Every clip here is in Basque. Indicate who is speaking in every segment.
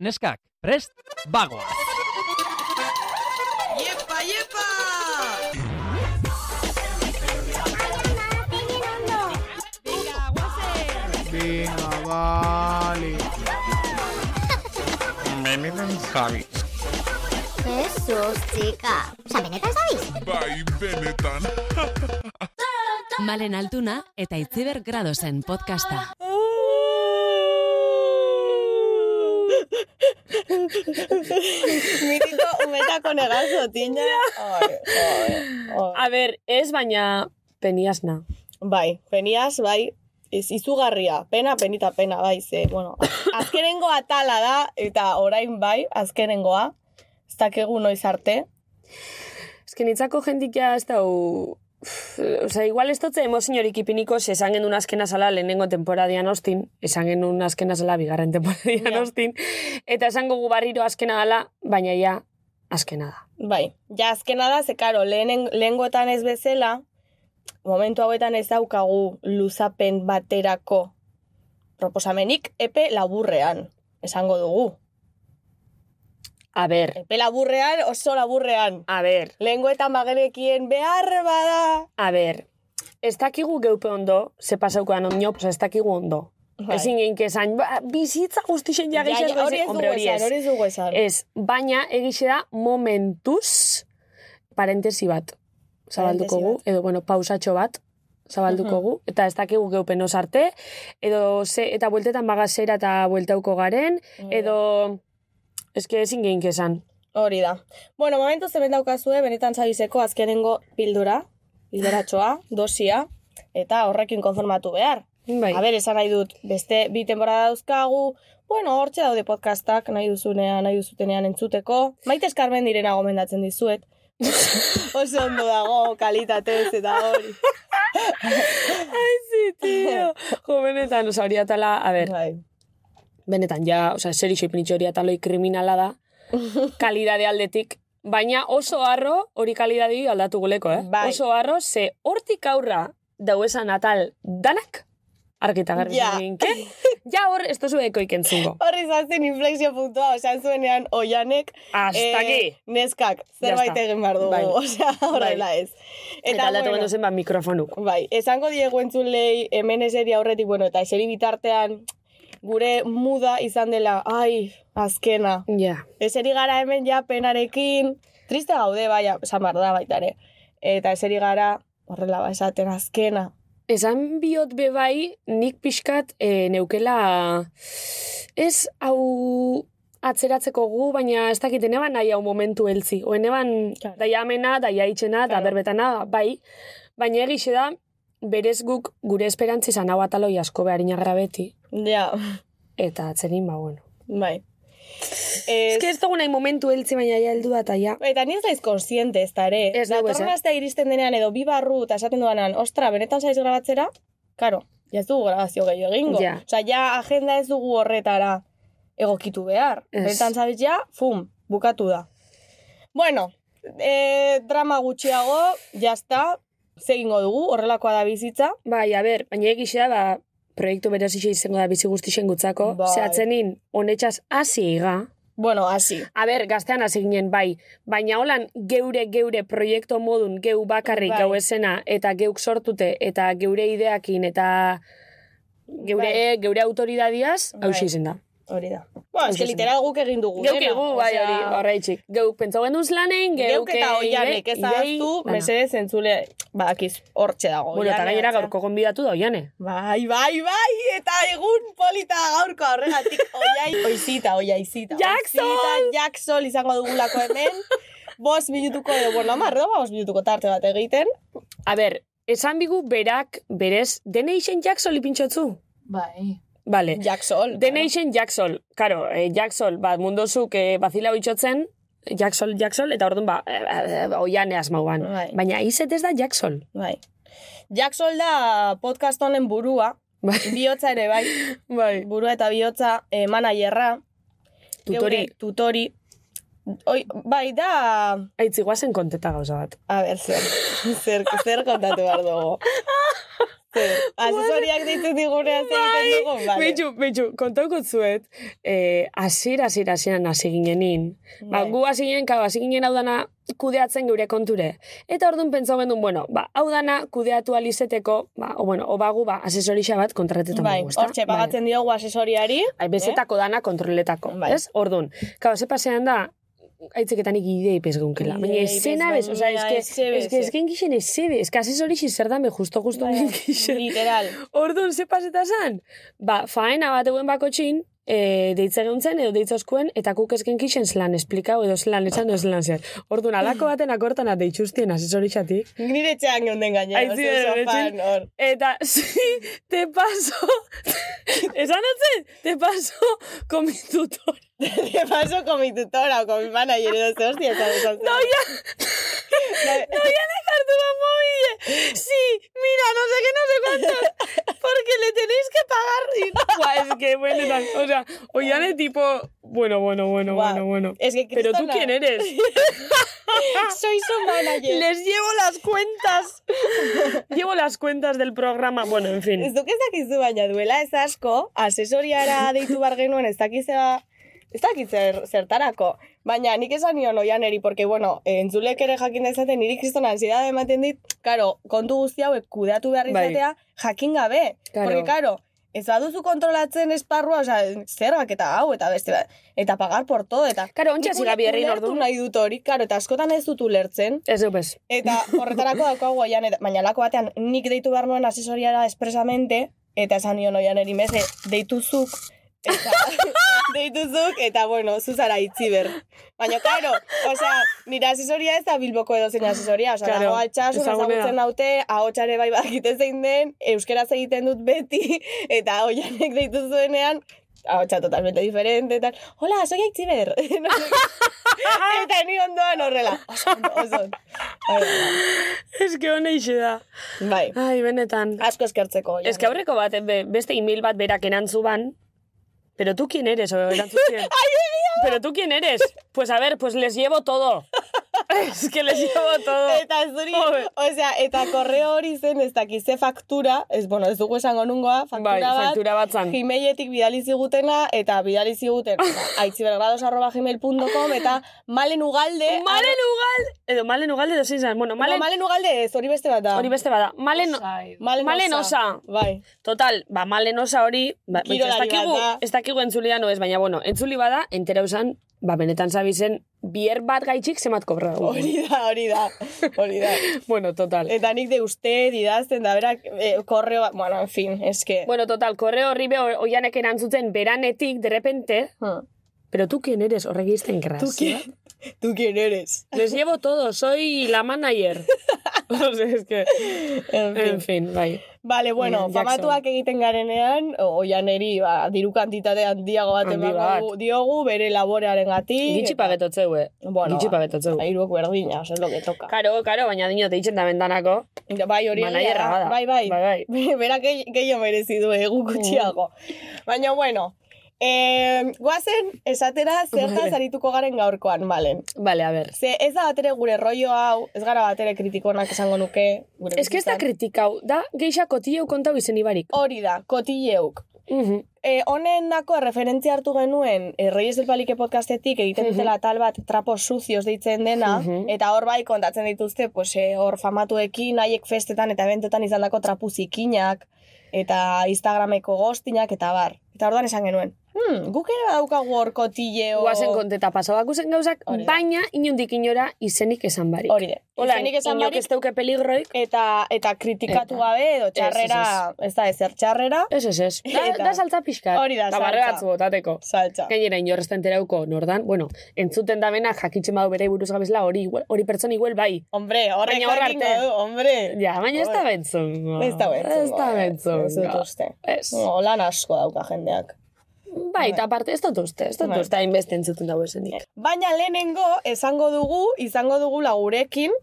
Speaker 1: neskak, prest, bagoa!
Speaker 2: ¡Yepa, yepa!
Speaker 3: Venga, guazen.
Speaker 4: Venga, vale.
Speaker 5: Jesús, chica. O sea, benetan zabiz?
Speaker 6: Malen Altuna eta Itziber Gradosen podcasta.
Speaker 7: Mitiko umetako negazo, tina. Ai, ai, ai.
Speaker 3: A ber, ez baina peniasna.
Speaker 7: Bai, peniaz, bai, ez izugarria, pena, penita, pena, bai, ze, bueno, azkenengo atala da, eta orain bai, azkenengoa, ez dakegu noiz arte,
Speaker 3: Ez que nitzako jendikia ez da hu... Osa, igual ez dutze emoziorik ipiniko, ze esan genuen azkena zala lehenengo temporadian ostin, esan genuen azkena zala bigarren temporadian
Speaker 7: Ja.
Speaker 3: ostin, eta esango gu barriro azkena gala, baina ja, azkena da.
Speaker 7: bai. Ja, azkena da, ze, karo, lehenen, lehengoetan ez bezala, momentu hauetan ez daukagu luzapen baterako proposamenik epe laburrean, esango dugu.
Speaker 3: A ber,
Speaker 7: Epe laburrean, oso laburrean.
Speaker 3: a ber,
Speaker 7: Lengoetan bagerekien behar bada.
Speaker 3: a ber, ez dakigu geupe ondo, ze pasaukoan ondo, pues ez dakigu ondo.
Speaker 7: Bai.
Speaker 3: Ezin geinke esan, ba, bizitza guztixen
Speaker 7: Ja,
Speaker 3: jageixen,
Speaker 7: ja, hori ez dugu esan, hori ez Eh, dugu esan.
Speaker 3: Ez, baina egixe da momentuz parentesi bat zabalduko
Speaker 7: Parentesi
Speaker 3: gu, edo, bueno, pausatxo bat zabalduko gu, eta ez dakigu geupen oz arte, edo ze, eta bueltetan bagazera eta bueltauko garen,
Speaker 7: Bai.
Speaker 3: edo, eske ezin gehin esan.
Speaker 7: Mm, Hori da. Bueno, momentu zeben daukazue, benetan zabizeko azkenengo pildura, pildoratxoa, dosia, eta horrekin konformatu behar.
Speaker 3: Bai.
Speaker 7: A ber, esan nahi dut, beste bi temporada dauzkagu, bueno, hortxe daude podcastak, nahi duzunean, nahi duzutenean entzuteko. Maite eskarmen direna gomendatzen dizuet. Oso ondo dago, kalitatez eta hori.
Speaker 3: Sí, tío. jo, benetan, oza, hori atala, a ber,
Speaker 7: Bai.
Speaker 3: benetan, ja, oza, zer iso ipinitxo hori ataloi kriminala da, kalidade aldetik, baina oso arro, hori kalidade aldatu guleko, eh?
Speaker 7: Bai.
Speaker 3: Oso arro, ze hortik aurra dauesan atal danak, arkita garbi
Speaker 7: Ja.
Speaker 3: ja. ja hor, ez tozu ekoik entzungo.
Speaker 7: Horri zazen inflexio puntua, osan zuenean, oianek,
Speaker 3: Hasta aquí.
Speaker 7: eh, neskak, zerbait
Speaker 3: está.
Speaker 7: egin behar dugu,
Speaker 3: Bai.
Speaker 7: osea, horrela ez.
Speaker 3: Eta, aldatu bueno. zen, ba, mikrofonuk.
Speaker 7: Bai, esango diegu entzulei hemen eseri aurretik, bueno, eta eseri bitartean gure muda izan dela, ai, azkena.
Speaker 3: Ja.
Speaker 7: Eseri gara hemen ja penarekin, triste gaude, bai, esan behar da baita ere. Eta eseri gara, horrela, ba, esaten azkena.
Speaker 3: Esan biot be bai, nik pixkat e, neukela, ez hau atzeratzeko gu, baina ez dakit eneban nahi hau momentu heltzi. Oen eban
Speaker 7: Claro.
Speaker 3: daia amena, daia itxena, da
Speaker 7: Claro.
Speaker 3: berbetana, bai. Baina egixe da, berez guk gure esperantzi izan hau ataloi asko behar inagra beti.
Speaker 7: Ja,
Speaker 3: Eta atzerin, ba, bueno.
Speaker 7: bai.
Speaker 3: Ez
Speaker 7: Ez,
Speaker 3: que ez dugu nahi momentu heltzi, baina ja heldu da, eta ja.
Speaker 7: Bai, Eta ni ez naiz konsiente ez da ere.
Speaker 3: Ez dugu
Speaker 7: Datorren
Speaker 3: ezer.
Speaker 7: astea iristen denean edo bi barru eta esaten dudanan, ostra, benetan saiz grabatzera, karo, ja ez dugu grabazio gehiago egingo.
Speaker 3: Ja.
Speaker 7: Osa, ja agenda ez dugu horretara egokitu behar.
Speaker 3: Ez.
Speaker 7: Benetan saiz ja, fum, bukatu da. Bueno, e, drama gutxiago, jazta, zegingo dugu, horrelakoa da bizitza.
Speaker 3: Bai, a ber, baina egixe da, ba, proiektu beraz izango da bizi guztixen gutzako.
Speaker 7: Bai.
Speaker 3: Ze atzenin, honetxaz hasi iga.
Speaker 7: Bueno, hasi.
Speaker 3: A ber, gaztean hasi ginen bai, baina holan geure geure proiektu modun geu bakarrik
Speaker 7: Bai.
Speaker 3: gau esena eta geuk sortute eta geure ideakin eta geure
Speaker 7: Bai.
Speaker 3: geure autoridadiaz
Speaker 7: Bai.
Speaker 3: hau izen da.
Speaker 7: Hori da. Bueno, ez que
Speaker 3: Hauxe zen.
Speaker 7: literal guk egin dugu. eh,
Speaker 3: Geuk
Speaker 7: dena,
Speaker 3: egu bai
Speaker 7: osea,
Speaker 3: hori, horreitzik. Geuk pentsau genuz lanein, geuk
Speaker 7: Geuk eta
Speaker 3: eh,
Speaker 7: oianek
Speaker 3: idei-
Speaker 7: ez ahaztu,
Speaker 3: bueno.
Speaker 7: mesedez entzule, badakiz, hortxe dago.
Speaker 3: Bueno, eta
Speaker 7: Oihane
Speaker 3: gainera
Speaker 7: atzean.
Speaker 3: gaurko gonbidatu da oiane.
Speaker 7: Bai, bai, bai, eta egun polita gaurko horregatik oiai, oizita, oiaizita.
Speaker 3: Jackson!
Speaker 7: Oizita, Jackson izango dugulako hemen. Bost minutuko, edo, bueno, amar, edo, bost minutuko tarte bat egiten.
Speaker 3: A ber, esan bigu berak, berez, dene izen jaksoli pintxotzu?
Speaker 2: Bai.
Speaker 7: Eh,
Speaker 3: Vale.
Speaker 7: Jackson.
Speaker 3: The Nation Jacksol, karo, eh, Jacksol, bat mundozuk eh, bazila bitxotzen, Jacksol, Jacksol, eta orduan ba, eh, eh, oian easmau ban.
Speaker 7: Bai.
Speaker 3: Baina izet ez da Jacksol.
Speaker 7: Bai. Jackson da podcast honen burua,
Speaker 3: Bai.
Speaker 7: bihotza ere bai,
Speaker 3: Bai.
Speaker 7: burua eta bihotza eh, managerra.
Speaker 3: Tutori,
Speaker 7: Geure Tutori. Oi, bai, da...
Speaker 3: aitzi guazen konteta gauza bat.
Speaker 7: A ber, zer, zer, zer kontatu behar dugu. Asesoriak deitzen digunean zer egiten dugu, bale.
Speaker 3: Bai. Beitu, beitu, kontaukot zuet, eh, azira, azira, aziran hasi ginenin. Ba,
Speaker 7: Bai.
Speaker 3: gu hasi ginen, kau, hasi ginen hau dana kudeatzen geure konture. Eta orduan pentsau gendun, bueno, ba, hau dana kudeatu alizeteko, ba, o, bueno, o bagu, ba, asesorixa bat kontratetan
Speaker 7: Bai,
Speaker 3: dugu, ezta?
Speaker 7: hortxe,
Speaker 3: Bai.
Speaker 7: pagatzen diogu asesoriari.
Speaker 3: Ai, bezetako dana kontroletako,
Speaker 7: Eh? Bai.
Speaker 3: ez? Orduan, kau, ze pasean da, aitzeketanik idei pez geunkela. Baina
Speaker 7: Ideei
Speaker 3: esena
Speaker 7: bez,
Speaker 3: bez, oza,
Speaker 7: baina
Speaker 3: eske,
Speaker 7: eze bez,
Speaker 3: eske,
Speaker 7: eh.
Speaker 3: eske, eske, eske, eske, asesorixa zer dan be, justo, justo,
Speaker 7: Bai,
Speaker 3: genkixen.
Speaker 7: Literal.
Speaker 3: Orduan, ze paseta zan? Ba, faena bat euen bako txin, e, deitze geuntzen edo deitzoskuen, eta kuk esken kixen zelan esplikau edo zelan esan edo zelan zer. Orduan, alako baten akortan at deitxustien asesorixatik.
Speaker 7: Nire txean geunden gainera,
Speaker 3: Ai,
Speaker 7: oso
Speaker 3: ziren,
Speaker 7: sofan,
Speaker 3: etxin.
Speaker 7: hor.
Speaker 3: Eta, si, Eh, te paso, esan atzen, te paso con mi tutor.
Speaker 7: Te paso con mi tutora o con mi manager edo ze hostia esan esan zen.
Speaker 3: Oia,
Speaker 7: eh".
Speaker 3: oia dejartu la mobile. Sí, mira, no sé qué, no sé cuánto. Porque le tenéis que pagar. Y... Buah, es que, bueno, tan, o sea, oigan de tipo, bueno, bueno, bueno,
Speaker 7: Buah.
Speaker 3: bueno, bueno.
Speaker 7: Es que
Speaker 3: Pero tú
Speaker 7: Cristona,
Speaker 3: Eh, quién eres?
Speaker 7: Soy su manager.
Speaker 3: Les llevo las cuentas. llevo las cuentas del programa. Bueno, en
Speaker 7: Ez
Speaker 3: fin.
Speaker 7: duk ez dakizu baina duela ez asko, asesoriara deitu bar genuen ez dakizea, ez dakit zer, zertarako. Baina nik esan nion oianeri, porque, bueno, eh, entzulek ere jakin dezaten, niri kriston ansiedade ematen dit, karo, kontu guzti hauek kudeatu behar
Speaker 3: Bai.
Speaker 7: izatea, jakin gabe.
Speaker 3: Karo.
Speaker 7: Porque, karo, ez baduzu kontrolatzen esparrua, oza, zergak eta hau, eta beste bat, eta pagar por todo, eta...
Speaker 3: Karo,
Speaker 7: Nik
Speaker 3: ontsa zigabi herrin
Speaker 7: ulertu
Speaker 3: ordu.
Speaker 7: nahi dut hori, karo, eta askotan ez dut ulertzen,
Speaker 3: Ez du, bez.
Speaker 7: Eta horretarako daukagu oian, eta, baina lako batean nik deitu behar nuen asesoriara expresamente, eta esan nion oian erimeze, deituzuk, eta, deituzuk, eta bueno, zuzara itziber. Baina, claro, osea, nire asesoria ez da bilboko edo zein asesoria, osea,
Speaker 3: Claro,
Speaker 7: dago atxasun,
Speaker 3: ezagunea.
Speaker 7: ezagutzen naute, ahotsare bai badakite zein den, euskeraz egiten dut beti, eta oianek deitu zuenean, ahotsa totalmente diferente, tal, hola, soy Aitziber. No sé qué. eta ni ondoan horrela, oso ondo, oso ondo. Bai, bai, bai.
Speaker 3: Ez que hona ixe da.
Speaker 7: Bai,
Speaker 3: Ai, benetan.
Speaker 7: asko eskertzeko.
Speaker 3: Ez que aurreko bat, be- beste email bat berak erantzu ban, pero tú quién eres, o erantzuzien. pero tú quién eres. Pues a ver, pues les llevo todo. es que les llevo todo.
Speaker 7: Eta zuri,
Speaker 3: Joder.
Speaker 7: osea, eta korreo hori zen ez dakize faktura, ez, bueno, ez dugu esango nungoa, faktura
Speaker 3: bai,
Speaker 7: bat,
Speaker 3: faktura bat zan.
Speaker 7: Gmailetik bidali zigutena, eta bidali ziguten aitzibergrados.gmail.com eta malen ugalde...
Speaker 3: Malen Ugal, edo Malen Ugal edo zein zan. Bueno,
Speaker 7: malen,
Speaker 3: Malen,
Speaker 7: malen ugalde ez, hori beste bat da.
Speaker 3: hori beste bada. Malen,
Speaker 7: Malen,
Speaker 3: Malen osa.
Speaker 7: Bai.
Speaker 3: total, ba, Malen osa hori, ba,
Speaker 7: Kirolari
Speaker 3: ez dakigu,
Speaker 7: bat da.
Speaker 3: ez dakigu entzulia no ez, baina bueno, entzuli bada, entera usan, ba, benetan zabizen, bier bat gaitxik zemat kobra. dugu.
Speaker 7: Hori da, hori da, hori da.
Speaker 3: Bueno, total.
Speaker 7: Eta nik de usted idazten da, berak, eh, korreo, bueno, en fin, eske...
Speaker 3: Bueno, total, korreo horri be o- oianek erantzuten beranetik, de repente,
Speaker 7: Bueno,
Speaker 3: pero tú quién eres, horrek izten graz.
Speaker 7: ¿Tú quién, ¿Tú quién eres?
Speaker 3: eh? Les llevo todo, soy la manager. o sea, es que...
Speaker 7: En fin.
Speaker 3: En fin, bai.
Speaker 7: Vale, bueno,
Speaker 3: Jackson.
Speaker 7: famatuak egiten garenean, o- oianeri, ba, diru kantitate handiago bat
Speaker 3: Handi
Speaker 7: emango
Speaker 3: bat.
Speaker 7: dugu- diogu, bere laborearen gati.
Speaker 3: Gitxi pagetotzeu, eh?
Speaker 7: Bueno,
Speaker 3: Gitxi
Speaker 7: ba.
Speaker 3: pagetotzeu.
Speaker 7: Airuok berdina, oso es lo que toca.
Speaker 3: Karo, karo, baina dino deitzen da bendanako.
Speaker 7: Bai, hori egia
Speaker 3: Managerra
Speaker 7: da.
Speaker 3: bada.
Speaker 7: Bai, bai.
Speaker 3: Bai, Mm.
Speaker 7: Bera gehiago merezi du, egu gutxiago. Baina, bueno, eh, guazen, esatera, zertaz
Speaker 3: Vale.
Speaker 7: arituko garen gaurkoan, malen.
Speaker 3: Vale, a ver.
Speaker 7: Ze ez da batere gure rollo hau, ez gara batere kritikonak esango nuke. Gure
Speaker 3: Ez que ez da
Speaker 7: bizitzan.
Speaker 3: kritikau, da geixa kotieu kontau izen ibarik.
Speaker 7: Hori da, kotilleuk.
Speaker 3: Mhm.
Speaker 7: E, honen dako referentzia hartu genuen e, Reyes del Palike podcastetik egiten dutela tal bat trapos sucios deitzen dena
Speaker 3: Mhm.
Speaker 7: eta hor bai kontatzen dituzte pues, e, hor famatuekin, haiek festetan eta eventotan izandako trapuzikinak eta Instagrameko goztinak eta bar. Eta orduan esan genuen. Hmm, guk ere badaukagu hor kotilleo...
Speaker 3: Guazen konteta pasabak uzen gauzak,
Speaker 7: Oh. Hori da.
Speaker 3: baina inundik inora izenik esan barik.
Speaker 7: Hori de.
Speaker 3: Hola,
Speaker 7: Izenik esan
Speaker 3: inok
Speaker 7: barik,
Speaker 3: ez dauke peligroik.
Speaker 7: eta, eta kritikatu
Speaker 3: Eta.
Speaker 7: gabe edo
Speaker 3: Ez, ez,
Speaker 7: txarrera, ez, da ezer txarrera,
Speaker 3: Ez, ez, ez. Da,
Speaker 7: Eta-
Speaker 3: da saltza pixkat.
Speaker 7: Hori da,
Speaker 3: Da barre
Speaker 7: saltza.
Speaker 3: batzu botateko.
Speaker 7: saltza.
Speaker 3: Gainera inorrezta enterauko nordan, bueno, entzuten da bena jakitzen badu bere buruz gabezla hori, igual- hori pertsona igual bai.
Speaker 7: Hombre, horrek
Speaker 3: Baina hor
Speaker 7: jakingo
Speaker 3: arte.
Speaker 7: du, hombre.
Speaker 3: Ja, baina ez da
Speaker 7: Hori.
Speaker 3: bentzongo.
Speaker 7: Bai. Ez da bentzongo,
Speaker 3: Ez da
Speaker 7: eh.
Speaker 3: bentzongo.
Speaker 7: Ez dut uste.
Speaker 3: Ez.
Speaker 7: No, lan asko dauka jendeak.
Speaker 3: Bai, eta parte, ez dut uste, ez dut
Speaker 7: Bai.
Speaker 3: uste hainbeste entzuten dago esenik.
Speaker 7: Baina lehenengo esango dugu, izango dugu lagurekin,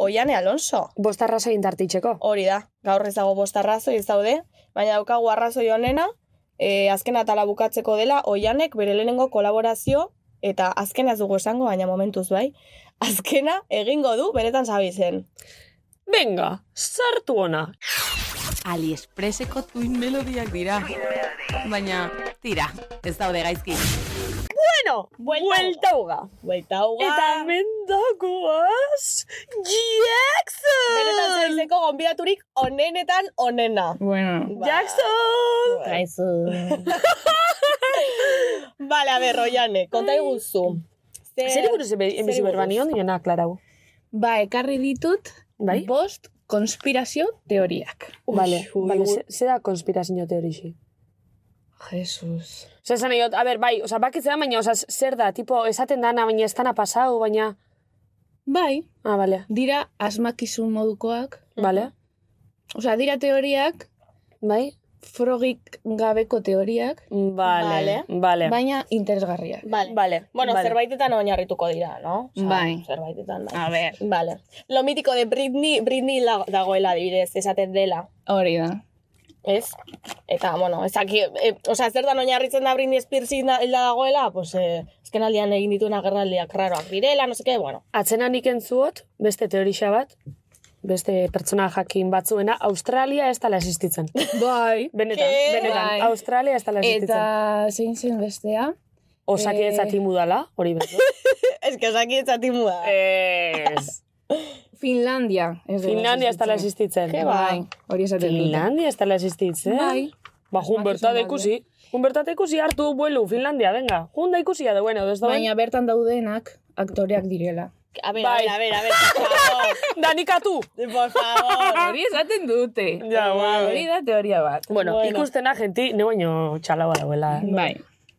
Speaker 7: Oiane Alonso.
Speaker 3: Bosta raso intartitzeko.
Speaker 7: Hori da, gaur ez dago bost arrazoi ez daude, baina daukagu arrazoi honena, e, azken atala bukatzeko dela, Oianek bere lehenengo kolaborazio, eta azkena ez dugu esango, baina momentuz bai, azkena egingo du benetan zabizen.
Speaker 3: Benga, sartu ona.
Speaker 6: Aliexpreseko tuin melodiak dira. Baina, tira, ez daude gaizki.
Speaker 7: Bueno,
Speaker 3: buelta
Speaker 7: uga. Buelta bai. uga.
Speaker 3: Eta hemen dagoaz,
Speaker 7: Benetan
Speaker 3: Jackson!
Speaker 7: zaizeko gonbidaturik onenetan onena.
Speaker 3: Bueno,
Speaker 7: Ba.
Speaker 3: Jackson!
Speaker 7: Aizu. Vale, a ber, Oiane, konta iguzu.
Speaker 3: Zer ikuruz
Speaker 7: Bai. zer
Speaker 3: enbizi
Speaker 7: buruz?
Speaker 3: berbani hon dionak, klarau?
Speaker 8: Ba, ekarri ditut,
Speaker 3: Bai?
Speaker 8: bost konspirazio teoriak.
Speaker 3: Vale, vale, ze- ze da konspirazio teorixi?
Speaker 8: Jesus.
Speaker 3: Osa, esan nahi dut, a ber, bai, osa, bakitzen baina, osa, zer da, tipo, esaten dana, baina ez dana pasau, baina...
Speaker 8: Bai,
Speaker 3: Ah, bale,
Speaker 8: dira asmakizun modukoak.
Speaker 3: bale,
Speaker 8: Osea, dira teoriak,
Speaker 3: bai?
Speaker 8: frogik gabeko teoriak,
Speaker 3: Bale, bale.
Speaker 8: baina interesgarriak.
Speaker 7: Vale.
Speaker 3: Vale,
Speaker 7: Bueno,
Speaker 3: vale.
Speaker 7: zerbaitetan oinarrituko dira, no? Osea,
Speaker 8: Bai.
Speaker 7: Zerbaitetan, bai.
Speaker 8: A ber.
Speaker 7: Vale. Lo mítico de Britney, Britney la- dagoela adibidez, esaten dela.
Speaker 8: Hori da.
Speaker 7: Ez? Eta, bueno, ezaki, e, osea, zer dan oinarritzen da Britney Spears hilda hilda dagoela, pues, eh, azken aldian egin dituen agerraldiak raroak direla, no seke, bueno.
Speaker 3: Atzena nik entzuot, beste teorixa bat, beste pertsona jakin batzuena, Australia ez dala existitzen.
Speaker 8: Bai.
Speaker 3: Benetan,
Speaker 7: Ke?
Speaker 3: benetan,
Speaker 8: Bai.
Speaker 3: Australia ez dala existitzen. Eta...
Speaker 8: Eta zein zen bestea?
Speaker 3: Osaki
Speaker 8: Eh.
Speaker 3: dala, hori bai. beto.
Speaker 7: Ez que osaki etzatimua.
Speaker 3: Ez.
Speaker 8: Finlandia. Ez dela
Speaker 3: Finlandia ez dala
Speaker 8: existitzen.
Speaker 3: existitzen.
Speaker 7: Ke ba.
Speaker 8: Bai, hori esaten dut.
Speaker 3: Finlandia ez dala existitzen.
Speaker 8: Bai.
Speaker 3: Ba, jun berta ikusi. Jun berta ikusi hartu buelu, Finlandia, venga. Jun da ikusi da, bueno, ez da bain.
Speaker 8: Baina bertan daudenak aktoreak direla.
Speaker 7: A ver,
Speaker 3: Bai.
Speaker 7: a ver, a ver, por favor.
Speaker 3: Danikatu!
Speaker 7: Por favor.
Speaker 8: Hori esaten dute.
Speaker 3: Ja, bueno.
Speaker 8: Hori da teoria bat.
Speaker 3: Bueno,
Speaker 7: Bueno.
Speaker 3: ikustena genti, ne baino txalaua dauela. Eh?
Speaker 8: Bai.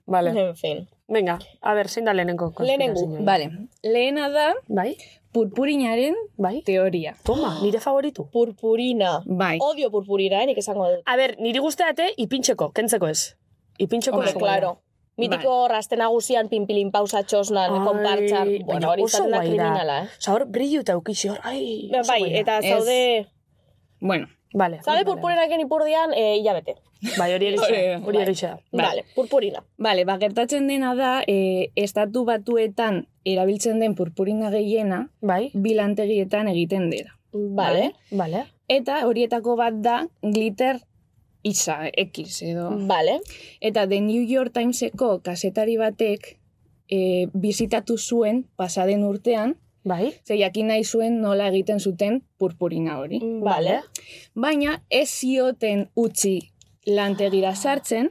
Speaker 3: Vale,
Speaker 7: En fin.
Speaker 3: venga, a ber, zein da lehenengo
Speaker 7: Lehenengo,
Speaker 3: konspirazioa?
Speaker 8: Vale, lehena da
Speaker 3: Bai,
Speaker 8: purpurinaren
Speaker 3: bai.
Speaker 8: teoria.
Speaker 3: Toma, nire favoritu.
Speaker 7: Purpurina.
Speaker 8: Bai.
Speaker 7: Odio purpurina, eh, nik esango dut.
Speaker 3: A ber, niri guzteate ipintxeko, kentzeko ez. Ipintxeko
Speaker 8: Hombre,
Speaker 3: ez.
Speaker 7: Pues, claro.
Speaker 8: Bai.
Speaker 7: Mitiko raste nagusian pinpilin pausa txosnan,
Speaker 3: Ai,
Speaker 7: konpartxan.
Speaker 3: baina
Speaker 7: Bueno, hori
Speaker 3: oso
Speaker 7: izaten da
Speaker 3: guai da.
Speaker 7: kriminala, eh.
Speaker 3: Osa, hor, brillu eta ukitxe hor, ai. oso
Speaker 7: Bai,
Speaker 3: guai da.
Speaker 7: eta
Speaker 8: Ez.
Speaker 7: zaude...
Speaker 8: Bueno,
Speaker 3: Vale.
Speaker 7: Zaude
Speaker 3: vale,
Speaker 7: purpurinaken ipurdian, eh, hilabete.
Speaker 3: vale. Bai, hori
Speaker 8: Hori
Speaker 3: egitea,
Speaker 8: da.
Speaker 3: hori egitea.
Speaker 8: Bai.
Speaker 7: Vale, purpurina.
Speaker 8: Vale, ba, gertatzen dena da, e, estatu batuetan erabiltzen den purpurina gehiena
Speaker 3: Bai,
Speaker 8: bilantegietan egiten dira.
Speaker 7: Vale.
Speaker 3: vale.
Speaker 8: Eta horietako bat da glitter isa, X edo.
Speaker 7: Vale.
Speaker 8: Eta The New York Timeseko kasetari batek e, bizitatu zuen pasaden urtean,
Speaker 3: Bai,
Speaker 8: ze jakin nahi zuen nola egiten zuten purpurina hori.
Speaker 7: Mm. Vale.
Speaker 8: Baina ez zioten utzi lantegira sartzen,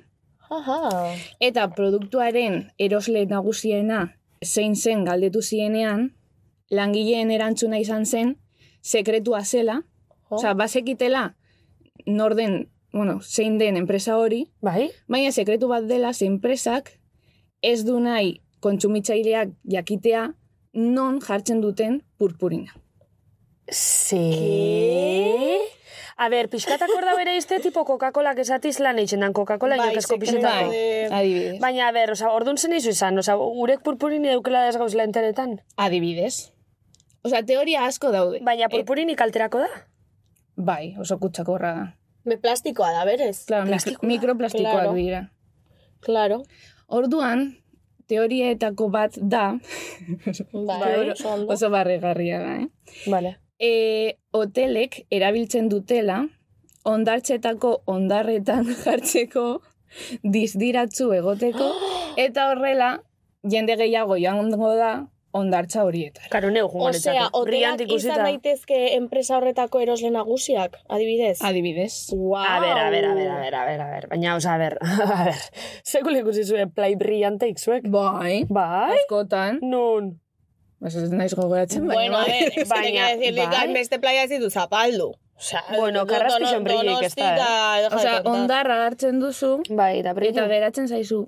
Speaker 7: Aha.
Speaker 8: Eta produktuaren erosle nagusiena zein zen galdetu zienean, langileen erantzuna izan zen, sekretua zela,
Speaker 7: Jo.
Speaker 8: osea, bazekitela norden, bueno, zein den enpresa hori,
Speaker 3: bai.
Speaker 8: baina sekretu bat dela ze enpresak ez du nahi kontsumitzaileak jakitea non jartzen duten purpurina.
Speaker 3: Ze... A ber, pixkatak hor da bere izte, tipo Coca-Cola esatiz lan eitzen dan Coca-Cola
Speaker 7: Bai,
Speaker 3: inokezko
Speaker 7: sekretua
Speaker 3: pixetako.
Speaker 7: de-
Speaker 8: Adibidez.
Speaker 3: Baina, a ber, oza, orduan zen izu izan, oza, urek purpurini daukela ez gauzela enteretan.
Speaker 8: Adibidez. Osea, teoria asko daude.
Speaker 7: Bai. Eh,
Speaker 3: Baina, purpurini kalterako da?
Speaker 8: Bai, oso kutsakorra da.
Speaker 7: Me plastikoa da, berez.
Speaker 8: Claro, mikro, mikroplastikoak
Speaker 7: Claro.
Speaker 8: dira.
Speaker 7: Claro.
Speaker 8: Orduan, teoriaetako bat da,
Speaker 7: Vale.
Speaker 8: Teor-
Speaker 7: Bai, oso ondo.
Speaker 8: oso barregarria da, eh?
Speaker 3: Vale.
Speaker 8: E, hotelek erabiltzen dutela, ondartzetako ondarretan jartzeko, dizdiratzu egoteko, eta horrela, jende gehiago joango da, ondartza horietara.
Speaker 3: Karo, neu jungo
Speaker 7: Osea, hotelak izan daitezke enpresa horretako erosle nagusiak, adibidez.
Speaker 8: Adibidez.
Speaker 7: Wow.
Speaker 3: A ber, a ber, a ber, a ber, a ber, a ber. Baina, oza, a ber, a ber. Sekule ikusi zuen play brillanteik zuek.
Speaker 8: Bai,
Speaker 3: Bai?
Speaker 8: askotan,
Speaker 3: Nun.
Speaker 8: ez ez naiz gogoratzen, baina
Speaker 7: Bueno, a
Speaker 8: bai.
Speaker 7: ver, es que
Speaker 3: Baina,
Speaker 7: tenía que decirle
Speaker 3: bai.
Speaker 7: que beste este playa ez ditu zapaldu. Osea,
Speaker 3: Bueno,
Speaker 7: do-
Speaker 3: karraski
Speaker 7: dono-
Speaker 3: sonbrilloik ez da, eh.
Speaker 7: donostika, deja de
Speaker 8: Osea,
Speaker 7: contar.
Speaker 8: ondarra hartzen duzu,
Speaker 3: Bai, da
Speaker 8: eta
Speaker 3: brillu.
Speaker 8: geratzen zaizu,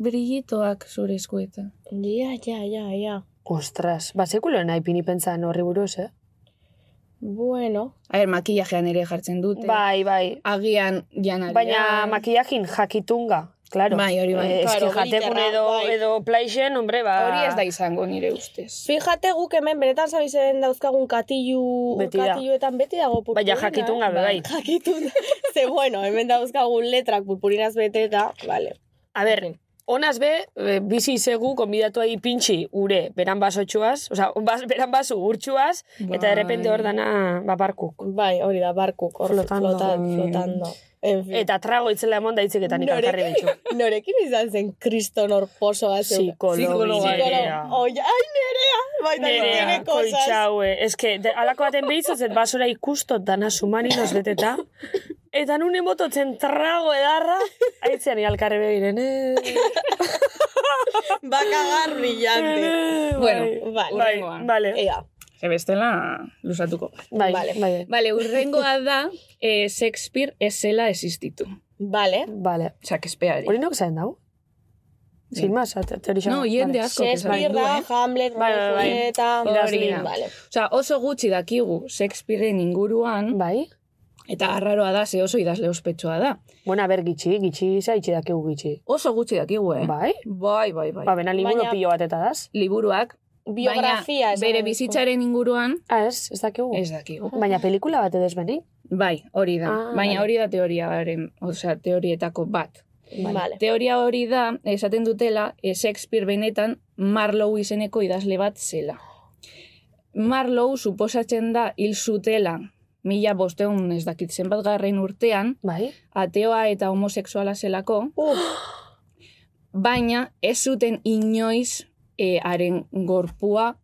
Speaker 8: brillitoak zure eskuetan.
Speaker 7: Ja, ja, ja, ja.
Speaker 3: Ostras, ba, sekulo nahi pini pentsan horri buruz, eh?
Speaker 7: Bueno.
Speaker 8: A ber, makillajean ere jartzen dute.
Speaker 3: Bai, bai.
Speaker 8: Agian janaria.
Speaker 3: Baina makillajin jakitunga, claro.
Speaker 8: Bai, hori bai.
Speaker 3: Eh, eski
Speaker 7: Claro,
Speaker 3: jatekun
Speaker 7: glitterra,
Speaker 3: edo,
Speaker 7: bai.
Speaker 3: edo plaixen, hombre, ba...
Speaker 8: Hori ez da izango nire ustez.
Speaker 7: Fíjate guk hemen benetan zabizen dauzkagun katilu,
Speaker 3: Beti da.
Speaker 7: katiluetan beti dago purpurina.
Speaker 3: Baina jakitun
Speaker 7: eh?
Speaker 3: gabe, bai.
Speaker 7: Jakitun. Ze bueno, hemen dauzkagun letrak purpurinaz beteta, vale.
Speaker 3: A ber, Honaz be, eh, bizi izegu konbidatuai pintxi ure, beran basotxuaz, oza, bas, ba- beran basu urtsuaz, eta
Speaker 8: Bai.
Speaker 3: errepende hor dana ba, babarkuk.
Speaker 7: Bai, hori da, barkuk, hor
Speaker 3: Flotando.
Speaker 7: flotando. Flotan, flotando. En fin.
Speaker 3: Eta trago itzela emon daitzeketan ikan jarri bitxu.
Speaker 7: norekin izan zen kriston hor posoa zeu.
Speaker 3: Psikologa.
Speaker 7: Psikologa. Oia, ai, nerea! Baita,
Speaker 3: Nerea,
Speaker 7: tiene cosas.
Speaker 3: koitxaue. Ez eh. que, de, alako baten behitzuzet, basura ikustot dana sumarinoz beteta. Eta nun emototzen trago edarra, aitzean ialkarre begiren. Eh,
Speaker 7: Va a cagar brillante.
Speaker 8: Bueno,
Speaker 7: Vale.
Speaker 3: bai,
Speaker 8: Hurrengoa.
Speaker 3: vale.
Speaker 7: Ea,
Speaker 8: ze E, bestela luzatuko. gara.
Speaker 3: Bai,
Speaker 7: Vale.
Speaker 3: bai.
Speaker 8: Bale, urrengoa da, eh, Shakespeare ez zela existitu.
Speaker 7: vale.
Speaker 3: Vale. Hori
Speaker 8: Shakespeare.
Speaker 3: nok zain dau? Sin más, te- teorixan.
Speaker 8: No, jende asko
Speaker 7: Shakespeare,
Speaker 8: esan du, eh?
Speaker 7: Hamlet,
Speaker 3: Bai, bai, bai.
Speaker 7: Julieta,
Speaker 8: Hori da.
Speaker 7: Vale.
Speaker 8: Osea, oso gutxi dakigu Shakespearen inguruan,
Speaker 3: Bai.
Speaker 8: eta arraroa da, ze oso idazle ospetsua da.
Speaker 3: Bueno, a ber, gitxi, gitxi, zaitxe dakigu gitxi.
Speaker 8: Oso gutxi dakigu, eh?
Speaker 3: Bai?
Speaker 8: Bai, bai, bai.
Speaker 3: Ba, bena liburu
Speaker 7: Baina-
Speaker 3: pilo bat eta daz.
Speaker 8: Liburuak,
Speaker 7: Biografia.
Speaker 8: baina bere bizitzaren inguruan,
Speaker 3: Ah, ez, ez dakigu.
Speaker 8: ez dakigu.
Speaker 3: Baina pelikula bat edo ez beni?
Speaker 8: Bai, hori da.
Speaker 3: Ah,
Speaker 8: baina
Speaker 3: bai.
Speaker 8: hori da teoriaren, osea, teorietako bat.
Speaker 7: Vale.
Speaker 8: Teoria hori da, esaten dutela, eh, Shakespeare benetan Marlowe izeneko idazle bat zela. Marlowe suposatzen da hil zutela mila bosteun ez dakit zenbat garren urtean,
Speaker 3: Bai.
Speaker 8: ateoa eta homosexuala zelako,
Speaker 7: Uf,
Speaker 8: baina ez zuten inoiz eh, haren gorpua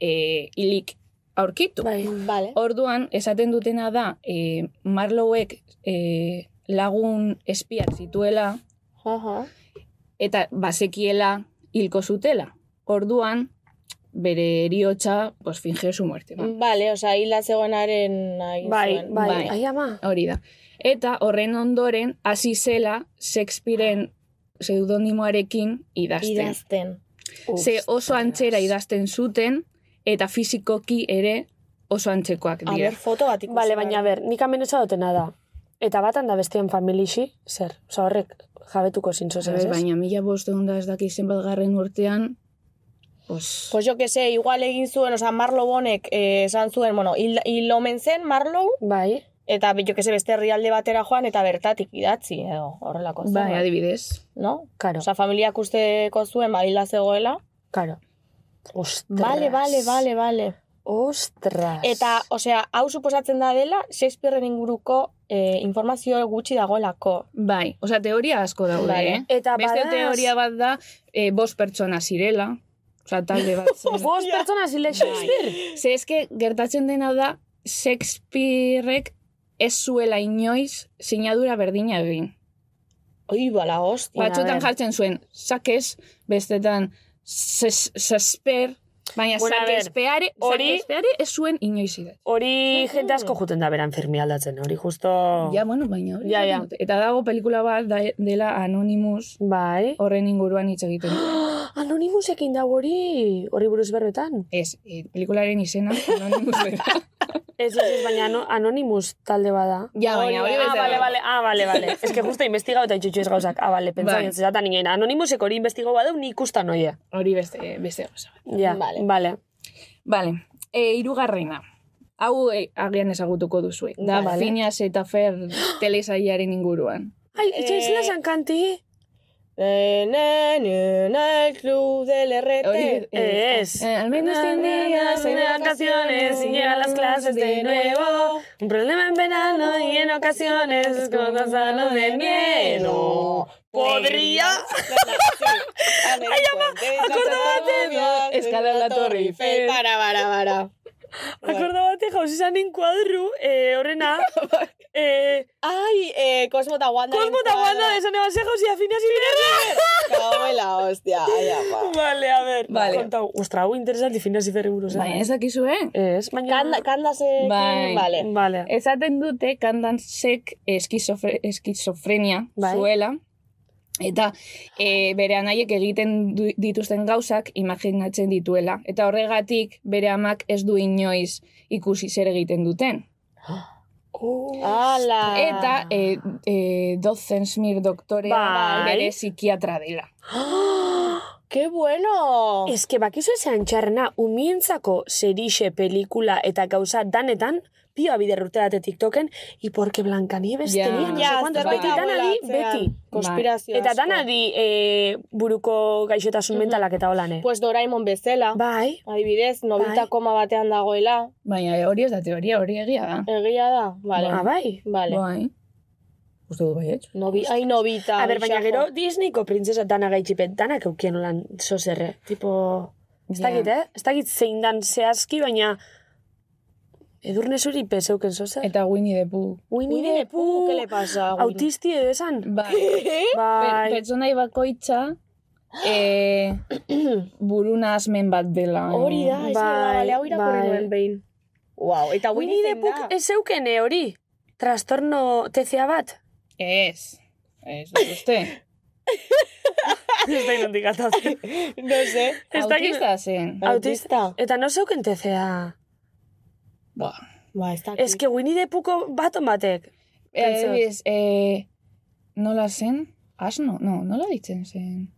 Speaker 8: eh, hilik aurkitu.
Speaker 3: Bai.
Speaker 7: vale.
Speaker 8: Orduan, esaten dutena da, eh, Marlowek eh, lagun espiak zituela,
Speaker 7: Aha.
Speaker 8: eta bazekiela hilko zutela. Orduan, bere eriotza, pues, finge su muerte. ba.
Speaker 7: Vale, osea, hila zegoenaren nahi
Speaker 3: Bai,
Speaker 7: zuen.
Speaker 3: bai.
Speaker 8: Bai.
Speaker 3: Ai, ama.
Speaker 8: Hori da. Eta horren ondoren, hasi zela Shakespearen pseudonimoarekin idazten.
Speaker 7: Idazten.
Speaker 8: Ze oso antzera idazten zuten, eta fizikoki ere oso antzekoak
Speaker 7: A
Speaker 8: dira.
Speaker 7: ber, foto bat ikusi.
Speaker 3: Bale, baina a ber, nik amenetza dutena da. Eta batan da bestean familixi, zer? Osa horrek jabetuko
Speaker 7: Bai,
Speaker 3: zintzo
Speaker 8: A
Speaker 3: zer,
Speaker 8: ber,
Speaker 3: ez?
Speaker 8: baina mila bosteun da ez dakiz zenbat garren urtean, pues,
Speaker 7: Pues jo que sé, igual egin zuen, osea, Marlowe honek eh, esan zuen, bueno, hil, hil omen zen Marlowe,
Speaker 3: Bai.
Speaker 7: eta jo que sé, beste herrialde batera joan, eta bertatik idatzi, edo, horrelako zerbait,
Speaker 8: bai, adibidez.
Speaker 7: no?
Speaker 3: Karo,
Speaker 7: Osea, familiak usteko zuen, ba, hila zegoela.
Speaker 3: karo. Ostras.
Speaker 7: Vale, vale, vale, vale.
Speaker 3: Ostras.
Speaker 7: Eta, osea, hau suposatzen da dela, Shakespearen inguruko eh, informazio gutxi dagoelako.
Speaker 8: Bai, osea, teoria asko daude,
Speaker 3: Bai.
Speaker 7: Vale.
Speaker 8: eh?
Speaker 3: Eta
Speaker 8: Beste
Speaker 3: badaz-
Speaker 7: ba-
Speaker 8: teoria bat da, eh, bost pertsona zirela, osea, talde bat zela.
Speaker 3: Bost pertsona zile
Speaker 7: Bai.
Speaker 3: Shakespeare.
Speaker 8: Ze eske, gertatzen dena da, Shakespearek ez zuela inoiz sinadura berdina egin.
Speaker 7: Oi, bala, hostia.
Speaker 3: Bueno, a
Speaker 8: Batzuetan
Speaker 3: ber.
Speaker 8: jartzen zuen, sakez, bestetan, Shakespeare, baina
Speaker 3: Bueno, a ber,
Speaker 8: Shakespeare,
Speaker 3: hori-
Speaker 8: Shakespeare ez zuen inoiz idatzi.
Speaker 7: Bai.
Speaker 3: Hori jente asko juten da beran firmi aldatzen, hori justo...
Speaker 8: Oh. Ja, bueno, baina hori.
Speaker 3: Ja, ja.
Speaker 8: esaten dute. Eta dago pelikula bat da, dela Anonymous
Speaker 3: Bai.
Speaker 8: horren inguruan hitz egiten. du.
Speaker 3: Anonimusekin da hori, hori buruz berbetan.
Speaker 8: Ez, eh, pelikularen izena Anonymous bera.
Speaker 3: Ez, ez, ez, baina ano, anonimus talde bada.
Speaker 8: ja, baina hori
Speaker 3: Ah,
Speaker 8: bezala.
Speaker 3: vale, vale, ah, vale, vale. Ez que justo investigau eta itxutxu ez gauzak. Ah, vale, pentsa
Speaker 8: Bai.
Speaker 3: bai. zatan ninen. Anonimusek hori investigau badeu ni ikustan oie.
Speaker 8: Hori beste, beste gauza. bat.
Speaker 3: Ja,
Speaker 7: Vale.
Speaker 3: vale. vale.
Speaker 8: Vale, e, irugarrena. Hau eh, agian ezagutuko duzu. Da,
Speaker 3: Vale.
Speaker 8: Phineas eta Fer telesailaren inguruan.
Speaker 3: Ai, itxaiz eh... lasan kanti.
Speaker 7: Eh, na, na, na, el club del RT.
Speaker 8: Hori,
Speaker 3: Ez.
Speaker 8: Eh, al menos
Speaker 3: Tendrías
Speaker 8: tendrías
Speaker 3: en
Speaker 8: unas
Speaker 3: vacaciones y llegan las clases de nuevo. Un problema en verano y en ocasiones es como sano de miedo. Podría.
Speaker 7: Ay, ama,
Speaker 8: de- escalar la Torre Eiffel.
Speaker 7: Para, para, para.
Speaker 3: Akordabate jauzizanin kuadru, eh, horrena, eh,
Speaker 7: Ay, eh, Cosmo eta Wanda.
Speaker 3: Cosmo eta Wanda de San Ebanse Josefina Ziberra.
Speaker 7: Cago en la hostia. Ay, ama.
Speaker 3: Vale, a ver.
Speaker 8: Vale.
Speaker 3: Kontau, ostra, hau interesanti Fina Ziberri buruz. eh?
Speaker 8: Baina ez dakizu, eh?
Speaker 3: Ez, baina...
Speaker 7: Kanda, Eh, kanda se...
Speaker 8: Bai.
Speaker 7: Vale.
Speaker 3: Vale.
Speaker 8: Ezaten dute kandantzek eskizofre, eskizofrenia
Speaker 3: Bai.
Speaker 8: zuela, eta e, bere anaiek egiten du, dituzten gauzak imaginatzen dituela. Eta horregatik bere amak ez du inoiz ikusi zer egiten duten.
Speaker 7: oh. Ala.
Speaker 3: Ah.
Speaker 8: Eta
Speaker 3: eh,
Speaker 8: e, e, dozen smir doktorea
Speaker 3: Bai.
Speaker 8: bere psikiatra dela.
Speaker 7: Ke bueno!
Speaker 3: Ez que bakizu ezean txarrena, umientzako serixe pelikula eta gauza danetan, pioa biderrute date TikToken, y porque Blancanieves
Speaker 8: Ja.
Speaker 3: tenía no
Speaker 8: Ja,
Speaker 3: sé cuántos,
Speaker 8: zerbait
Speaker 3: beti danari,
Speaker 7: abulatzean.
Speaker 3: beti.
Speaker 7: Konspirazio
Speaker 3: Eta
Speaker 7: asko.
Speaker 3: danari eh, buruko gaixotasun
Speaker 7: Mhm.
Speaker 3: mentalak eta holane.
Speaker 7: Pues Doraemon bezala.
Speaker 3: Bai,
Speaker 7: Adibidez, 90
Speaker 3: Bai.
Speaker 7: koma batean dagoela.
Speaker 8: Baina e, hori ez da teoria, hori egia da.
Speaker 7: Egia da? Vale.
Speaker 3: ah, bai.
Speaker 7: Vale.
Speaker 8: Bai. Uste dut bai, baietz.
Speaker 7: Novi, ai, novita.
Speaker 3: A ber, baina
Speaker 7: bisajo.
Speaker 3: gero Disneyko printzesa dana gaitxipet, danak eukien holan sozerre. Tipo, ez dakit, eh? Ez dakit zein dan zehazki, baina edurne zuri peseuken sozer.
Speaker 8: Eta Winnie the Pooh.
Speaker 3: Winnie
Speaker 7: Winnie the Pooh, ¿qué le pasa? Winnie?
Speaker 3: Autisti edo esan?
Speaker 8: Bai. Per,
Speaker 3: Bai.
Speaker 8: pertsonai bakoitza eh, buruna asmen bat dela.
Speaker 7: Hori da, ez da,
Speaker 3: Bai,
Speaker 7: bale, hau irakurri
Speaker 3: bai.
Speaker 7: nuen behin. Wow, eta Winnie the Pooh
Speaker 3: ez zeukene hori. Trastorno TCA bat.
Speaker 8: Ez. Ez dut uste.
Speaker 3: ez da inondik atatzen.
Speaker 7: No sé.
Speaker 3: Ez da
Speaker 8: Autista zen.
Speaker 7: Autista.
Speaker 3: Eta no zeuken TCA.
Speaker 8: Ba.
Speaker 7: Ba, ez dakit.
Speaker 3: Ez que Winnie the Poohko bat on batek.
Speaker 8: Eh, adibidez, eh, nola zen? Asno? No, nola ditzen zen?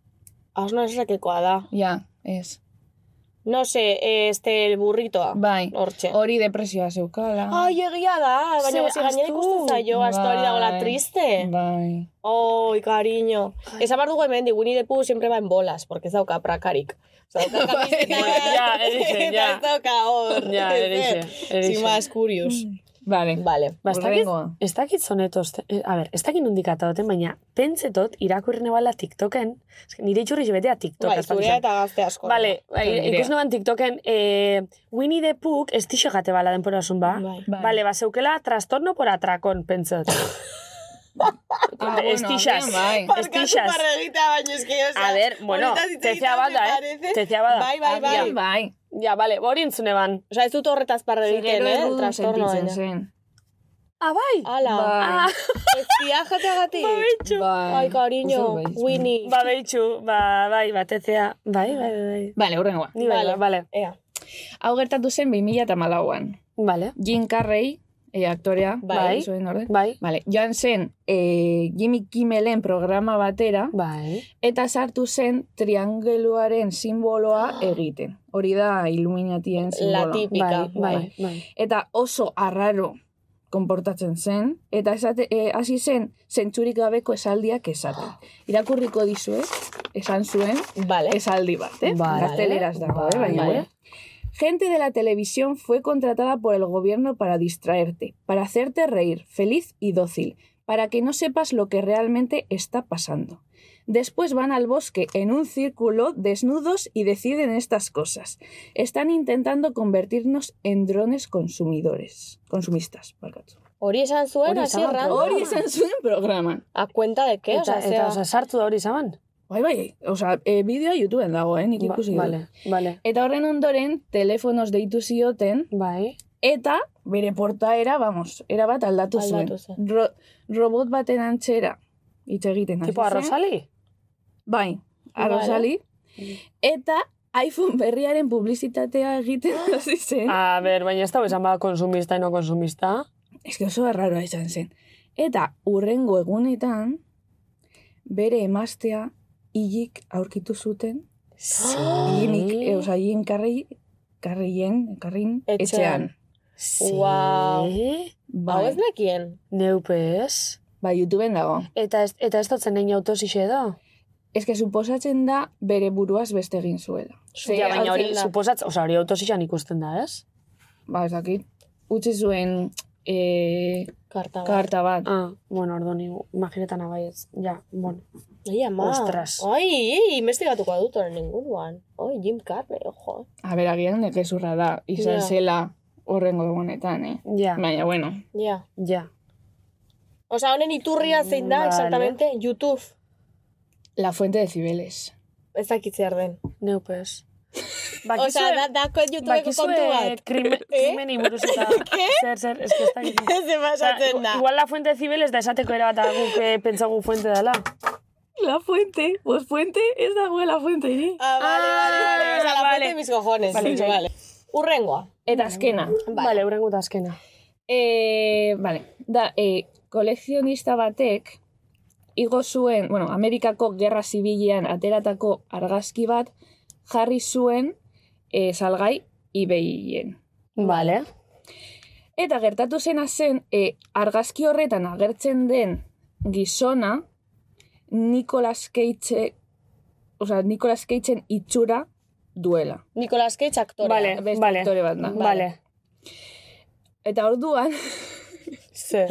Speaker 7: Asno esatekoa da.
Speaker 8: Ja, ez.
Speaker 7: No sé, este, el burritoa.
Speaker 8: Bai.
Speaker 7: Hortxe.
Speaker 8: Hori depresioa zeukala.
Speaker 7: Ai, egia da,
Speaker 3: Ze,
Speaker 7: baina guzti gainera
Speaker 3: ahaztu.
Speaker 7: ikusten zaio, hasta hori dagoela
Speaker 8: Bai.
Speaker 7: triste.
Speaker 8: Bai.
Speaker 7: Oi, cariño.
Speaker 3: Bai.
Speaker 7: Esan behar dugu hemen, Winnie the Pooh siempre va en bolas, porque ez dauka prakarik. O sea, dauka kamiseta,
Speaker 3: Bai, Ja, erixe,
Speaker 7: eta
Speaker 3: ja.
Speaker 7: Ez dauka hor.
Speaker 3: Ja, erixe, erixe.
Speaker 7: Sin más curious.
Speaker 8: Vale.
Speaker 7: Vale.
Speaker 3: Ba, ez dakit-
Speaker 8: Hurrengoa.
Speaker 3: ez dakit zonetoz, eh, a ber, ez dakit nondik ataoten, baina pentsetot irakurri nebala TikToken, ez que nire itxurri betea TikTok.
Speaker 7: Bai,
Speaker 3: aspaldi
Speaker 7: zurea
Speaker 3: zen.
Speaker 7: eta gazte asko.
Speaker 3: Bale, bai,
Speaker 8: Nirea.
Speaker 3: ikus noban TikToken, eh, Winnie the Pooh ez tixo jate bala denporasun ba.
Speaker 7: Bai.
Speaker 8: Bai.
Speaker 3: Bale, ba, zeukela trastorno por atrakon, pentsat.
Speaker 8: Ah, bueno,
Speaker 3: estixas.
Speaker 8: agian Bai.
Speaker 7: Barkatu
Speaker 3: Estixas.
Speaker 7: parreguita, baina ez que, o sea,
Speaker 3: eh, A ber, bueno,
Speaker 7: honetaz hitz
Speaker 3: tezea
Speaker 7: egiten
Speaker 3: bat da,
Speaker 7: me
Speaker 3: eh?
Speaker 7: parece-
Speaker 3: Tezea bat da.
Speaker 7: Bai, bai, bai.
Speaker 8: Agian bai.
Speaker 3: Ja, bale, hori entzune ban.
Speaker 7: Osa, ez dut horretaz parre egiten,
Speaker 8: Gero
Speaker 7: eh?
Speaker 8: errudun
Speaker 7: Trastorno Ah.
Speaker 8: sentitzen
Speaker 7: baina.
Speaker 8: zen.
Speaker 3: Ah, bai!
Speaker 7: Ala.
Speaker 8: Bai.
Speaker 7: Ez dia jateagatik.
Speaker 8: Bai.
Speaker 7: Ai, cariño,
Speaker 8: Uste dut baietz,
Speaker 7: Winnie.
Speaker 3: Ba, behitxu, ba, bai, bat tezea. Bai, bai, bai, bai.
Speaker 8: Bale, hurrengoa.
Speaker 3: Ni bai,
Speaker 7: Bale.
Speaker 3: bale.
Speaker 7: Ea,
Speaker 8: Hau gertatu zen 2014an.
Speaker 3: Bale,
Speaker 8: Jim Carrey, e, aktorea,
Speaker 7: Bai.
Speaker 8: zuen orde.
Speaker 3: bai.
Speaker 8: Vale, joan zen e, Jimmy Kimmelen programa batera
Speaker 3: Bai.
Speaker 8: eta sartu zen triangeluaren simboloa egiten. Hori da
Speaker 7: la
Speaker 8: Illuminatien simboloa.
Speaker 7: típica.
Speaker 3: bai, bai, bai.
Speaker 8: Eta oso arraro konportatzen zen, eta esate, e, hasi zen zentsurik gabeko esaldiak
Speaker 7: Ah.
Speaker 8: esaten. Irakurriko dizuet, esan zuen,
Speaker 7: Vale.
Speaker 8: esaldi bat, eh?
Speaker 3: Vale.
Speaker 8: Gazteleraz dago, eh?
Speaker 3: Vale.
Speaker 8: Baina, bueno. Gente de la televisión fue contratada por el gobierno para distraerte, para hacerte reír, feliz y dócil, para que no sepas lo que realmente está pasando. Después van al bosque en un círculo desnudos y deciden estas cosas. Están intentando convertirnos en drones consumidores, consumistas, barkatu.
Speaker 7: Hori esan zuen,
Speaker 3: Hori
Speaker 7: hasi
Speaker 3: esan
Speaker 7: erran.
Speaker 3: programa.
Speaker 8: Hori esan zuen programan.
Speaker 7: A cuenta de qué?
Speaker 3: Eta,
Speaker 7: Osa,
Speaker 3: eta,
Speaker 7: zea.
Speaker 3: oza, sartu da hori zaban?
Speaker 8: Bai, bai, osea, eh, bideoa YouTubeen dago, eh, nik
Speaker 3: Ba,
Speaker 8: ikusi dut.
Speaker 3: Bale, bale.
Speaker 8: Eta horren ondoren, telefonos deitu zioten,
Speaker 3: Bai.
Speaker 8: Eta bere portaera, vamos, era bat aldatu,
Speaker 7: Aldatu
Speaker 8: zuen.
Speaker 7: zen.
Speaker 8: Ro robot baten antxera hitz egiten hasi
Speaker 3: Tipo,
Speaker 8: zen.
Speaker 3: arrozali?
Speaker 8: Bai, arrozali.
Speaker 7: Mm.
Speaker 8: Eta iPhone berriaren publizitatea egiten
Speaker 7: Ah.
Speaker 8: hasi zen.
Speaker 3: A ber, baina ez da esan ba konsumista y no konsumista.
Speaker 8: Ez que oso erraroa izan zen. Eta urrengo egunetan, bere emaztea hilik aurkitu zuten. Jimik, e, oza, Jim Carrey, Carreyen, Carrin, etxean.
Speaker 7: Ah. Etxean.
Speaker 3: Sí.
Speaker 7: Guau. Hau
Speaker 8: Bai,
Speaker 7: ez nekien.
Speaker 3: Neupe ez.
Speaker 8: bai, YouTubeen dago.
Speaker 3: Eta ez, eta ez dutzen nahi autosixe edo?
Speaker 8: Ez que suposatzen da bere buruaz beste egin zuela. Ze,
Speaker 3: Ja, baina hori,
Speaker 7: hautzen da.
Speaker 3: suposatz, oza, hori autosixan ikusten da, ez?
Speaker 8: ba, ez dakit, utzi zuen e,
Speaker 7: Karta. Karta.
Speaker 8: karta bat.
Speaker 3: Ah, bueno, ordo ni, imaginetan abai ez. Ja, bueno.
Speaker 7: Ai, ama.
Speaker 3: Ostras.
Speaker 7: Ai, ai, investigatuko dut horren inguruan. Oi, Jim Carrey, ojo.
Speaker 8: A ber, agian nekezurra da, izan
Speaker 7: Ja.
Speaker 8: zela horrengo egunetan, eh?
Speaker 3: Ja,
Speaker 8: Baina, bueno,
Speaker 7: Ja.
Speaker 3: ja.
Speaker 7: Osa, honen iturria zein da,
Speaker 3: Vale.
Speaker 7: exactamente, YouTube.
Speaker 8: la fuente de Cibeles.
Speaker 7: Ez dakit zer den.
Speaker 3: Neupe ez.
Speaker 7: Osa, da, dako YouTubeko
Speaker 3: bakizue
Speaker 7: kontu bat.
Speaker 3: krime, krimeni buruz eta... Zer, zer, ez que ez dakit.
Speaker 7: Ez
Speaker 3: Osa,
Speaker 7: pasatzen da.
Speaker 3: igual la fuente de Cibeles da esateko era bat guk eh, pentsagu fuente dela.
Speaker 8: La fuente, pues fuente ez dagoela fuente eh? iri.
Speaker 7: Ah, vale, vale, vale. Osa, la
Speaker 3: Ah,
Speaker 7: fuente de mis cojones.
Speaker 8: Vale,
Speaker 7: dicho,
Speaker 8: bai.
Speaker 7: vale. Urrengoa.
Speaker 8: Eta azkena.
Speaker 3: Vale, urrengo eta azkena.
Speaker 8: Eh, E, vale, da, e, kolekzionista eh, batek igo zuen, bueno, Amerikako Gerra Zibilean ateratako argazki bat jarri zuen eh, salgai ibeien.
Speaker 3: Vale.
Speaker 8: Eta gertatu zena zen eh, argazki horretan agertzen den gizona Nicolas Cage, o sea, Nicolas Cageen itxura duela.
Speaker 7: Nicolas Cage aktore.
Speaker 3: Vale.
Speaker 8: Beste aktore bat da.
Speaker 3: Vale.
Speaker 8: Eta orduan,
Speaker 3: Ze.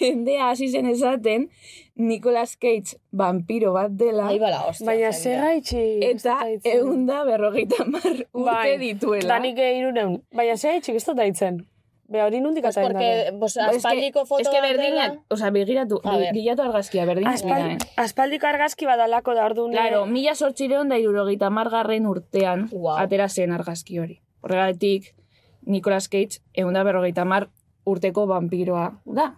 Speaker 8: jendea hasi zen esaten Nicolas Cage vampiro bat dela
Speaker 7: Ahí va la hostia.
Speaker 3: Baina
Speaker 7: jendea.
Speaker 3: ze gaitxi.
Speaker 8: eta eunda berrogeita mar urte
Speaker 3: Bai.
Speaker 8: dituela.
Speaker 3: Danik irureun. Baina ze gaitxi ez dut daitzen. Be hori nundik
Speaker 7: Pues
Speaker 3: ataren
Speaker 7: porque, pues,
Speaker 8: Ba, eske-
Speaker 7: aspaldiko foto
Speaker 8: eske
Speaker 7: bat dela.
Speaker 8: berdinak, o sea, begiratu,
Speaker 7: A ver.
Speaker 8: bilatu argazkia berdinak dira, eh?
Speaker 3: Aspaldiko argazki badalako da orduan. eh.
Speaker 8: Claro,
Speaker 7: Eh.
Speaker 8: mila sortxireon da irurogeita margarren urtean
Speaker 7: Wow.
Speaker 8: atera zen argazki hori. Horregatik, Nicolas Cage eunda berrogeita mar urteko vampiroa da.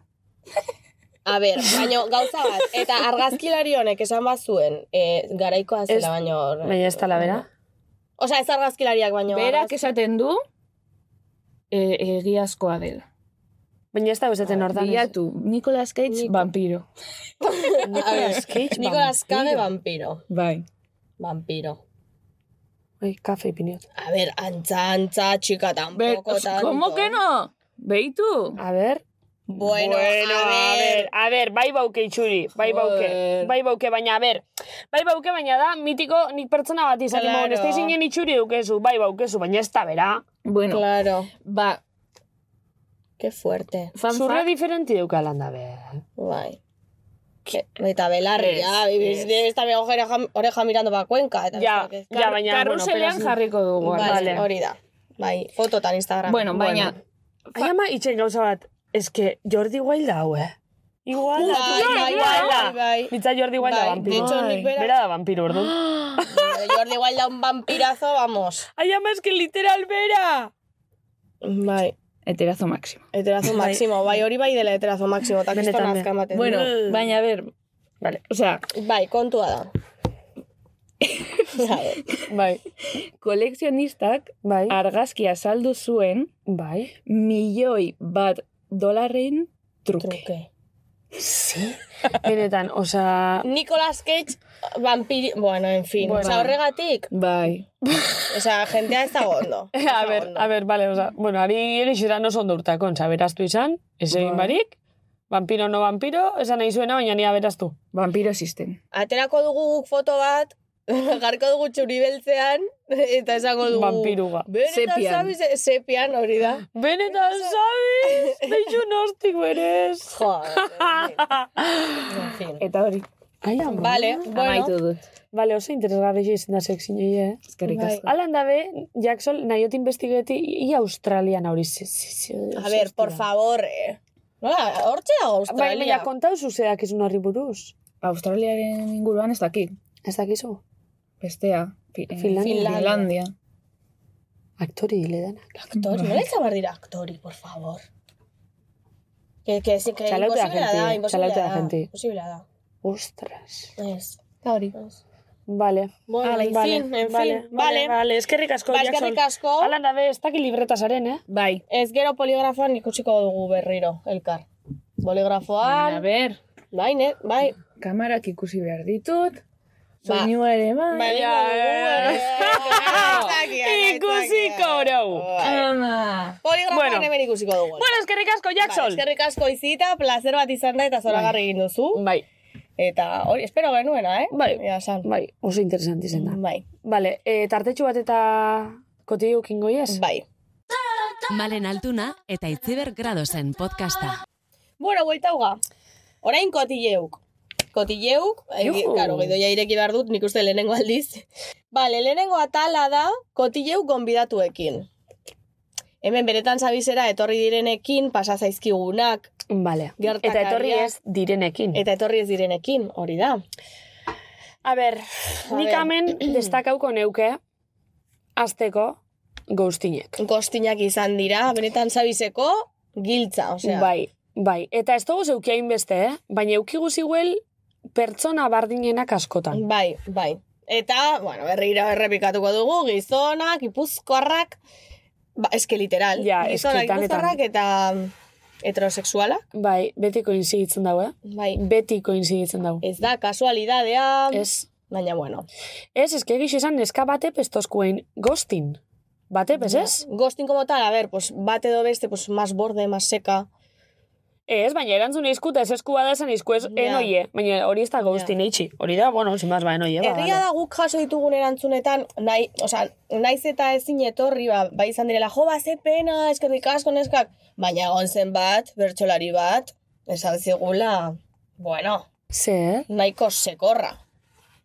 Speaker 7: A ber, baino gauza bat, eta argazkilari honek esan bazuen, eh, garaikoa
Speaker 3: Ez-
Speaker 7: zela baino...
Speaker 3: Baina ez tala bera.
Speaker 7: Osa, ez argazkilariak baino...
Speaker 8: Berak
Speaker 7: argaz-
Speaker 8: esaten du e, egiazkoa dela.
Speaker 3: Baina ez da
Speaker 7: Ah,
Speaker 3: bezaten ordan.
Speaker 8: Bilatu, Nicolas Cage vampiro.
Speaker 7: A ber, Nicolas Cage vampiro.
Speaker 8: Bai.
Speaker 7: Vampiro.
Speaker 3: Ui, kafe ipiniot.
Speaker 7: A ber, antza, antza, txika, tampoco,
Speaker 8: Pero,
Speaker 7: tanto.
Speaker 8: ¿Cómo que no? Beitu.
Speaker 3: A ber.
Speaker 7: Bueno, a ber...
Speaker 3: a ber, bai bauke itxuri, bai bauke,
Speaker 8: Joder.
Speaker 3: bai bauke, baina a ber, bai bauke, baina da, mitiko nik pertsona bat izan,
Speaker 7: Claro.
Speaker 3: claro. ez da izinen itxuri dukezu, bai baukezu, baina ez da bera.
Speaker 8: Bueno,
Speaker 7: Claro,
Speaker 8: ba,
Speaker 7: qué fuerte.
Speaker 8: fan
Speaker 3: Zurre
Speaker 8: fact,
Speaker 3: diferenti duka lan da, be.
Speaker 7: Bai. Ke, eta belarri,
Speaker 3: Ez,
Speaker 7: ja, bibiz, esta mi oreja, oreja mirando pa Cuenca. Eta
Speaker 3: Ja,
Speaker 7: besteak ez.
Speaker 3: ja, baina,
Speaker 8: karruselean
Speaker 3: bueno,
Speaker 8: jarriko dugu.
Speaker 7: Vale,
Speaker 3: vale.
Speaker 7: hori da. Bai, fototan Instagram.
Speaker 8: Ah, Bueno, baina,
Speaker 3: Ai, ama, itxen gauza bat, eske Jordi Wild da, hau, eh? Igual da,
Speaker 7: Bai, bai, bai, bai.
Speaker 3: Mitza Jordi Wild da,
Speaker 7: Bai,
Speaker 3: vampiro.
Speaker 7: de hecho, nik bera-
Speaker 3: Bera da, vampiro, ordu.
Speaker 7: Jordi igual da un vampirazo, vamos.
Speaker 3: Ai, ama, eske literal bera!
Speaker 7: Bai,
Speaker 8: eterazo maximo.
Speaker 7: eterazo maximo. Bai, hori bai dela eterazo maximo. Eta
Speaker 3: Benetan,
Speaker 7: kriston
Speaker 3: be.
Speaker 7: azka ematen.
Speaker 8: Bueno,
Speaker 7: du.
Speaker 8: baina, a ber,
Speaker 3: Vale.
Speaker 8: o sea,
Speaker 7: Bai, kontua da. A ver,
Speaker 3: Bai,
Speaker 8: kolekzionistak
Speaker 3: bai,
Speaker 8: argazkia saldu zuen
Speaker 3: bai.
Speaker 8: milioi bat dolarren truke.
Speaker 7: Truke.
Speaker 3: Benetan, osea...
Speaker 7: Nicolas Cage, vampiri... Bueno, en fin. Bueno. Osa, horregatik,
Speaker 8: Bai.
Speaker 7: osa, jendea ez dago ondo. Ez
Speaker 3: A
Speaker 7: dago
Speaker 3: ber,
Speaker 7: ondo.
Speaker 3: a ber, vale, osea, bueno, ari erixeran oso ondo urtakon, osea, beraztu izan, ez egin
Speaker 7: Bai.
Speaker 3: barik, vampiro no vampiro, esan nahi zuena, baina ni beraztu.
Speaker 8: Vampiro existen.
Speaker 7: Aterako dugu guk foto bat, jarko dugu txuri beltzean, eta esango dugu...
Speaker 3: Vampiruga.
Speaker 7: Benetan
Speaker 8: Sepian.
Speaker 7: zabiz, sepian hori da.
Speaker 3: ba. Benetan, sabiz? Beixo nostik berez.
Speaker 7: Joder, en fin.
Speaker 8: Eta hori,
Speaker 3: Ai, ama.
Speaker 7: Vale, bueno.
Speaker 8: amaitu dut.
Speaker 3: Vale, oso interesgarri izan da sexinei, eh?
Speaker 8: Eskerrik
Speaker 7: Bai.
Speaker 8: asko.
Speaker 3: Alan dabe, Jackson, nahiotin investigeti, ia Australian hori ze, ze, ze,
Speaker 7: A ver, por favor, eh. Nola, hortxe dago
Speaker 3: Bai, baina
Speaker 7: Australia.
Speaker 3: kontau zuzeak izun horri buruz.
Speaker 8: Australiaren inguruan ez dakit.
Speaker 3: Ez dakizu?
Speaker 8: Bestea. Fi- eh,
Speaker 3: Finlandia.
Speaker 8: Finlandia.
Speaker 3: Aktori hile denak.
Speaker 7: Actori, nola izan behar dira aktori, por favor. Que, que, que, que
Speaker 3: Txalaute da
Speaker 7: imposiblea
Speaker 3: gente,
Speaker 7: da,
Speaker 3: eh.
Speaker 7: imposiblea
Speaker 3: Txalaute da
Speaker 7: da.
Speaker 3: gente.
Speaker 7: Imposiblea da.
Speaker 3: Ostras.
Speaker 7: Ez.
Speaker 8: Hori.
Speaker 3: Vale.
Speaker 7: Bueno, en fin, en fin.
Speaker 3: Vale,
Speaker 7: Vale.
Speaker 3: vale. Eskerrik asko,
Speaker 7: Ba,
Speaker 3: Jackson.
Speaker 7: eskerrik asko.
Speaker 3: Alan dabe, ez daki libretasaren, eh?
Speaker 8: Bai.
Speaker 7: Ez gero poligrafoan ikusiko dugu berriro, elkar.
Speaker 8: A
Speaker 7: Poligrafoan,
Speaker 8: ber,
Speaker 7: bai, ne, bai.
Speaker 8: kamarak ikusi behar ditut.
Speaker 7: Ba.
Speaker 8: Soinua ere bai.
Speaker 7: Bai, egingo dugu, eh. Aitzakia, aitzakia.
Speaker 3: Ikusiko orau.
Speaker 7: Bai.
Speaker 8: Ama.
Speaker 7: Poligrafoan
Speaker 3: Bueno.
Speaker 7: hemen ikusiko dugu.
Speaker 3: Bueno, eskerrik asko,
Speaker 7: Bai,
Speaker 3: Jackson.
Speaker 7: eskerrik asko izita, placer bat izan da eta zoragarri egin duzu.
Speaker 3: Bai,
Speaker 7: Eta hori, espero genuena, eh?
Speaker 3: Bai.
Speaker 7: Ja, san.
Speaker 3: bai, oso interesante izan da.
Speaker 7: Bai,
Speaker 3: Vale, eh, tartetxu bat eta kotillo kingo ies?
Speaker 7: bai.
Speaker 9: Malen Altuna eta Itziber Gradosen podcasta.
Speaker 7: Bueno, buelta uga. Orain eh, kotilleuk. Kotilleuk, egi-
Speaker 3: Juhu.
Speaker 7: claro, gidoia ireki behar dut, nik uste lehenengo aldiz. Bale, lehenengo atala da kotilleuk gonbidatuekin. Hemen beretan zabizera etorri direnekin pasa zaizkigunak
Speaker 3: Vale.
Speaker 7: Gertakariak.
Speaker 3: Eta etorri ez direnekin.
Speaker 7: eta etorri ez direnekin, hori da.
Speaker 3: A ber, nik
Speaker 7: ber.
Speaker 3: hemen destakauko neuke, azteko, goustinek.
Speaker 7: Kostinak izan dira, benetan zabizeko giltza, osea.
Speaker 3: Bai, bai. Eta ez dugu zeukia inbeste, eh? Baina eukigu ziguel pertsona bardinenak askotan.
Speaker 7: Bai, bai. Eta, bueno, berriro errepikatuko dugu, gizonak, ipuzkoarrak, ba, eske literal.
Speaker 3: Ja, eske
Speaker 7: gizonak,
Speaker 3: tanetan.
Speaker 7: ipuzkoarrak eta heterosexualak.
Speaker 3: Bai, beti koinziditzen dago, eh?
Speaker 7: Bai,
Speaker 3: Beti koinziditzen dago.
Speaker 7: ez da kasualidadea,
Speaker 3: Ez.
Speaker 7: baina bueno.
Speaker 3: Ez, ez que egiz esan, neska batep ez tozkuen ghostin. Batep, ez ez?
Speaker 7: Ghosting como tal, a ver, pues bate do beste, pues más borde, más seca.
Speaker 3: Ez, baina erantzun izkuta ez esku bada esan izku ez
Speaker 7: Ja.
Speaker 3: enoie. Baina hori ez da ghostin eitxi. Hori da, bueno, zimaz ba enoie. Ba,
Speaker 7: Egia
Speaker 3: vale.
Speaker 7: da guk jaso ditugun erantzunetan, nahi, osea, naiz eta ezin etorri, ba, ba izan direla, jo, ba, ze pena, eskerrik asko neskak, baina egon zen bat, bertsolari bat, esan zigula, bueno,
Speaker 3: Zer?
Speaker 7: nahiko sekorra.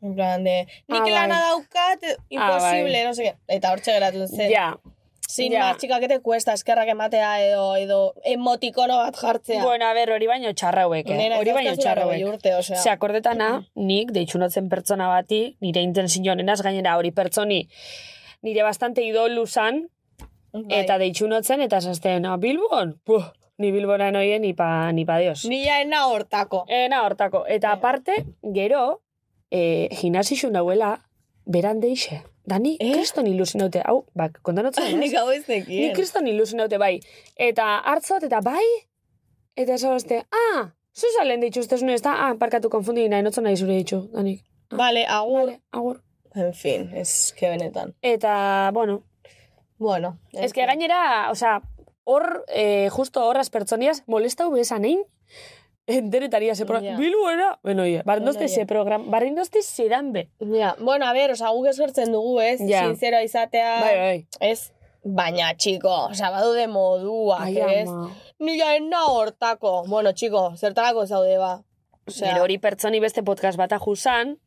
Speaker 7: En plan de, nik
Speaker 3: Ah,
Speaker 7: lana
Speaker 3: bai.
Speaker 7: daukat, imposible,
Speaker 3: bai.
Speaker 7: no sé qué. Eta hortxe geratu zen.
Speaker 3: Ja.
Speaker 7: Sin
Speaker 3: ja.
Speaker 7: más, txikak, ete cuesta, eskerrak ematea edo, edo emotikono bat jartzea.
Speaker 3: Bueno, a ber, hori baino txarrauek, eh?
Speaker 7: Nena, ez
Speaker 3: Hori baino
Speaker 7: dauzkazu laurogei
Speaker 3: txarrauek.
Speaker 7: urte, osea.
Speaker 3: Ze
Speaker 8: Ah.
Speaker 3: akordetana, nik deitxunotzen pertsona bati, nire intensio nenaz gainera hori pertsoni, nire bastante idolu zan,
Speaker 7: Bai.
Speaker 3: eta deitxunotzen, eta zazten, ah, Bilbon? Buh, ni Bilbona noien, ni pa, ni pa Ba, dios.
Speaker 7: Ni ja ena hortako.
Speaker 3: Ena hortako. Eta aparte, gero, e, gimnasixu nauela, beran deixe. Da ni
Speaker 7: Eh?
Speaker 3: kriston ilusin haute. Hau, bak, kontanotzen.
Speaker 7: Nik hau ez
Speaker 3: Ni
Speaker 7: nekien.
Speaker 3: kriston ilusin haute, bai. Eta hartzot, eta bai, eta esaboste, ah, zuza lehen ditxu, ez nu ez da, ah, parkatu konfundi nahi, notzo nahi zure ditxu, danik.
Speaker 7: Vale, agur.
Speaker 3: Vale, agur.
Speaker 7: En fin, es que benetan.
Speaker 3: Eta, bueno,
Speaker 7: Bueno.
Speaker 3: ez que gainera, osea, hor, eh, justo horras pertsonias, molestau besan egin, Eh, enteretaria se programa.
Speaker 7: Ya.
Speaker 3: Bilboera! Bueno, oie, barrindozte
Speaker 7: Bueno,
Speaker 3: se
Speaker 7: ya.
Speaker 3: programa, barrindozte se dan be.
Speaker 7: Ja, bueno, a ver, osa, guk eskertzen dugu, ez?
Speaker 3: Ja.
Speaker 7: Sincero izatea,
Speaker 3: Bai, bai.
Speaker 7: ez? Baina, txiko, osa, badu de modua,
Speaker 3: Ai,
Speaker 7: ez?
Speaker 3: ama.
Speaker 7: Ni ja ena hortako. Bueno, txiko, zertarako zaude, ba. Osea,
Speaker 3: Gero hori pertsoni beste podcast bat ajusan,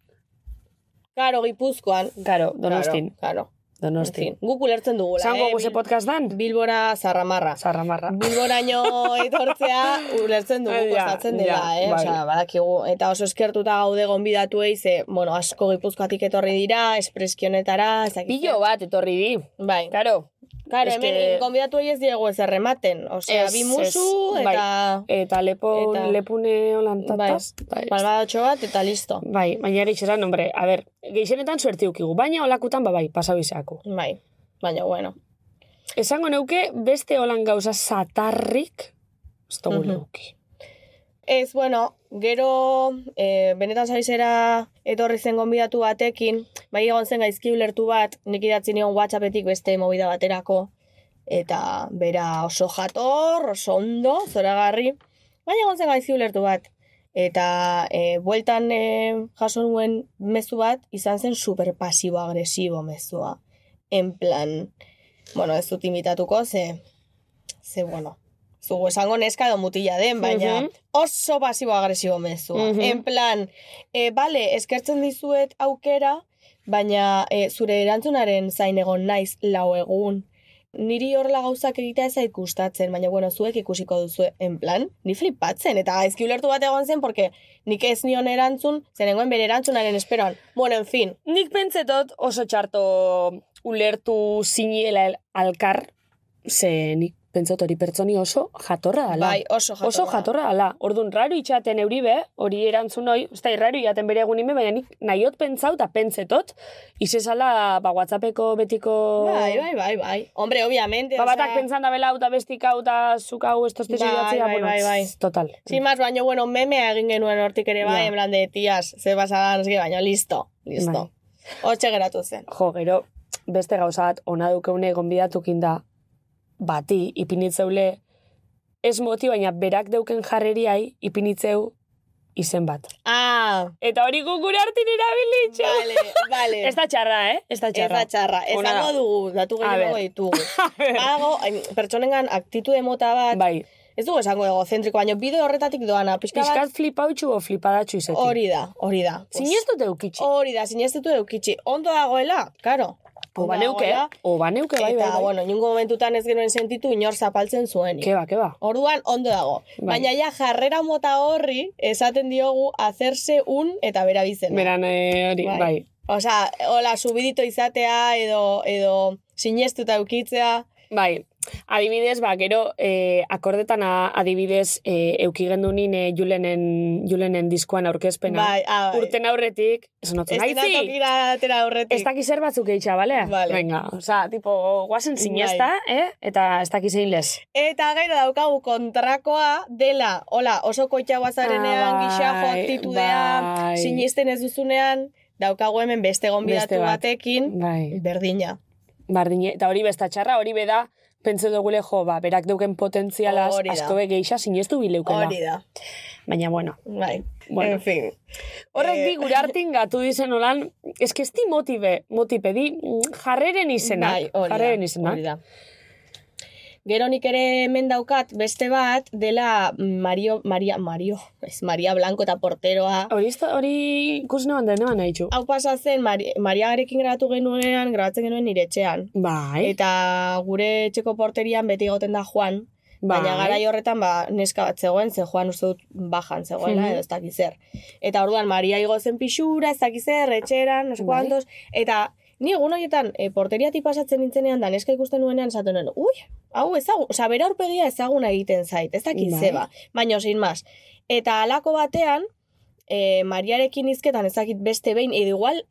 Speaker 7: Karo, gipuzkoan.
Speaker 3: karo, donostin.
Speaker 7: Karo, karo. En
Speaker 3: Donostin.
Speaker 7: fin, guk ulertzen dugula,
Speaker 3: Zango
Speaker 7: eh?
Speaker 3: guze
Speaker 7: Bil-
Speaker 3: podcast dan?
Speaker 7: Bilbora zarramarra.
Speaker 3: Zarramarra.
Speaker 7: Bilboraino etortzea ulertzen dugu
Speaker 3: Eh, ja,
Speaker 7: kostatzen dela,
Speaker 3: ja,
Speaker 7: eh?
Speaker 3: bai.
Speaker 7: Osea, badakigu. Eta oso eskertuta gaude gonbidatu eiz, bueno, asko gipuzkoatik etorri dira, espreskionetara, ez dakit.
Speaker 3: Pillo bat etorri di.
Speaker 7: Bai.
Speaker 3: Karo.
Speaker 7: Claro,
Speaker 3: es
Speaker 7: hemen
Speaker 3: que-
Speaker 7: gonbidatu eiz diegu ez errematen. Osea,
Speaker 3: Ez,
Speaker 7: bi musu
Speaker 3: ez, bai.
Speaker 7: eta
Speaker 3: Eta lepo,
Speaker 7: Eta-
Speaker 3: lepune holantataz. Bai.
Speaker 7: palmadotxo bat eta listo.
Speaker 3: Bai, baina egiz esan, hombre, a ber, geixenetan suerte ukigu, baina olakutan ba bai, pasau izako.
Speaker 7: Bai. Baina, bueno.
Speaker 3: Esango neuke, beste holan gauza satarrik, ez dugu
Speaker 7: Mhm.
Speaker 3: neuki.
Speaker 7: Ez, bueno, gero e, benetan saizera etorri zen gonbidatu batekin, bai egon zen gaizki ulertu bat, nik idatzi nion WhatsAppetik beste movida baterako, eta bera oso jator, oso ondo, zoragarri, baina egon zen gaizki ulertu bat. Eta e, bueltan e, jaso nuen mezu bat, izan zen superpasibo-agresibo mezua. En plan, bueno, ez dut imitatuko, ze, ze bueno, zugu esango neska edo mutila den, baina
Speaker 3: Mhm.
Speaker 7: oso pasibo-agresibo mezua.
Speaker 3: Mhm.
Speaker 7: En plan, e, bale, eskertzen dizuet aukera, baina e, zure erantzunaren zain egon naiz lau egun. Niri horrela gauzak egitea ez zait gustatzen, baina bueno, zuek ikusiko duzu en plan, ni flipatzen, eta gaizki ulertu bat egon zen, porque nik ez nion erantzun, zenengoen bere erantzunaren esperoan. Bueno, en fin,
Speaker 3: Nik pentsetot oso txarto ulertu ziniela el- alkar, ze nik pentsot hori pertsoni oso jatorra dala.
Speaker 7: bai, oso jatorra.
Speaker 3: Oso jatorra dala. Orduan, raro itxaten euribe, hori erantzun hoi, ez da, raro jaten bere egun ime, baina nik nahiot pentsau eta pentsetot, izezala, ba, whatsappeko betiko...
Speaker 7: Bai, bai, bai, bai. Hombre, obviamente,
Speaker 3: Ba,
Speaker 7: osea,
Speaker 3: batak pentsan da bela hau, eta bestik hau, eta zuk hau, ez tozte
Speaker 7: Bai, bai,
Speaker 3: bueno,
Speaker 7: bai, bai.
Speaker 3: tz, total.
Speaker 7: Sin más, baino, bueno, memea egin genuen hortik ere bai,
Speaker 3: Ja.
Speaker 7: en plan de, tías, ze pasadan, no sé qué", baina, listo, listo.
Speaker 3: Bai.
Speaker 7: Hortxe geratu zen.
Speaker 3: Jo, gero, beste gauza bat, ona dukeune gonbidatukin da, bati, ipinitzeule, ez moti, baina berak deuken jarreriai, ipinitzeu izen bat.
Speaker 7: Ah,
Speaker 3: Eta hori guk gure hartin erabilitxo!
Speaker 7: vale, vale.
Speaker 3: Ez da txarra, eh? Ez da
Speaker 7: Bai. Ez
Speaker 3: txarra.
Speaker 7: da txarra. Ez
Speaker 3: Ona da.
Speaker 7: dugu, datu
Speaker 3: A
Speaker 7: gehiago
Speaker 3: ber.
Speaker 7: ditugu. Badago, hain, pertsonengan aktitude mota bat,
Speaker 3: Bai,
Speaker 7: ez dugu esango egozentriko, baina bide horretatik doana, pixka bat,
Speaker 3: pixkat flipautxu o flipadatxu izetik. Hori.
Speaker 7: hori da, hori da. Pues,
Speaker 3: Zinez dute eukitxi.
Speaker 7: Hori da, sinestetu eukitxi. Ondo dagoela, karo.
Speaker 3: Oba
Speaker 7: Ondo
Speaker 3: neuke,
Speaker 7: dagoela.
Speaker 3: oba neuke, bai,
Speaker 7: Eta,
Speaker 3: bai, bai.
Speaker 7: bueno, inungo momentutan ez genuen sentitu inor zapaltzen zuen.
Speaker 3: Keba, keba.
Speaker 7: Orduan ondo dago.
Speaker 3: Bai.
Speaker 7: Baina ja jarrera mota horri esaten diogu hacerse un eta bera bizena.
Speaker 3: Beran, eh, hori,
Speaker 7: Bai.
Speaker 3: bai.
Speaker 7: Osa, hola, subidito izatea edo, edo sinestuta eukitzea.
Speaker 3: Bai, Adibidez, ba, gero eh, akordetan a- adibidez eh, eukigen du nine Julenen, Julenen diskoan aurkezpena.
Speaker 7: Bai, ah, bai.
Speaker 3: Urten aurretik, esan otu,
Speaker 7: Ez dira
Speaker 3: naizi,
Speaker 7: tokira atera horretik.
Speaker 3: ez dakiz zer batzuk eitxa, bale?
Speaker 7: Vale. Bai.
Speaker 3: Venga, oza, tipo, guazen zinezta, eh? Eta ez dakiz egin lez.
Speaker 7: Eta gero daukagu kontrakoa dela, hola, oso koitxagoa zarenean,
Speaker 3: Ah,
Speaker 7: gisa
Speaker 3: bai,
Speaker 7: joatitudean,
Speaker 3: bai.
Speaker 7: sinisten ez duzunean, daukagu hemen beste gonbidatu
Speaker 3: Beste bat.
Speaker 7: batekin,
Speaker 3: Bai.
Speaker 7: berdina.
Speaker 3: Bardine, eta hori besta txarra, hori beda, pentsa dugule jo, ba, berak deuken potentzialaz,
Speaker 7: Hori da.
Speaker 3: asko be geisha sinestu bileukela.
Speaker 7: Hori da.
Speaker 3: Baina, bueno,
Speaker 7: Bai.
Speaker 3: Bueno.
Speaker 7: En fin.
Speaker 3: Horrek
Speaker 7: Eh,
Speaker 3: di gure hartin gatu izen olan, eske ez di motibe, motipe, di mm, jarreren izenak.
Speaker 7: Bai, hori da,
Speaker 3: jarreren izenak.
Speaker 7: hori da. Gero nik ere hemen daukat beste bat dela Mario, Maria, Mario, ez Maria Blanco eta porteroa.
Speaker 3: Hori, ez da- hori ikus neban da neban haitxu.
Speaker 7: Hau pasa zen Mari, Mariagarekin grabatu genuenean, grabatzen genuen nire etxean.
Speaker 3: Bai,
Speaker 7: Eta gure etxeko porterian beti goten da Juan,
Speaker 3: bai.
Speaker 7: baina garai horretan ba, neska bat zegoen, ze Juan uste dut bajan zegoela,
Speaker 3: Mhm.
Speaker 7: edo ez dakiz zer. Eta orduan Maria igo zen pixura, ez dakiz zer, etxeran, no sé
Speaker 3: Bai.
Speaker 7: cuantos, eta ni egun horietan e, porteriatik pasatzen nintzenean da neska ikusten nuenean esaten nuen, ui, hau ezagun, osea, bera aurpegia ezaguna egiten zait, ez dakiz
Speaker 3: Bai.
Speaker 7: zeba, baina sin más. Eta halako batean, e, Mariarekin izketan ez dakit beste behin, edo igual,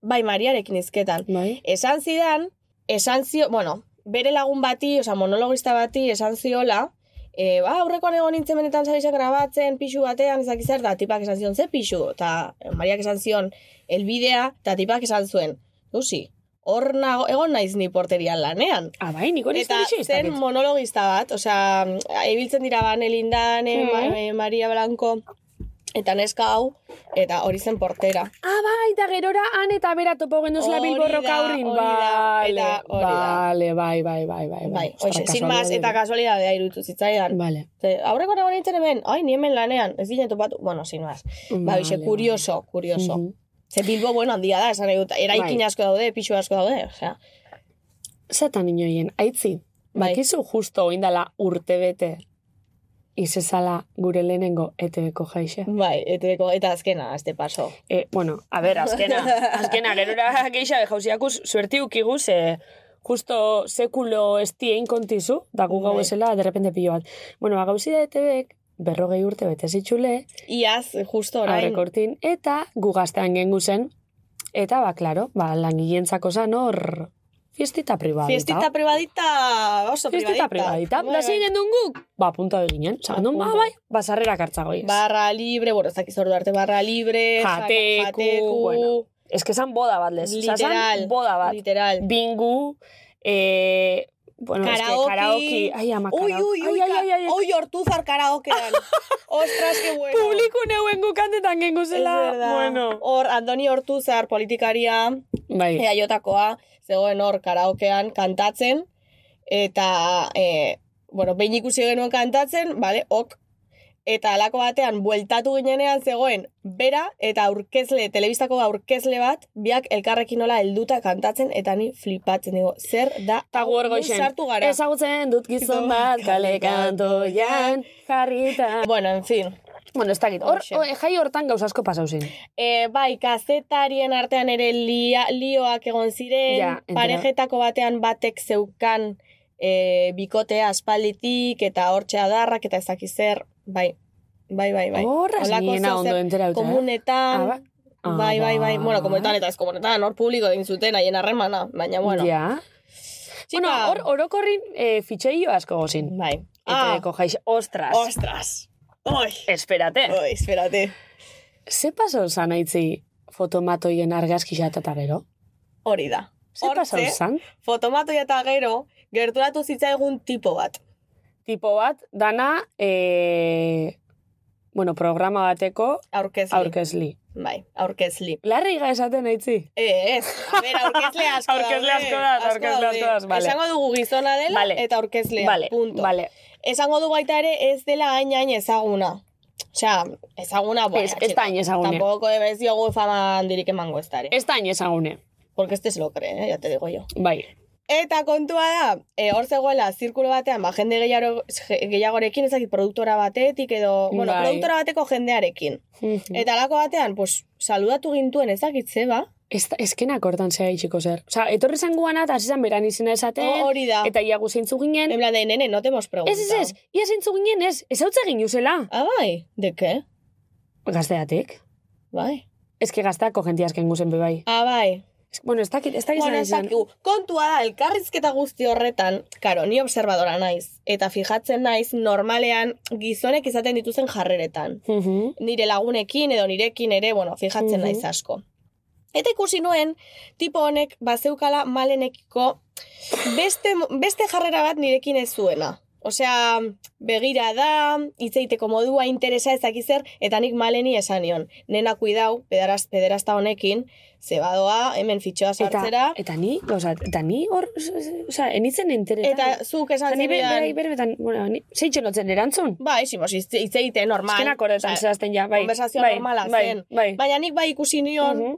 Speaker 7: bai, Mariarekin izketan.
Speaker 3: Bai.
Speaker 7: Esan zidan, esan zio, bueno, bere lagun bati, oza, monologista bati, esan ziola, e, ba, aurrekoan egon nintzen benetan zabizak grabatzen, pixu batean, ezak zer, da tipak esan zion, ze pixu, eta eh, Mariak esan zion, elbidea, eta tipak esan zuen, duzi, hor nago, egon naiz ni porterian lanean.
Speaker 3: Ah, bai, nik hori ez
Speaker 7: Eta
Speaker 3: da bitxo ez
Speaker 7: zen
Speaker 3: dakit.
Speaker 7: monologista bat, osea, ibiltzen dira ba, ban elindan,
Speaker 3: Mhm.
Speaker 7: eh, Maria Blanco, eta neska hau, eta hori zen portera.
Speaker 3: Ah, bai, da gerora han eta bera topo genduzla
Speaker 7: Hori
Speaker 3: bilborroka
Speaker 7: da,
Speaker 3: aurrin.
Speaker 7: hori da,
Speaker 3: Bale,
Speaker 7: eta hori da.
Speaker 3: bale, bai, bai, bai, bai.
Speaker 7: Bai,
Speaker 3: Ostra,
Speaker 7: hoxe, sin
Speaker 3: kasualidadea.
Speaker 7: más, eta kasualidadea iruditu zitzaidan.
Speaker 3: Bale.
Speaker 7: Ze, aurreko nago nintzen hemen, ai, ni hemen lanean, ez ginen topatu, bueno, sin más. Ba, bixe,
Speaker 3: Bale,
Speaker 7: kurioso,
Speaker 3: bale.
Speaker 7: kurioso.
Speaker 3: Mhm.
Speaker 7: Ze Bilbo, bueno, handia da, esan nahi dut, eraikin
Speaker 3: Bai.
Speaker 7: asko daude, pisu asko daude, osea.
Speaker 3: Zatan inoien, aitzi,
Speaker 7: Bai.
Speaker 3: bakizu justo oindala urte bete izezala gure lehenengo E etebeko jaixe.
Speaker 7: Bai, eteko, eta azkena, este paso.
Speaker 3: E, bueno, a ber, azkena, azkena, gerora geixa jauziakuz, suerti ukiguz, e, justo sekulo estien kontizu, da gu gau
Speaker 7: Bai.
Speaker 3: esela, derrepende pilo bat. Bueno, ba, gauzi da etebek, berrogei urte bete zitxule,
Speaker 7: Iaz, justo orain.
Speaker 3: aurrekortin, eta gu gaztean gengu zen, eta ba, klaro, ba, langilentzako zan hor, fiestita privada.
Speaker 7: Fiestita privadita, oso
Speaker 3: Fiestita
Speaker 7: privadita.
Speaker 3: privadita.
Speaker 7: Bai,
Speaker 3: Da
Speaker 7: bai.
Speaker 3: zinen duen guk? Ba, punta eginen. Osa,
Speaker 7: Ba,
Speaker 3: non, ba,
Speaker 7: punta. Ba.
Speaker 3: bai, basarrera kartzago ez.
Speaker 7: Barra libre, bueno, ez dakiz ordu arte, barra libre, jaka-
Speaker 3: Jateku,
Speaker 7: jateku,
Speaker 3: bueno, Ez que zan boda bat, lez. Osa,
Speaker 7: literal,
Speaker 3: zan boda bat.
Speaker 7: literal.
Speaker 3: Bingu, eh, bueno,
Speaker 7: Karaoke.
Speaker 3: es que karaoke. Ai, ama,
Speaker 7: Uy,
Speaker 3: karaoke.
Speaker 7: uy, uy,
Speaker 3: ai, ai, ai, ai.
Speaker 7: uy, hortuzar karaokean. Ostras, qué bueno.
Speaker 3: Publiko neuen gukantetan gengu
Speaker 7: Es
Speaker 3: zela.
Speaker 7: verdad.
Speaker 3: Bueno.
Speaker 7: Hor, Andoni Hortuzar politikaria,
Speaker 3: Bai.
Speaker 7: eaiotakoa, zegoen hor karaokean kantatzen, eta, e, bueno, behin ikusi genuen kantatzen, bale, ok, eta alako batean bueltatu ginenean zegoen bera eta aurkezle, telebistako aurkezle bat, biak elkarrekin nola helduta kantatzen, eta ni flipatzen digo, zer da,
Speaker 3: Eta gu hor
Speaker 7: nun
Speaker 3: goixen.
Speaker 7: sartu gara.
Speaker 3: Bai. Ezagutzen dut gizon bat, kale kantoian, jarrita.
Speaker 7: Bueno, en fin.
Speaker 3: Bueno, ez dakit. Hor,
Speaker 7: Hoxe.
Speaker 3: o- jai hortan gauz asko pasau zen.
Speaker 7: E, bai, kazetarien artean ere lia, lioak egon ziren,
Speaker 3: Ja, entera.
Speaker 7: parejetako batean batek zeukan e, bikotea aspalditik, eta hortxe adarrak, eta ez dakiz zer, bai, bai, bai, bai.
Speaker 3: Horra ez
Speaker 7: Holako
Speaker 3: niena
Speaker 7: zeo
Speaker 3: ondo
Speaker 7: zer
Speaker 3: enterauta. Oh, eh?
Speaker 7: Komunetan,
Speaker 3: Ah, ba- Ah,
Speaker 7: bai, bai, bai,
Speaker 3: bai.
Speaker 7: bueno, komunetan eta ez komunetan, hor publiko egin zuten, haien harremana, baina, bueno.
Speaker 3: Ja.
Speaker 7: Txika,
Speaker 3: Bueno, hor orokorrin eh, fitxeio asko gozin.
Speaker 7: bai.
Speaker 3: Ah.
Speaker 7: Ah,
Speaker 3: Eteko jaiz, ostras.
Speaker 7: ostras, oi,
Speaker 3: Esperate.
Speaker 7: oi, espérate.
Speaker 3: Ze paso zan aitzi fotomatoien argazki xata eta gero?
Speaker 7: Hori da.
Speaker 3: Ze paso
Speaker 7: Hortxe.
Speaker 3: zan?
Speaker 7: Fotomato eta gero, gerturatu zitzaigun tipo bat.
Speaker 3: Tipo bat, dana, eh, bueno, programa bateko
Speaker 7: Aurkezle.
Speaker 3: aurkezli.
Speaker 7: Bai, aurkezli.
Speaker 3: Larri ga esaten aitzi.
Speaker 7: Eh, ez. A ber, aurkezle asko
Speaker 3: Aurkezle
Speaker 7: daude,
Speaker 3: asko daz, aurkezle asko
Speaker 7: daude.
Speaker 3: daz, vale.
Speaker 7: Esango dugu gizona dela
Speaker 3: Vale.
Speaker 7: eta aurkezlea,
Speaker 3: Vale,
Speaker 7: punto.
Speaker 3: vale.
Speaker 7: Esango du baita ere ez dela hain hain ezaguna. Osea, ezaguna, bueno,
Speaker 3: Ez- ez da hain ezagune.
Speaker 7: Tampoco ez diogu fama handirik emango ez dare.
Speaker 3: Ez da inezagune.
Speaker 7: Porque este se lo cree, eh, ya te digo yo.
Speaker 3: Bai.
Speaker 7: Eta kontua da, eh, hor zegoela zirkulo batean, ba, jende gehiago, gehiagorekin, ezakit produktora batetik edo, bueno,
Speaker 3: Bai.
Speaker 7: Mm.
Speaker 3: Hm.
Speaker 7: produktora bateko jendearekin. Eta alako batean, pues, saludatu gintuen ezakitze, ba,
Speaker 3: Ez, ezkenak hortan zea itxiko zer. Osa, etorri zen guana, eta zizan beran izena esate,
Speaker 7: O- Hori da.
Speaker 3: eta ia zeintzu ginen.
Speaker 7: En plan de, nene, no te hemos preguntado.
Speaker 3: Ez, ez, ez, ia zeintzu ginen, ez, ez hau ginuzela.
Speaker 7: Ah, bai. De qué?
Speaker 3: Gazteatik.
Speaker 7: Bai.
Speaker 3: Ez que gazteako jentiaz kengu zen bebai.
Speaker 7: Ah, bai.
Speaker 3: Ez- Bueno, ez dakit, ez
Speaker 8: Bai,
Speaker 3: dakit
Speaker 7: Bueno,
Speaker 3: zan
Speaker 7: ez
Speaker 3: izan.
Speaker 7: dakigu. Kontua da, elkarrizketa guzti horretan, karo, ni observadora naiz. Eta fijatzen naiz, normalean gizonek izaten dituzen jarreretan.
Speaker 3: Mhm.
Speaker 7: Nire lagunekin edo nirekin ere, bueno, fijatzen
Speaker 3: Mhm.
Speaker 7: naiz asko. Eta ikusi nuen, tipo honek bazeukala malenekiko beste, beste jarrera bat nirekin ez zuena. Osea, begira da, itzeiteko modua, interesa ezakizer, eta nik maleni esan nion. Nena kuidau, pederaz, pederazta honekin, zebadoa, hemen fitxoa sartzera.
Speaker 3: Eta, eta ni, oza, eta ni hor, oza, enitzen enteretan.
Speaker 7: Eta zuk
Speaker 3: Oza,
Speaker 7: esan
Speaker 3: ni be-
Speaker 7: zebidan...
Speaker 3: berai- berbetan, bueno, ni, zeitxo notzen erantzun.
Speaker 7: Bai, simos, hitz hitz egite normal.
Speaker 3: Ezkenak horretan
Speaker 7: Ba,
Speaker 3: zehazten ja, bai.
Speaker 7: konversazio
Speaker 3: bai,
Speaker 7: normala
Speaker 3: bai,
Speaker 7: zen.
Speaker 3: Bai,
Speaker 7: Baina nik bai ikusi nion,
Speaker 3: Mhm.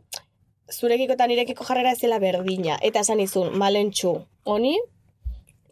Speaker 7: zurekiko eta nirekiko jarrera ez zela berdina. Eta esan izun, malentxu, honi,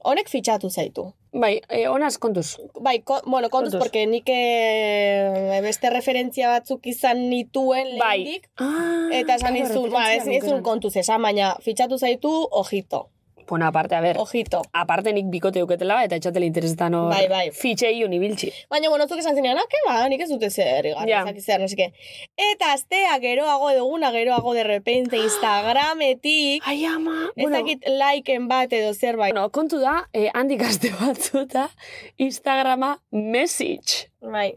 Speaker 7: honek fitxatu zaitu.
Speaker 3: Bai, eh, honaz kontuz.
Speaker 7: Bai, ko, bueno, kontuz,
Speaker 3: Kontuz.
Speaker 7: porque nik eh, beste referentzia batzuk izan nituen
Speaker 3: Bai.
Speaker 7: lehendik.
Speaker 3: Ah,
Speaker 7: Eta esan
Speaker 3: claro,
Speaker 7: izun, ba, ez,
Speaker 3: referentzia
Speaker 7: ez un
Speaker 3: nukeen.
Speaker 7: kontuz esan, baina fitxatu zaitu, ojito,
Speaker 3: Bueno, aparte, a ber,
Speaker 7: ojito.
Speaker 3: aparte nik bikote euketela eta etxatele interesetan hor
Speaker 7: Bai, bai.
Speaker 3: fitxei unibiltzi.
Speaker 7: Baina, bueno, zuk esan zinean, ah, que ba, nik ez dute zer, igarri,
Speaker 3: Ja.
Speaker 7: yeah. zer, no sé qué. Eta astea geroago duguna, geroago de repente Instagrametik,
Speaker 3: Ai, ama,
Speaker 7: ez dakit likeen bat edo zerbait.
Speaker 3: bueno, kontu da, eh, handik aste batzuta Instagrama message.
Speaker 7: Bai,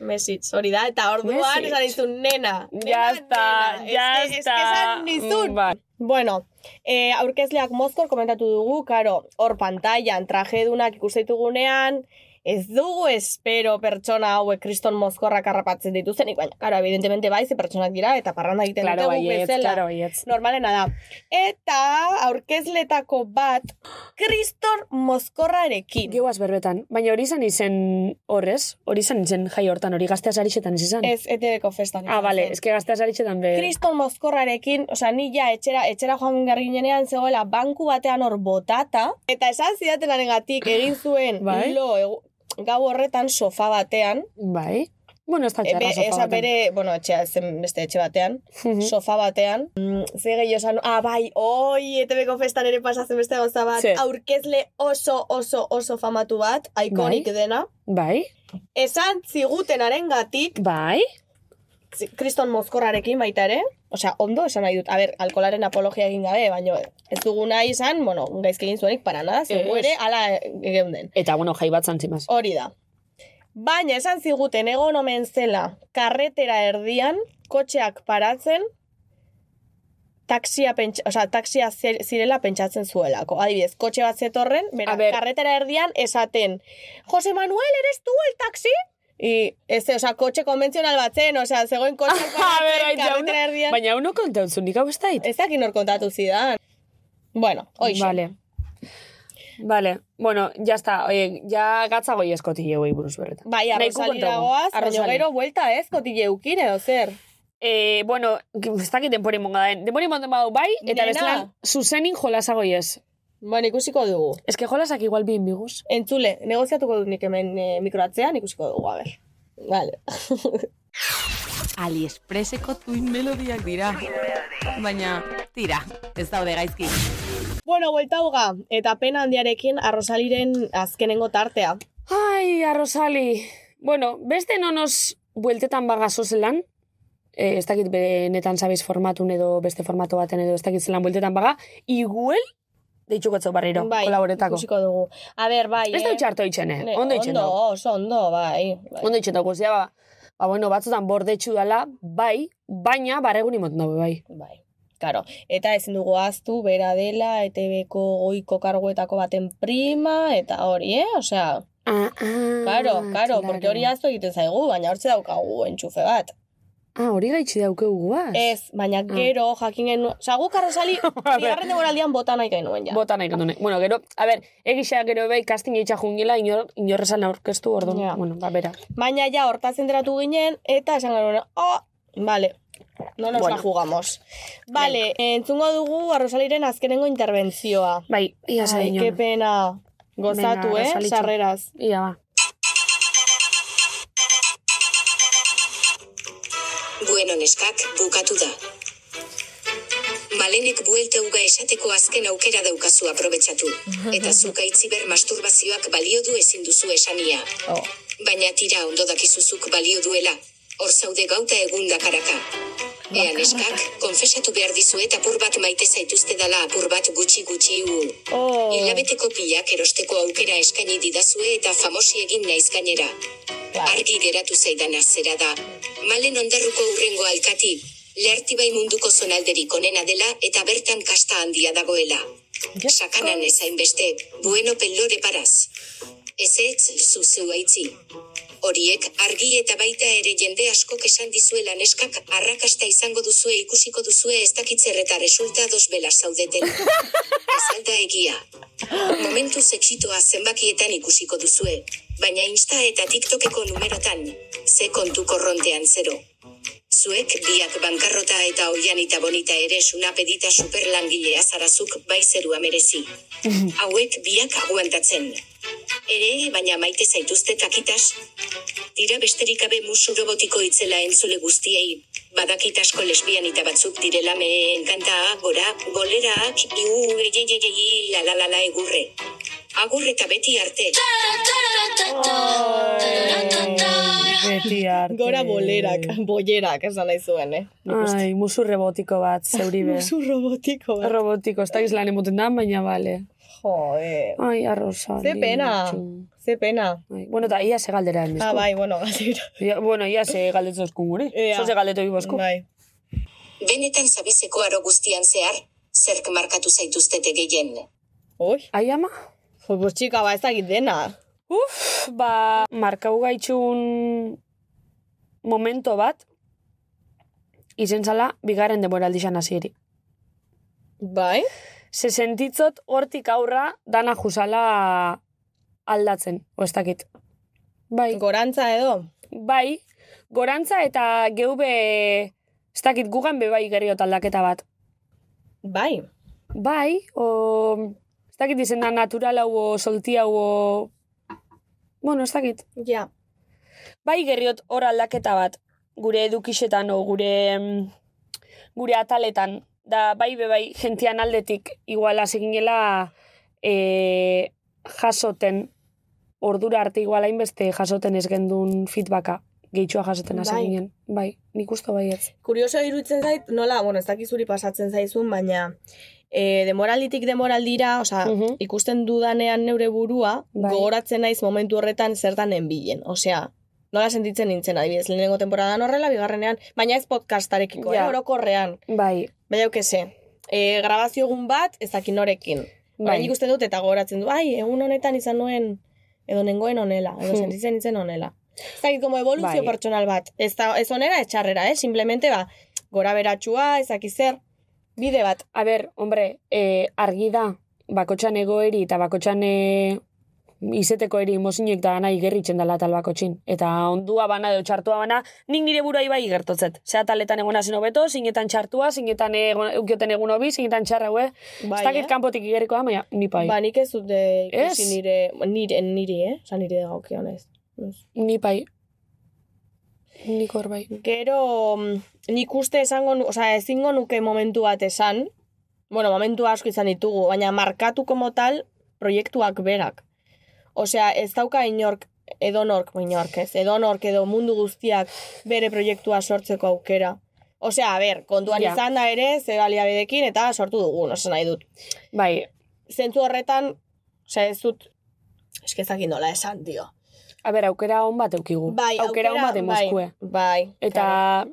Speaker 7: message, hori da, eta orduan
Speaker 3: Message.
Speaker 7: esan dizun, nena.
Speaker 3: Ya
Speaker 7: nena,
Speaker 3: está,
Speaker 7: nena.
Speaker 3: ya
Speaker 7: Es que- es que
Speaker 3: está.
Speaker 7: esan nizun.
Speaker 3: Bai.
Speaker 7: Bueno, eh, aurkezleak mozkor komentatu dugu, karo, hor pantailan trajedunak ikusteitugunean, ez dugu espero pertsona hauek kriston mozkorrak harrapatzen dituztenik, baina, karo, evidentemente bai, ze pertsonak dira, eta parranda egiten
Speaker 3: Claro,
Speaker 7: dute guk
Speaker 3: baietz,
Speaker 7: bezala.
Speaker 3: claro, baietz.
Speaker 7: Normalena da. Eta aurkezletako bat, kriston mozkorrarekin.
Speaker 3: Geuaz berbetan, baina hori izan izen horrez, hori izan izen jai hortan, hori gazteaz arixetan ez izan.
Speaker 7: Ez, E etebeko festan.
Speaker 3: ah, bale,
Speaker 7: Zen.
Speaker 3: eske gazteaz arixetan be...
Speaker 7: kriston mozkorrarekin, osea, ni ja etxera, etxera joan garrinenean zegoela banku batean hor botata, eta esan zidatenarengatik egin zuen
Speaker 3: Bai.
Speaker 7: lo egu- gau horretan sofa batean,
Speaker 3: Bai. Bueno, ez da
Speaker 7: ebe,
Speaker 3: txarra sofa
Speaker 7: esa
Speaker 3: baten.
Speaker 7: bere, bueno, etxea zen beste etxe batean,
Speaker 3: Mhm.
Speaker 7: sofa batean, mm, ze gehiago esan, ah, bai, oi, etebeko festan ere pasatzen beste gauza bat,
Speaker 3: Ze.
Speaker 7: aurkezle oso, oso, oso famatu bat, ikonik
Speaker 3: Bai.
Speaker 7: dena,
Speaker 3: Bai,
Speaker 7: esan zigutenarengatik
Speaker 3: bai.
Speaker 7: kriston mozkorrarekin baita ere, osea, ondo esan nahi dut, a ber, alkolaren apologia egin gabe, baino ez dugu nahi izan, bueno, gaizki egin zuenik para nada, zen
Speaker 3: Ez.
Speaker 7: ere, ala geunden.
Speaker 3: Eta, bueno, jai bat zantzimaz.
Speaker 7: Hori da. Baina esan ziguten egon omen zela karretera erdian, kotxeak paratzen, taksia, pentsa, osea, taksia zer- zirela pentsatzen zuelako. Adibidez, kotxe bat zetorren, bera,
Speaker 3: A ber.
Speaker 7: karretera erdian esaten, Jose Manuel, ¿eres tú el taxi? Y, este, osea, kotxe konbentzional bat zen, osea, zegoen kotxe
Speaker 3: A ber,
Speaker 7: paratzen,
Speaker 3: aita,
Speaker 7: karretera erdian.
Speaker 3: Baina, uno kontautzu, nik hau ez dait.
Speaker 7: Ez dakit nor kontatu zidan. Bueno, oixo.
Speaker 3: Vale. Vale, bueno, ya está. Oie, ya gatza goi eskoti jegoi buruz berretan.
Speaker 7: Bai, arrozali dagoaz, baina gero buelta ez, kotilleukin edo zer.
Speaker 3: Eh, bueno, ez dakit denpori monga den. Denpori monga badu bai, eta
Speaker 7: Nena.
Speaker 3: bezala zuzenin jolasa goi ez.
Speaker 7: Bueno, ikusiko Ba, dugu.
Speaker 3: Ez que jolasak igual bien biguz.
Speaker 7: Entzule, negoziatuko dut nik hemen eh, mikroatzean, ikusiko dugu, a ber. Vale.
Speaker 6: AliExpresseko tuin melodiak dira. Baina, tira, ez daude gaizki.
Speaker 7: bueno, buelta hoga, eta pena handiarekin arrosaliren azkenengo tartea.
Speaker 3: Ai, arrozali. Bueno, beste nonos bueltetan bagazo zelan.
Speaker 8: E,
Speaker 3: Eh, ez dakit benetan zabiz formatun edo beste formato baten edo ez dakit zelan bueltetan baga. Iguel, deitxukotzo barriro,
Speaker 7: bai,
Speaker 3: kolaboretako.
Speaker 7: ikusiko dugu. A ber, bai,
Speaker 3: Ez da txarto itxene,
Speaker 7: Ne,
Speaker 3: eh? ondo itxen
Speaker 7: Ondo,
Speaker 3: dago.
Speaker 7: oso ondo, bai. bai.
Speaker 3: Ondo itxen dago, zera, ba, ba, bueno, batzutan bordetxu dala, bai, baina barregun imoten dago, bai.
Speaker 7: Bai. Claro. Eta ezin dugu aztu, bera dela, ETB-ko goiko karguetako baten prima, eta hori, eh? Osea,
Speaker 3: Ah, ah,
Speaker 7: Claro, claro, porque hori azto egiten zaigu, baina hortze daukagu entxufe bat.
Speaker 3: Ah, hori gaitxi daukegu guaz.
Speaker 7: Ez, baina
Speaker 3: Mm.
Speaker 7: gero jakin genuen... Osa, guk arrozali, bigarren demoraldian bota nahi genuen ja.
Speaker 3: Bota nahi dune. Bueno, gero, a ber, egisa gero bai, kastin eitxa jungela, inor, inorrezan aurkeztu, orduan.
Speaker 7: Ja.
Speaker 3: Bueno, ba, bera.
Speaker 7: Baina ja, hortaz enteratu ginen, eta esan genuen, oh, vale, no nos
Speaker 3: Bueno.
Speaker 7: la jugamos. Vale, entzungo dugu arrozaliren azkenengo interbentzioa.
Speaker 3: Bai, ia
Speaker 7: Ai,
Speaker 3: zain.
Speaker 7: que pena. Gozatu,
Speaker 3: Venga,
Speaker 7: eh,
Speaker 3: Arrozalitxo.
Speaker 7: sarreraz.
Speaker 3: Ia, ba.
Speaker 10: Bueno, neskak bukatu da. malenek buelte uga esateko azken aukera daukazu aprobetsatu. Eta zuk aitziber masturbazioak balio du ezin duzu esania.
Speaker 7: Oh.
Speaker 10: Baina tira ondo dakizuzuk balio duela. Hor zaude gauta egun dakaraka. Ea neskak, konfesatu behar dizuet apur bat maite zaituzte dala apur bat gutxi gutxi u.
Speaker 7: Oh.
Speaker 10: Hilabeteko pilak erosteko aukera eskaini didazue eta famosi egin naiz gainera. Argi geratu zaidan zera da. Malen ondarruko urrengo alkati, lehertibai munduko zonalderik onena dela eta bertan kasta handia dagoela. Sakanan ezain beste, bueno pelore paraz. Ez ez, zuzu haitzi. Horiek argi eta baita ere jende askok esan dizuela neskak arrakasta izango duzue ikusiko duzue ez dakitzerreta resulta dos bela zaudeten. Ez al da egia. Momentuz exitoa zenbakietan ikusiko duzue, baina Insta eta TikTokeko numerotan, ze kontu korrontean zero. Zuek biak bankarrota eta oianita bonita ere sunapedita superlangilea zarazuk bai zerua merezi. Hauek biak aguantatzen. Ere, baina maite zaituzte takitas. Dira besterik gabe musu robotiko itzela entzule guztiei. Badakit asko lesbianita batzuk direla me enkanta gora, goleraak, iu, eieieiei, la la la la egurre. Agur eta beti arte.
Speaker 11: Beti arte.
Speaker 7: Gora bolerak, bolerak, esan nahi zuen, eh? Nik uste.
Speaker 8: Ai, musu robotiko bat, zeuribe.
Speaker 7: Zu robotiko eh. bat.
Speaker 8: robotiko, ez da lan emoten da, baina bale.
Speaker 7: Joder.
Speaker 8: Ai, arroza.
Speaker 7: Ze pena. Ze pena.
Speaker 8: Ai, bueno, eta ia ze galdera hemen.
Speaker 7: Ah, bai, bueno, gazira.
Speaker 8: Ia, bueno, ia ze galdetzen eskun guri.
Speaker 7: Ea.
Speaker 8: Zo ze galdetu ibozku.
Speaker 7: Bai.
Speaker 10: Benetan zabizeko aro guztian zehar, zerk markatu zaituztete gehien.
Speaker 7: Oi,
Speaker 8: Ai, ama?
Speaker 7: jo, pues txika, ba, ez dakit dena.
Speaker 8: Uf, ba, markau gaitxun momento bat, izen zala, bigarren demoraldixan hasieri.
Speaker 7: Bai?
Speaker 8: Ze sentitzot hortik aurra dana jusala aldatzen, o ez dakit. Bai.
Speaker 7: Gorantza edo?
Speaker 8: Bai, gorantza eta geube, ez dakit gugan be bai geriot aldaketa bat.
Speaker 7: Bai.
Speaker 8: Bai, o, ez dakit izen da natural hau o solti hau o... Bueno, ez dakit.
Speaker 7: Ja.
Speaker 8: Bai gerriot hor aldaketa bat, gure edukixetan o gure, mm, gure ataletan. Da, bai be bai, gentian aldetik, iguala seginela e, jasoten, ordura arte iguala inbeste jasoten ez gendun feedbacka, gehitxua jasoten hasi
Speaker 7: Bai.
Speaker 8: ginen. Bai, nik usto bai ez.
Speaker 7: Kurioso iruditzen zait, nola, bueno, ez dakizuri pasatzen zaizun, baina e, demoralditik demoraldira, osea,
Speaker 8: Mhm.
Speaker 7: ikusten dudanean neure burua,
Speaker 8: Bai.
Speaker 7: gogoratzen naiz momentu horretan zertan enbilen. Osea, nola sentitzen nintzen, adibidez, lehenengo temporadan horrela, bigarrenean, baina ez podcastarekiko,
Speaker 8: Ja.
Speaker 7: eh, orokorrean.
Speaker 8: Bai,
Speaker 7: Baina, kese, e, grabazio egun bat, ez dakin norekin. Bai.
Speaker 8: bai.
Speaker 7: ikusten dut eta gogoratzen du, ai, egun honetan izan nuen, edo nengoen onela, edo
Speaker 8: Hmm.
Speaker 7: sentitzen nintzen onela. Ez dakit, como evoluzio
Speaker 8: Bai.
Speaker 7: pertsonal bat. Ez, da, ez onera, etxarrera, eh? Simplemente, ba, gora beratxua, ez dakit zer, bide bat.
Speaker 8: A ber, hombre, e, argi da, bakotxan egoeri eta bakotxan e, izeteko eri mozinek da nahi gerritzen dela tal bakotxin. Eta ondua bana edo txartua bana, nik nire buruai bai gertotzet. Zea taletan egona zen hobeto, zinetan txartua, zinetan egon, eukioten egun hobi, zinetan txarra hue.
Speaker 7: Bai,
Speaker 8: ez dakit kanpotik igerikoa, baina ni pai.
Speaker 7: Ba, nik ez dut eh, ikusi
Speaker 8: Ez?
Speaker 7: nire, nire, niri, eh? Osa, nire dagokionez.
Speaker 8: Ni pai. Nik hor bai.
Speaker 7: Gero, mm, nik uste esango, nu- osea, ezingo nuke momentu bat esan, bueno, momentu asko izan ditugu, baina markatu como tal proiektuak berak. Osea, ez dauka inork, edonork, inork ez, edonork edo mundu guztiak bere proiektua sortzeko aukera. Osea, a ber, kontuan
Speaker 8: Ja.
Speaker 7: izan da ere, ze baliabidekin eta sortu dugun, osa nahi dut.
Speaker 8: Bai,
Speaker 7: Zentzu horretan, osea, ez dut, eskezakin nola esan, dio.
Speaker 8: a ber, aukera hon bat eukigu.
Speaker 7: Bai,
Speaker 8: aukera hon bat
Speaker 7: bai,
Speaker 8: emozkue.
Speaker 7: Bai,
Speaker 8: Eta
Speaker 7: claro.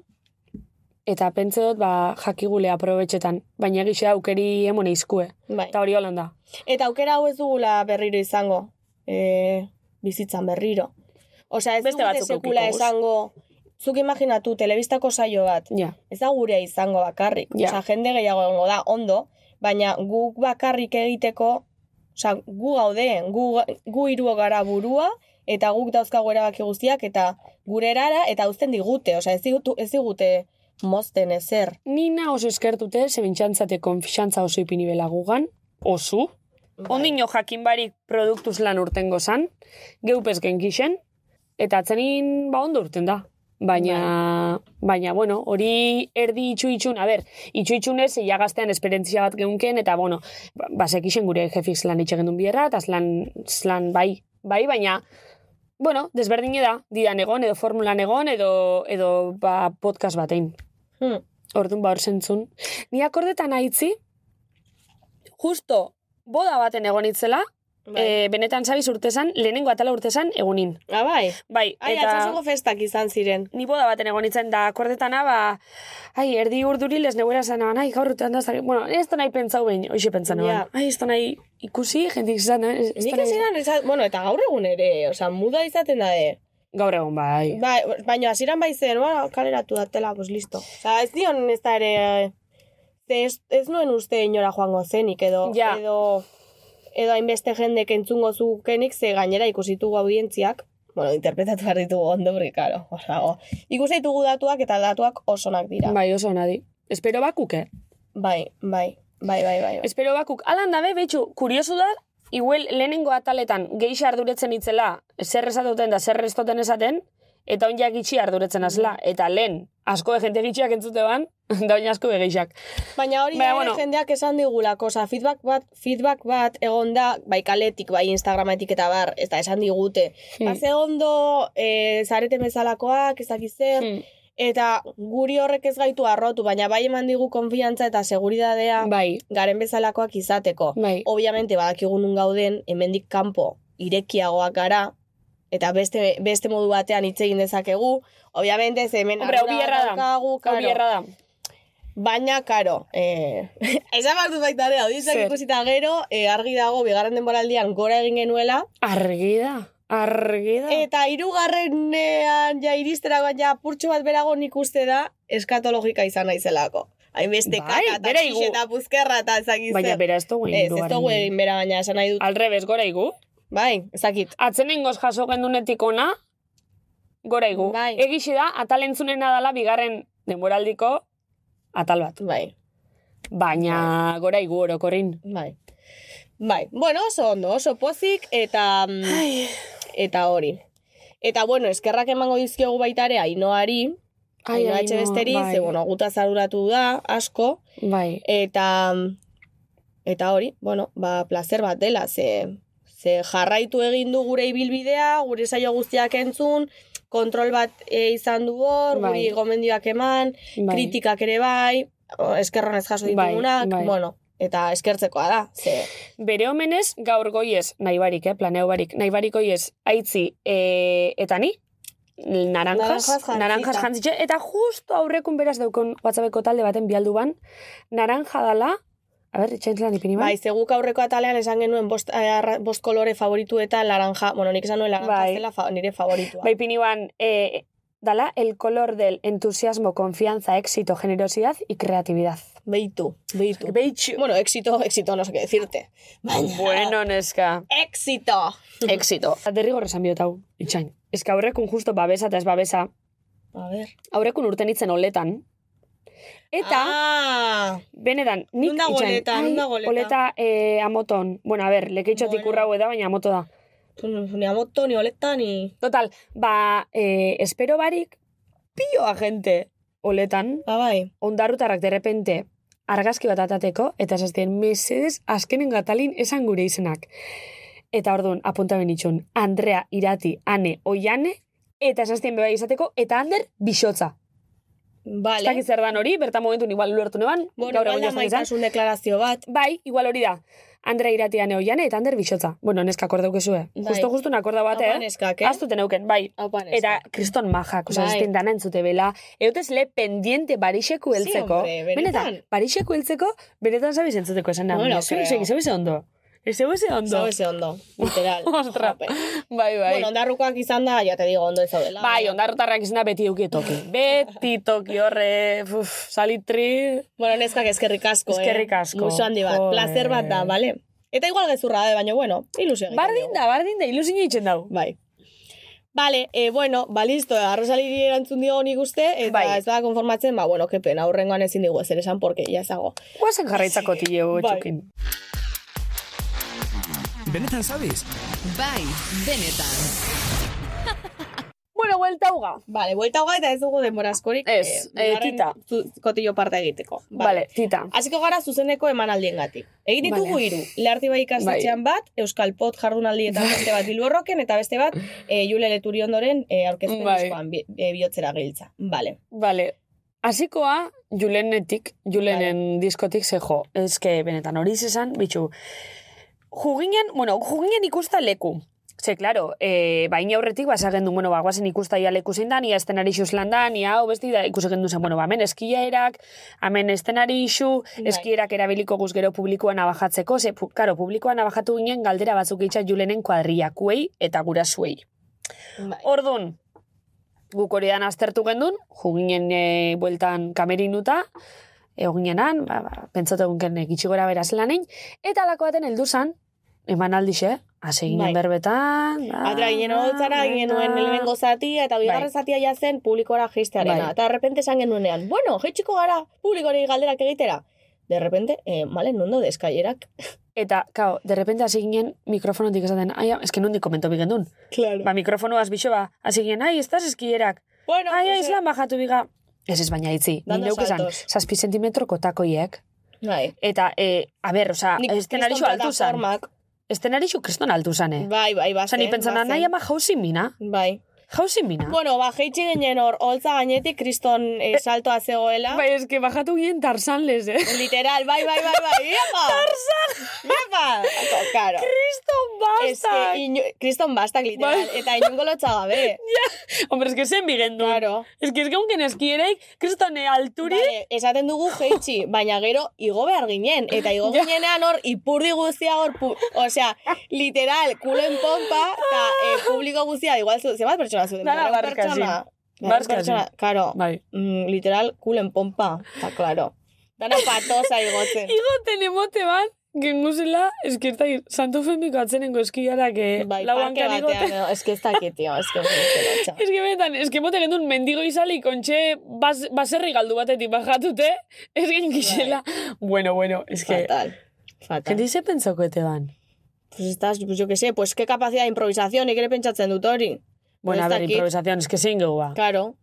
Speaker 8: eta pentsa dut ba jakigule aprobetxetan, baina egixe aukeri emone izkue.
Speaker 7: bai.
Speaker 8: Eta hori holan da.
Speaker 7: Eta aukera hau ez dugula berriro izango, e, bizitzan berriro. Osea, ez Beste
Speaker 8: Beste
Speaker 7: dugute
Speaker 8: batzuk
Speaker 7: sekula
Speaker 8: edukiko guz.
Speaker 7: esango, zuk imaginatu, telebistako saio bat,
Speaker 8: Ja.
Speaker 7: ez da gurea izango bakarrik.
Speaker 8: Ja.
Speaker 7: Osea, jende gehiago egongo da, ondo, baina guk bakarrik egiteko, osea, gu gaude, gu, gu hiru gara burua, eta guk dauzkagu erabaki guztiak, eta gure erara, eta uzten digute, osea, ez digute, ez digute mozten ezer.
Speaker 8: Ni na oso eskertute, ze bintxantzate konfixantza oso ipini bela gugan. Osu. Ondino jakin barik produktuz lan urtengo zan, geupez genkixen, eta atzenin ba ondo urten da.
Speaker 3: Baina, baina, bueno, hori erdi itxu itxun, a ber, itxu itxunez, illa gaztean esperientzia bat geunken, eta, bueno, ba- basek isen gure jefiz lan itxe gendun bierra, eta zlan, zlan bai, bai, baina, bueno, desberdin da, didan egon, edo formulan egon, edo, edo ba, podcast batein.
Speaker 7: Hmm.
Speaker 3: Orduan, ba, hor zentzun. Ni akordetan aitzi, justo, boda baten egon itzela,
Speaker 7: Bai.
Speaker 3: eh, benetan zabiz urtesan, lehenengo atala urtesan egunin.
Speaker 7: Ah, bai.
Speaker 3: Bai,
Speaker 7: Ai,
Speaker 3: eta
Speaker 7: atxasuko festak izan ziren.
Speaker 3: ni boda baten egon nintzen, da akordetana, ba, ai, erdi urduri les neuera zan naban, ai, gaur urtean da, zari- bueno, ez da nahi pentsau behin, hoxe pentsa naban.
Speaker 7: Ja.
Speaker 3: Ai, ez da nahi ikusi, jendik zan, ez da
Speaker 7: Nik
Speaker 3: nahi-
Speaker 7: hasieran eza- bueno, eta gaur egun ere, osea, muda izaten da de.
Speaker 3: Gaur egon, bai.
Speaker 7: Bai, baina hasieran bai zen, bueno, kaleratu datela, pues listo. Osea, ez dion ez da ere, eh, ze ez, ez nuen uste inora joango zenik, edo,
Speaker 3: Ja.
Speaker 7: edo, edo hainbeste jendek entzungo zukenik, ze gainera ikusitugu audientziak, bueno, interpretatu behar ditugu ondo, porque, karo, osago. Ikusi ditugu datuak eta datuak osonak dira.
Speaker 3: Bai, oso nadi. Espero bakuk, eh?
Speaker 7: Bai, bai, bai, bai, bai. bai.
Speaker 3: Espero bakuk. Alan dabe, betxu, kuriosu da, igual lehenengo ataletan geixa arduretzen itzela, zer esatuten da zer estoten esaten, eta oin itxi arduretzen azla. Eta lehen, asko de jente gitxiak entzute ban, da oin asko de geixak.
Speaker 7: Baina hori
Speaker 3: Baina,
Speaker 7: da ere
Speaker 3: bueno.
Speaker 7: jendeak esan digulako, osea, feedback bat, feedback bat egon da, bai kaletik, bai Instagrametik eta bar, eta esan digute.
Speaker 3: Hmm.
Speaker 7: Baze ondo, e, zareten bezalakoak, ez dakiz zer,
Speaker 3: Hmm.
Speaker 7: eta guri horrek ez gaitu arrotu, baina bai eman digu konfiantza eta seguridadea
Speaker 3: Bai,
Speaker 7: garen bezalakoak izateko.
Speaker 3: bai.
Speaker 7: Obviamente, badakigu nun gauden, hemendik kanpo irekiagoak gara, eta beste, beste modu batean hitz egin dezakegu. Obviamente, ze hemen
Speaker 3: Hombre, hau
Speaker 7: ardura
Speaker 3: bierra da.
Speaker 7: daukagu,
Speaker 3: Hau
Speaker 7: karo.
Speaker 3: bierra da.
Speaker 7: Baina, karo, eh, esan behar dut baita ere, audientzak
Speaker 3: Zer?
Speaker 7: ikusita gero, eh, argi dago, bigarren denboraldian gora egin genuela,
Speaker 3: Argi da, argi da.
Speaker 7: eta hirugarrenean ja iristeragoan ja purtsu bat berago nik uste da eskatologika izan naizelako. Hainbeste
Speaker 3: Bai,
Speaker 7: kaka, eta
Speaker 3: bera igu-
Speaker 7: pixe, eta puzkerra, eta ezakit
Speaker 3: Baina Ah.
Speaker 7: zer.
Speaker 3: bera ez dugu
Speaker 7: Ez, ez dugu
Speaker 3: egin.
Speaker 7: egin bera, baina esan nahi dut.
Speaker 3: Al revés, gora igu.
Speaker 7: Bai, ezakit.
Speaker 3: Ah. Atzenengoz jaso gendunetik ona, gora igu.
Speaker 7: Bai.
Speaker 3: Egixe da, atalentzunena dala bigarren denboraldiko atal bat.
Speaker 7: Bai,
Speaker 3: Baina gora igu orokorrin.
Speaker 7: bai. Bai, bueno, oso ondo, oso pozik, eta... mm, Eta hori. Eta, bueno, eskerrak emango dizkiogu baita ere Ainoari, Aino etxe besteri,
Speaker 3: bai.
Speaker 7: ze bueno, gutaz arduratu da, asko,
Speaker 3: Bai.
Speaker 7: eta mm, eta hori, bueno, ba, placer bat dela, ze, ze jarraitu egin du gure ibilbidea, gure saio guztiak entzun, kontrol bat e, izan du hor,
Speaker 3: Bai.
Speaker 7: guri gomendioak eman,
Speaker 3: bai.
Speaker 7: kritikak ere bai, o, eskerronez jaso
Speaker 3: Bai,
Speaker 7: ditugunak,
Speaker 3: bai.
Speaker 7: bueno, eta eskertzekoa da, ze,
Speaker 3: Bere omenez, gaur goiez, nahi barik, eh, planeo barik, nahi barik goiez, aitzi, e, eta ni? Naranjas,
Speaker 7: Naranjas jantzita.
Speaker 3: naranjas jantzitxe, eta justo aurrekun beraz daukon WhatsAppeko talde baten bialdu ban, naranja dala, a ber, itxaintz lan ipini ban?
Speaker 7: bai, ze guk aurreko atalean esan genuen bost, eh, arra- bost kolore favorituetan laranja, bueno, nik esan nuen laranja
Speaker 3: Bai.
Speaker 7: zela fa- nire favoritua.
Speaker 3: Bai, pini ban, e, dala, el color del entusiasmo, confianza, éxito, generosidad y creatividad.
Speaker 7: Beitu, beitu.
Speaker 3: Beitxu.
Speaker 7: Bueno, éxito, éxito, no sé qué decirte. Baina,
Speaker 3: Bueno, neska.
Speaker 7: éxito.
Speaker 3: Éxito. Derrigor esan biot hau, itxain. Ez que aurrekun justo babesa eta ez babesa,
Speaker 7: A ver.
Speaker 3: aurrekun urten itzen oletan. Eta...
Speaker 7: Ah,
Speaker 3: Benetan, nik
Speaker 7: Non dago
Speaker 3: itxain,
Speaker 7: oleta,
Speaker 3: ai,
Speaker 7: non dago oleta?
Speaker 3: Oleta eh, amoton. Bueno, a ber, lekeitxotik
Speaker 7: Bueno.
Speaker 3: urra hau da, baina amoto da.
Speaker 7: ni amoto, ni oleta, ni...
Speaker 3: Total, ba, eh, espero barik, pioa gente oletan,
Speaker 7: Ah, bai.
Speaker 3: ondarrutarrak derrepente argazki bat atateko, eta esaztien, mesedes azkenen gatalin esan gure izenak. Eta orduan, apunta benitxun, Andrea, Irati, Ane, Oiane, eta esaztien beba izateko, eta Ander, bisotza. Ez
Speaker 7: Vale.
Speaker 3: dakit zer dan hori, bertan momentun igual ulertu neban,
Speaker 7: Bueno, igual
Speaker 3: egun
Speaker 7: da
Speaker 3: jazta izan.
Speaker 7: maitasun deklarazio bat.
Speaker 3: Bai, igual hori da. Andrea iratia neoian eta Ander bixotza. Bueno, neska akordaukezue.
Speaker 7: Bai.
Speaker 3: Justo justu akorda bate,
Speaker 7: Hau
Speaker 3: eh?
Speaker 7: paneskak, eh?
Speaker 3: Aztuten neuken, bai.
Speaker 7: Hau paneskak.
Speaker 3: Eta kriston majak, oza,
Speaker 7: Bai.
Speaker 3: ez dana entzute bela. Eutez le pendiente barixeku
Speaker 7: Sí,
Speaker 3: heltzeko.
Speaker 7: hombre, benetan.
Speaker 3: benetan, barixeku heltzeko, benetan zabiz entzuteko esan da.
Speaker 7: No me lo
Speaker 3: Zeu
Speaker 7: creo.
Speaker 3: eze, zeu eze ondo. Zeu eze ondo.
Speaker 7: Zau ese ondo, literal.
Speaker 3: Ostra.
Speaker 7: Jope.
Speaker 3: Bai, bai.
Speaker 7: Bueno, ondarrukoak izan da, ya te digo, ondo ez zaudela.
Speaker 3: Bai, ondarrotarrak izena beti euki toki. Beti toki horre, uf, salitri...
Speaker 7: Bueno, neskak eskerrik asko, eh?
Speaker 3: Eskerrik asko.
Speaker 7: Musu handi bat,
Speaker 3: Joder.
Speaker 7: placer bat da, vale? Eta igual gezurra da, baina, bueno, ilusio. egiten
Speaker 3: Bardin
Speaker 7: digu.
Speaker 3: da, bardin da, ilusina itxen dau.
Speaker 7: Bai. Vale, eh, bueno, ba, listo, arrosaliri erantzun dio nik uste, eta
Speaker 3: Bai.
Speaker 7: ez da konformatzen, ba, bueno, kepen, aurrengoan ezin digu ezer esan, porque ya zago.
Speaker 3: Guazen jarraitzako tileu
Speaker 7: Bai.
Speaker 3: etxukin.
Speaker 4: Benetan zabiz?
Speaker 6: Bai, benetan.
Speaker 3: Bueno, buelta uga.
Speaker 7: Vale, buelta hoga eta ez dugu denbora askorik.
Speaker 3: Ez, eh,
Speaker 7: bigarren
Speaker 3: tita.
Speaker 7: zu- Kotillo parte egiteko.
Speaker 3: Vale, tita.
Speaker 7: Hasiko gara zuzeneko emanaldiengatik. Egin ditugu
Speaker 3: Vale.
Speaker 7: hiru. Learti bai ikastetxean bat, Euskal Pot jardunaldi
Speaker 3: Bai.
Speaker 7: eta beste bat Bilborroken, eta beste bat eh, Jule Leturi ondoren eh, aurkezpen
Speaker 3: Bai.
Speaker 7: diskoan bi- eh, bihotzera giltza. Vale.
Speaker 3: Vale. Hasikoa Julenetik, Julenen diskotik ze jo. Eske benetan hori zesan, bitxu. Juginen, bueno, juginen ikusta leku. Ze, claro, e, baina aurretik basagen du, bueno, bagoazen ikusta ia leku zein da, ia estenari xuz lan da, ia hau besti da ikusagen du zen, bueno, ba, hemen eskiaerak, hemen estenari xu,
Speaker 7: Bai.
Speaker 3: eskierak erabiliko guz gero publikoan abajatzeko, ze, pu, karo, publikoan abajatu ginen galdera batzuk itxat julenen kuadriakuei eta gurasuei.
Speaker 7: Bai,
Speaker 3: Ordun, guk hori dan aztertu gendun, juginen e, bueltan kamerinuta, egoginenan, ba, ba, pentsatu egun ken gitxi gora beraz lanin, eta alako baten heldu zan, eman aldixe, hase ginen
Speaker 7: Bai.
Speaker 3: berbetan, ba,
Speaker 7: Atera ginen holtzara, ginen nuen
Speaker 3: ba.
Speaker 7: lehenengo zatia, eta bigarren
Speaker 3: Bai.
Speaker 7: zatia ja zen publikora jeistearena.
Speaker 3: Bai.
Speaker 7: Eta de repente esan genuenean, bueno, jeitxiko gara publikori galderak egitera. De repente, eh, male, non daude eskailerak?
Speaker 3: Eta, kao, de repente hasi ginen mikrofonotik esaten, ai, eske nondik komento bigen dun.
Speaker 7: Claro.
Speaker 3: Ba, mikrofonoaz biso ba, hasi ginen, ai, ez da eskierak,
Speaker 7: Bueno,
Speaker 3: ai, ai,
Speaker 7: pues,
Speaker 3: islan bajatu biga. Ez ez baina itzi,
Speaker 7: Dando
Speaker 3: nire esan,
Speaker 7: saltos.
Speaker 3: zazpi zentimetroko takoiek,
Speaker 7: Bai.
Speaker 3: Eta, e, a ber, oza,
Speaker 7: Nik
Speaker 3: estenarixo
Speaker 7: kriston
Speaker 3: altu zan.
Speaker 7: plataformak-
Speaker 3: Estenarixo kriston altu zan, eh?
Speaker 7: Bai, bai,
Speaker 3: Oza,
Speaker 7: bazen.
Speaker 3: ni pentsana,
Speaker 7: bazen.
Speaker 3: nahi ama jauzi mina.
Speaker 7: Bai.
Speaker 3: Jauzi mina.
Speaker 7: Bueno, ba, jeitsi ginen hor, holtza gainetik kriston eh, saltoa zegoela.
Speaker 3: Bai, eske bajatu gien tarzan lez, eh?
Speaker 7: Literal, bai, bai, bai, bai, iepa! Iepa! Karo.
Speaker 3: Kriston Bai.
Speaker 7: Ez
Speaker 3: basta!
Speaker 7: que, ino- kriston bastak literal, eta inungo lotxagabe.
Speaker 3: Hombre, eske zen bigen du.
Speaker 7: Claro.
Speaker 3: Eske eske unken eskierek kriston eh, alturi.
Speaker 7: Vale, esaten dugu jeitsi, baina gero igo behar ginen, eta igo ginenean hor ipurdi guztia hor, pu- osea, literal, kulen pompa, eta eh, publiko guztia, igual, zu- zenbat pertsona zuten?
Speaker 3: Dara
Speaker 7: Berrehun
Speaker 3: barkazin.
Speaker 7: pertsona? Berrehun
Speaker 3: Barkazin.
Speaker 7: pertsona, Karo,
Speaker 3: Bai.
Speaker 7: mm, literal, kulen pompa, eta klaro. Dana patosa igotzen.
Speaker 3: Igoten emote bat, genguzela, eske ez dakit, santo femiko atzenengo eskiarak eh,
Speaker 7: Bai,
Speaker 3: lauan
Speaker 7: parke batean,
Speaker 3: kanigoten.
Speaker 7: edo, eske ez dakit, tio, eske ez dakit, txo.
Speaker 3: Eske benetan, eske mote gendun mendigo izali kontxe bas, baserri galdu batetik bajatute, eske gizela.
Speaker 7: Bai.
Speaker 3: Bueno, bueno, eske...
Speaker 7: Fatal. Fatal.
Speaker 3: Gente dice pensó que te van.
Speaker 7: Pues estás, pues yo que sé, pues qué capacidad de improvisación, nik ere pentsatzen dut hori.
Speaker 3: Bueno,
Speaker 7: Ez
Speaker 3: a ver,
Speaker 7: dakit.
Speaker 3: improvisación, es que zein gau ba.
Speaker 7: Claro.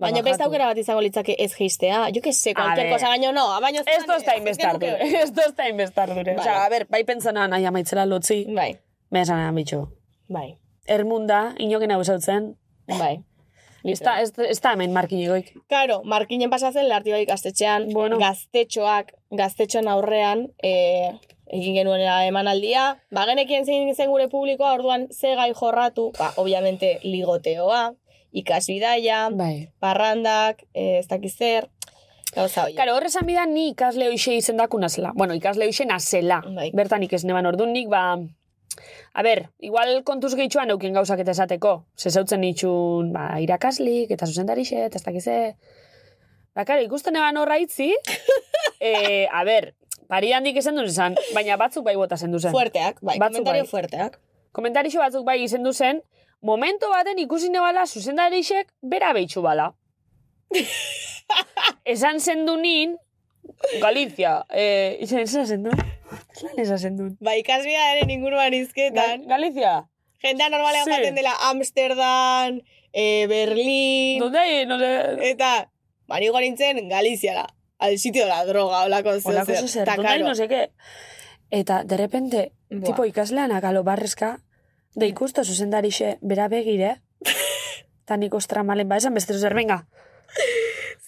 Speaker 3: Ba,
Speaker 7: Baina beste
Speaker 3: bajatu.
Speaker 7: aukera bat izango litzake ez jeistea. Jo que sé, cualquier
Speaker 3: ver.
Speaker 7: cosa, baina no, a baino
Speaker 3: Esto está inbestar dure. Esto está inbestar dure.
Speaker 7: Vale.
Speaker 3: O sea, a ver, bai pentsona nahi amaitzela lotzi,
Speaker 7: Bai,
Speaker 3: me esan nahi bitxo.
Speaker 7: bai,
Speaker 3: Ermunda, inoken hau esautzen,
Speaker 7: bai.
Speaker 3: ez da, ez, ez da hemen markinegoik.
Speaker 7: Claro, markinen pasatzen lartibai gaztetxean,
Speaker 3: Bueno.
Speaker 7: gaztetxoak, gaztetxoan aurrean, e, egin genuen emanaldia, bagenekien zein zen gure publikoa, orduan ze gai jorratu, ba, obviamente ligoteoa, ikasbidaia,
Speaker 3: Bai.
Speaker 7: parrandak, eh, ez dakiz zer, gauza hori.
Speaker 3: Karo, horrez amida ni ikasle hoxe izendakun azela. Bueno, ikasle hoxe nazela.
Speaker 7: Bai.
Speaker 3: Bertan ik ez neban orduan nik, ba... A ber, igual kontuz gehitxuan eukin gauzak eta esateko. Zezautzen nitxun, ba, irakaslik, eta zuzendarixe, eta ez dakize. Ba, karo, ikusten eban horra itzi, e, a ber, pari handik esan duen zen, baina batzuk bai bota zendu zen.
Speaker 7: Fuerteak, bai,
Speaker 3: Batzuk
Speaker 7: komentario
Speaker 3: bai.
Speaker 7: fuerteak.
Speaker 3: Komentarixo batzuk bai izendu zen, momento baten ikusi nebala zuzendarixek bera behitxu bala. Esan zendu nin, Galizia, eh, izan zen zendu? Lan esan zendun?
Speaker 7: Ba, ikasbidearen inguruan
Speaker 3: Ga-
Speaker 7: izketan,
Speaker 3: Galizia,
Speaker 7: jendea normalean
Speaker 3: Sí.
Speaker 7: jaten dela Amsterdam, eh, Berlin,
Speaker 3: donde hay, no sé...
Speaker 7: eta, ba, nigo nintzen Galiziara, al sitio de la droga, olako zer,
Speaker 3: Olako zer,
Speaker 7: Ta,
Speaker 3: donde hay,
Speaker 7: claro,
Speaker 3: no sé qué. Eta, de repente,
Speaker 7: Buah.
Speaker 3: tipo ikaslean akalo barrezka, de ikusto zuzendarixe bera begire, eta nik ostra malen, ba, esan beste zer, venga.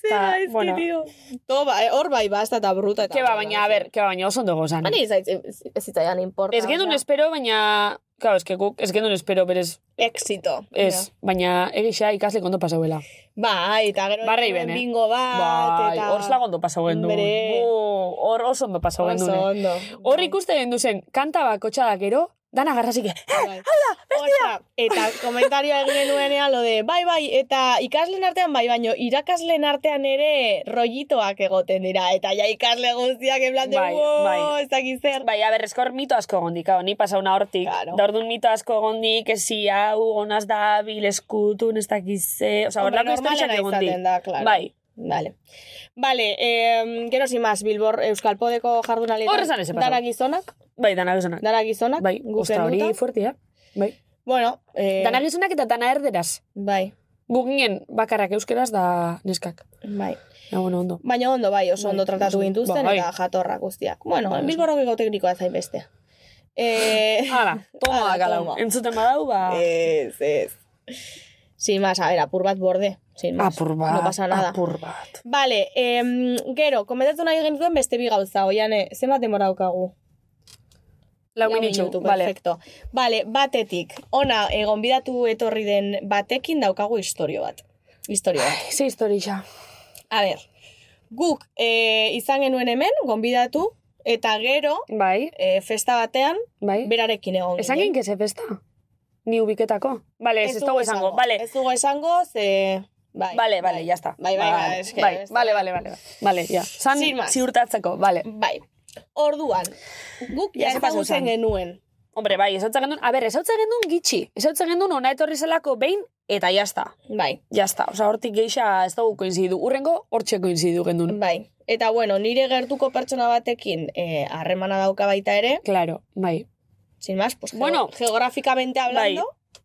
Speaker 3: Ta, bueno,
Speaker 7: to, ba, eh, hor bai, basta eta bruta. Eta
Speaker 3: Ke ba, baina, a ber, ke ba, baina oso ondo gozan.
Speaker 7: Bani ez zitzaidan importa.
Speaker 3: Ez genuen
Speaker 7: osea.
Speaker 3: espero, baina... Claro, ez que guk, ez genuen espero, berez,
Speaker 7: Éxito.
Speaker 3: ez.
Speaker 7: Ja.
Speaker 3: Baina egisa ikasle kondo pasauela.
Speaker 7: Bai, eta gero
Speaker 3: Barra
Speaker 7: egin
Speaker 3: iben, eh?
Speaker 7: bingo bat,
Speaker 3: Bai,
Speaker 7: eta...
Speaker 3: hor slagondo pasauen du.
Speaker 7: Hombre.
Speaker 3: Bu, Hor oso ondo pasauen du.
Speaker 7: Oso ondo.
Speaker 3: Hor ikusten gendu zen, kanta bakotxa da gero, dana garrasik, eh,
Speaker 7: Bai. Ostra, eta komentarioa egin genuenean lo de, bai, bai, eta ikaslen artean bai, baino irakaslen artean ere rollitoak egoten dira, eta ja ikasle guztiak en plan de,
Speaker 3: Bai,
Speaker 7: "Wow,
Speaker 3: bai.
Speaker 7: ez dakit zer.
Speaker 3: Bai, a ber, esko hor mito asko gondik, hau, ni pasauna hortik.
Speaker 7: Claro.
Speaker 3: Da orduan mito asko gondik, esi hau, onaz da, bil, eskutun, ez dakize... Osa, hor
Speaker 7: Hombre,
Speaker 3: lako
Speaker 7: normala
Speaker 3: historiak
Speaker 7: da
Speaker 3: egondik.
Speaker 7: izaten da, claro.
Speaker 3: Bai,
Speaker 7: Vale. Vale, eh, gero sin más, Bilbor Euskal Podeko jardunaletan.
Speaker 3: Hor esan ese pasau.
Speaker 7: Dana gizonak,
Speaker 3: bai, dana gizonak.
Speaker 7: dana gizonak.
Speaker 3: Bai,
Speaker 7: guk
Speaker 3: ostra hori
Speaker 7: genuta.
Speaker 3: fuertia. Bai.
Speaker 7: Bueno, eh,
Speaker 3: Dana gizonak eta dana erderaz.
Speaker 7: bai.
Speaker 3: Gu ginen bakarrak euskeraz da neskak.
Speaker 7: Bai.
Speaker 3: Ja, bueno, ondo.
Speaker 7: Baina ondo bai, oso
Speaker 3: Bai,
Speaker 7: ondo tratatu
Speaker 3: oso-
Speaker 7: gintuzten
Speaker 3: bai.
Speaker 7: eta jatorrak guztiak. Bueno,
Speaker 3: Bai,
Speaker 7: bai,
Speaker 3: oso.
Speaker 7: bilborrokeko teknikoa zain beste. Eh,
Speaker 3: Hala, toma
Speaker 7: Hala,
Speaker 3: da kalau.
Speaker 7: toma.
Speaker 3: Ah, Entzuten badau, ba...
Speaker 7: ez, ez. Sin más, a ver, apur bat borde. Sin más.
Speaker 3: Apur bat,
Speaker 7: No pasa nada.
Speaker 3: apur bat.
Speaker 7: Vale, em, gero, komentatu nahi genituen beste bi gauza, oiane, zenbat denbora daukagu?
Speaker 3: Lau
Speaker 7: Lau
Speaker 3: minitxu,
Speaker 7: minutu,
Speaker 3: vale.
Speaker 7: perfecto. Vale, batetik, ona, egon bidatu etorri den batekin daukagu historio bat. Historio bat.
Speaker 3: Ze historia.
Speaker 7: A ber, guk eh, izan genuen hemen, gonbidatu, eta gero,
Speaker 3: Bai,
Speaker 7: eh, festa batean,
Speaker 3: bai.
Speaker 7: berarekin egon
Speaker 3: Esan
Speaker 7: ginen.
Speaker 3: ginen que ze festa? Ni ubiketako. Vale, ez, ez dago esango. Vale,
Speaker 7: Ez dugu esango, ze... Bai,
Speaker 3: vale, vale, ya está.
Speaker 7: Bai, bai, bai,
Speaker 3: vale,
Speaker 7: eske-
Speaker 3: bai, vale, vale, vale. Vale, ya. San
Speaker 7: Sin más.
Speaker 3: ziurtatzeko, vale.
Speaker 7: Bai. Orduan, guk
Speaker 3: Ja
Speaker 7: ja
Speaker 3: se pasó
Speaker 7: ezagutzen
Speaker 3: esan.
Speaker 7: genuen.
Speaker 3: Hombre, bai, ezautza gendun, a ber, ezautza gendun gitxi. Ezautza gendun ona etorri zelako behin, eta jazta.
Speaker 7: Bai,
Speaker 3: Jazta, oza, hortik geixa ez dugu koinzidu. Urrengo, hortxe koinzidu gendun.
Speaker 7: bai. Eta bueno, nire gertuko pertsona batekin eh, harremana dauka baita ere,
Speaker 3: Claro, bai.
Speaker 7: sin más, pues,
Speaker 3: Bueno.
Speaker 7: bueno, geográficamente hablando.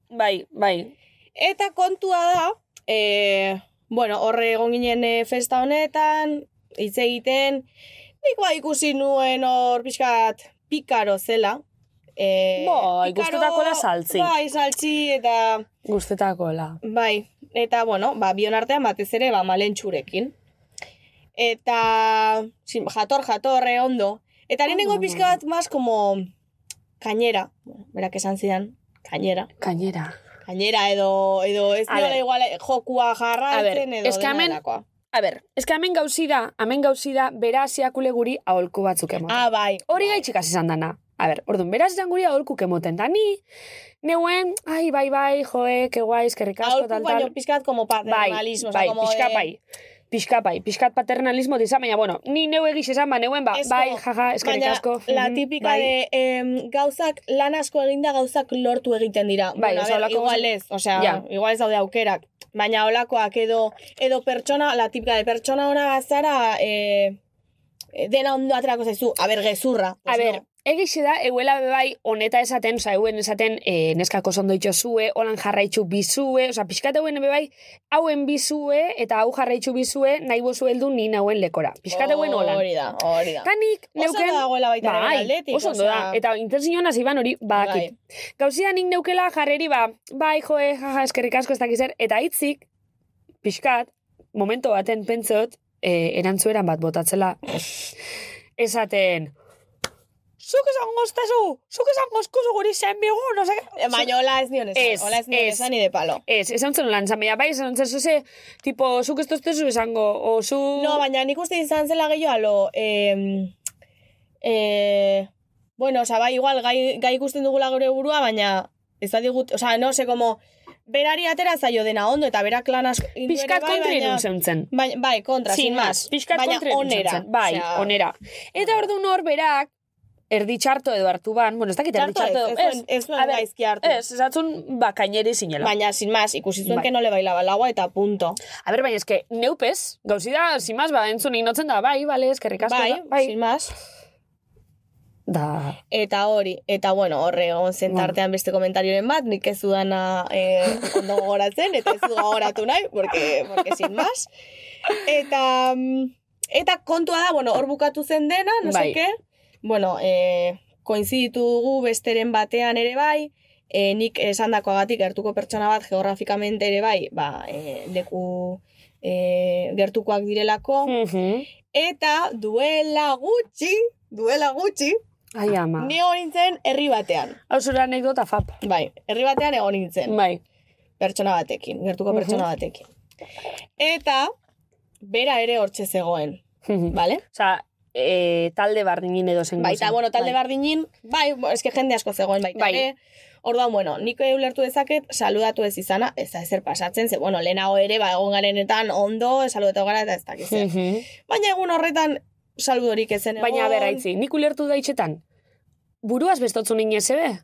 Speaker 3: Bai, bai.
Speaker 7: Eta kontua da, eh, bueno, horre egon ginen eh, festa honetan, hitz egiten, nik ba ikusi nuen hor pixkat pikaro zela. Eh,
Speaker 3: Bai,
Speaker 7: pikaro-
Speaker 3: gustutakola saltzi.
Speaker 7: Bai, saltzi eta...
Speaker 3: Gustetako, la.
Speaker 7: Bai, eta bueno, ba, bion artean batez ere ba, malentxurekin. Eta sin, jator, jator, eh, ondo. Eta lehenengo pixka bat más como kainera, Bueno, berak esan zidan, kainera.
Speaker 3: Kainera.
Speaker 7: Kainera edo, edo ez
Speaker 3: A
Speaker 7: diola
Speaker 3: ver.
Speaker 7: igual eh, jokua
Speaker 3: A ver,
Speaker 7: jarraitzen edo
Speaker 3: es que
Speaker 7: dena
Speaker 3: hemen-
Speaker 7: delakoa.
Speaker 3: A ber, eska hemen gauzi da, hemen gauzi da, bera ziakule guri aholku batzuk ematen.
Speaker 7: Ah, bai.
Speaker 3: Hori gaitxik hasi izan dana. A ber, orduan, beraz izan guri aholkuk emoten. Da ni, neuen, ai, bai, bai, joe, que guai, eskerrik asko,
Speaker 7: Aholku
Speaker 3: tal,
Speaker 7: baino
Speaker 3: tal.
Speaker 7: pixkat como
Speaker 3: Bai,
Speaker 7: paternalismo.
Speaker 3: bai,
Speaker 7: como eh,
Speaker 3: pixka
Speaker 7: de-
Speaker 3: bai. Pixka bai, pixkat paternalismo dizan, baina, bueno, ni neu egiz esan, ba, neuen, ba,
Speaker 7: Ez
Speaker 3: bai,
Speaker 7: como-
Speaker 3: jaja, eskerrik
Speaker 7: Baina,
Speaker 3: asko.
Speaker 7: la
Speaker 3: mhm,
Speaker 7: tipika
Speaker 3: bai.
Speaker 7: de em, gauzak, lan asko eginda gauzak lortu egiten dira.
Speaker 3: Bai,
Speaker 7: bueno, a
Speaker 3: oso
Speaker 7: ber,
Speaker 3: holako
Speaker 7: igual
Speaker 3: gauza-
Speaker 7: ez, osea,
Speaker 3: Ja.
Speaker 7: igual ez daude aukerak. Baina olakoak edo, edo pertsona, la tipika de pertsona ona bazara, eh, dena ondo aterako zaizu, a ber, gezurra.
Speaker 3: A
Speaker 7: Pues
Speaker 3: ber,
Speaker 7: no.
Speaker 3: egixe da, euela bai honeta esaten, oza, euen esaten e, neskako zondo itxosue, holan jarraitxu bizue, oza, pixkat euen ebe bai, hauen bizue eta hau jarraitxu bizue, nahi bozu heldu ni nauen lekora. Pixkat euen holan.
Speaker 7: Hori da, hori da.
Speaker 3: Tanik,
Speaker 7: Oso
Speaker 3: neuken... Bai,
Speaker 7: ondo dagoela baita ere bere aldetik,
Speaker 3: oso ondo da.
Speaker 7: osea-
Speaker 3: Eta intentzioan hasi ban hori badakit.
Speaker 7: Bai.
Speaker 3: Gauzia nik neukela jarreri ba, bai joe, jaja, eskerrik asko ez dakizer, eta hitzik, pixkat, momento baten pentsot, e, erantzueran bat botatzela, esaten, zuk esan goztezu,
Speaker 7: Uh,
Speaker 3: zuk esan gozkuzu guri zen bigu, no sé,
Speaker 7: Eh, Baina hola ez nion esan,
Speaker 3: Ez,
Speaker 7: hola ez nion
Speaker 3: ez.
Speaker 7: esan ni de palo.
Speaker 3: Ez, esan zen lan, zan, baina bai, esan zen zuze, tipo, zuk ez doztezu esango, o zu...
Speaker 7: No, baina nik uste izan zela gehiago alo, eh, eh, bueno, oza, bai, igual, gai, gai ikusten dugula gure burua, baina ez badigut, oza, no, se, como, berari atera zaio dena ondo, eta berak lan asko... egin du ere
Speaker 3: pixkat
Speaker 7: bai,
Speaker 3: kontra
Speaker 7: baina-
Speaker 3: irun zentzen.
Speaker 7: Bai, bai, kontra, sin, más.
Speaker 3: Pixkat
Speaker 7: baina
Speaker 3: kontra irun
Speaker 7: onera.
Speaker 3: zentzen. Bai,
Speaker 7: osea,
Speaker 3: onera. Eta ordu nor berak, erdi txarto edo hartu ban, bueno, ez dakit erdi
Speaker 7: Txarto ez,
Speaker 3: txarto edo,
Speaker 7: ez, nuen- ez nuen
Speaker 3: a ber,
Speaker 7: gaizki hartu.
Speaker 3: Ez, esatzun, ba, kaineri zinela.
Speaker 7: Baina, sin más, ikusi zuen
Speaker 3: Bai.
Speaker 7: que no le bailaba el agua eta punto.
Speaker 3: A ber, baina eske, neupez, gauzi da, zimaz, ba, entzun ignotzen da, bai, bale, eskerrik asko.
Speaker 7: bai,
Speaker 3: da, bai.
Speaker 7: sin más.
Speaker 3: Da,
Speaker 7: Eta hori, eta bueno, horre egon zen
Speaker 3: Bueno.
Speaker 7: tartean beste komentarioren bat, nik ez dudana eh, ondo gogoratzen, eta ez du gogoratu nahi, porque, porque sin más. Eta, mm, eta kontua da, bueno, hor bukatu zen dena, no
Speaker 3: Bai.
Speaker 7: bai. seke, bueno, eh, koinziditu dugu besteren batean ere bai, eh, nik esandakoagatik gertuko pertsona bat geografikamente ere bai, ba, eh, leku eh, gertukoak direlako,
Speaker 8: Hmm.
Speaker 3: Mhm.
Speaker 7: eta duela gutxi, duela gutxi,
Speaker 3: ai, ama.
Speaker 7: Ni egon nintzen herri batean.
Speaker 3: Hau zure anekdota fap.
Speaker 7: Bai, herri batean egon nintzen.
Speaker 3: Bai,
Speaker 7: Pertsona batekin, gertuko
Speaker 3: Mhm.
Speaker 7: pertsona batekin. Eta, bera ere hortxe zegoen,
Speaker 3: Mhm.
Speaker 7: bale?
Speaker 3: Osa, e, talde bardinin edo zen.
Speaker 7: Baita, bueno, talde bardinin, bai, bo, eske jende asko zegoen baita
Speaker 3: Bai.
Speaker 7: ere. Orduan, bueno, nik ulertu dezaket, saludatu ez izana, ez da ezer pasatzen, ze, bueno, lehenago ere, ba, egon garenetan ondo, saludatu gara eta ez dakiz.
Speaker 3: Mhm.
Speaker 7: Baina egun horretan, saludorik ezen egon.
Speaker 3: Baina, bera, itzi, nik ulertu da itxetan, buruaz bestotzu ninez ebe?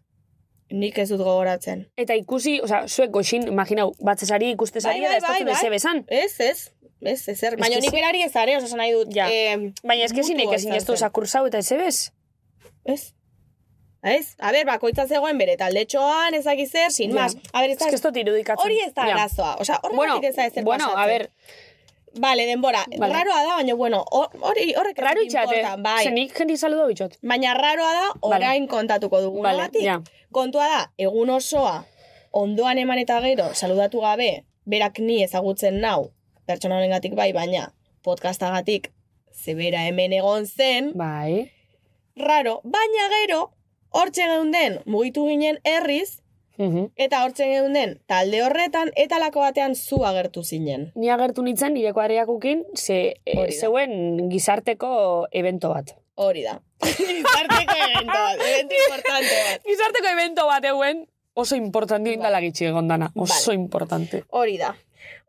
Speaker 7: Nik ez dut gogoratzen.
Speaker 3: Eta ikusi, oza, zuek goxin, imaginau, batzesari ikustezari
Speaker 7: Bai,
Speaker 3: eta
Speaker 7: bai,
Speaker 3: ez dutun
Speaker 7: bai,
Speaker 3: ez
Speaker 7: bai.
Speaker 3: ebe zan.
Speaker 7: Ez, ez, ez, ezer. Baina
Speaker 3: que
Speaker 7: nik
Speaker 3: ze-
Speaker 7: berari ez are, oso nahi dut.
Speaker 3: Ja.
Speaker 7: em,
Speaker 3: Baina eske zinek
Speaker 7: mutua
Speaker 3: ezin
Speaker 7: izan
Speaker 3: ez du
Speaker 7: zen.
Speaker 3: zakursau eta ez ebes.
Speaker 7: Ez? Ez? A ber, bakoitza zegoen bere taldetxoan, ezak zer, sin
Speaker 3: Ja.
Speaker 7: más. A ber, ez da...
Speaker 3: Ez que ez dut irudikatzen.
Speaker 7: Hori ez da
Speaker 3: Ja.
Speaker 7: arazoa. Osa, horregatik
Speaker 3: Bueno,
Speaker 7: ez da ezer
Speaker 3: bueno,
Speaker 7: pasatzen.
Speaker 3: a ber,
Speaker 7: Vale, denbora.
Speaker 3: Vale.
Speaker 7: Raroa da, baina, bueno, hor- hori horrek ez
Speaker 3: raro
Speaker 7: dit
Speaker 3: itxate.
Speaker 7: importa, bai.
Speaker 3: Zenik jendi saludo bitxot.
Speaker 7: Baina raroa da,
Speaker 3: Vale.
Speaker 7: orain kontatuko dugu.
Speaker 3: Vale, ja.
Speaker 7: Kontua da, egun osoa, ondoan eman eta gero, saludatu gabe, berak ni ezagutzen nau, pertsona honengatik bai, baina podcastagatik, zebera hemen egon zen,
Speaker 3: Bai.
Speaker 7: raro, baina gero, hortxe geunden, mugitu ginen herriz,
Speaker 3: Mhm.
Speaker 7: eta hortxe geunden talde horretan, eta lako batean zu agertu zinen.
Speaker 3: Ni agertu nintzen nireko areakukin, ze, eh,
Speaker 7: Hori da.
Speaker 3: zeuen gizarteko evento bat.
Speaker 7: Hori da. Zarteko evento bat, evento importante bat.
Speaker 3: Gizarteko evento bat euen oso
Speaker 7: Bai.
Speaker 3: importante indala gitxi egon dana. Oso importante.
Speaker 7: Hori da.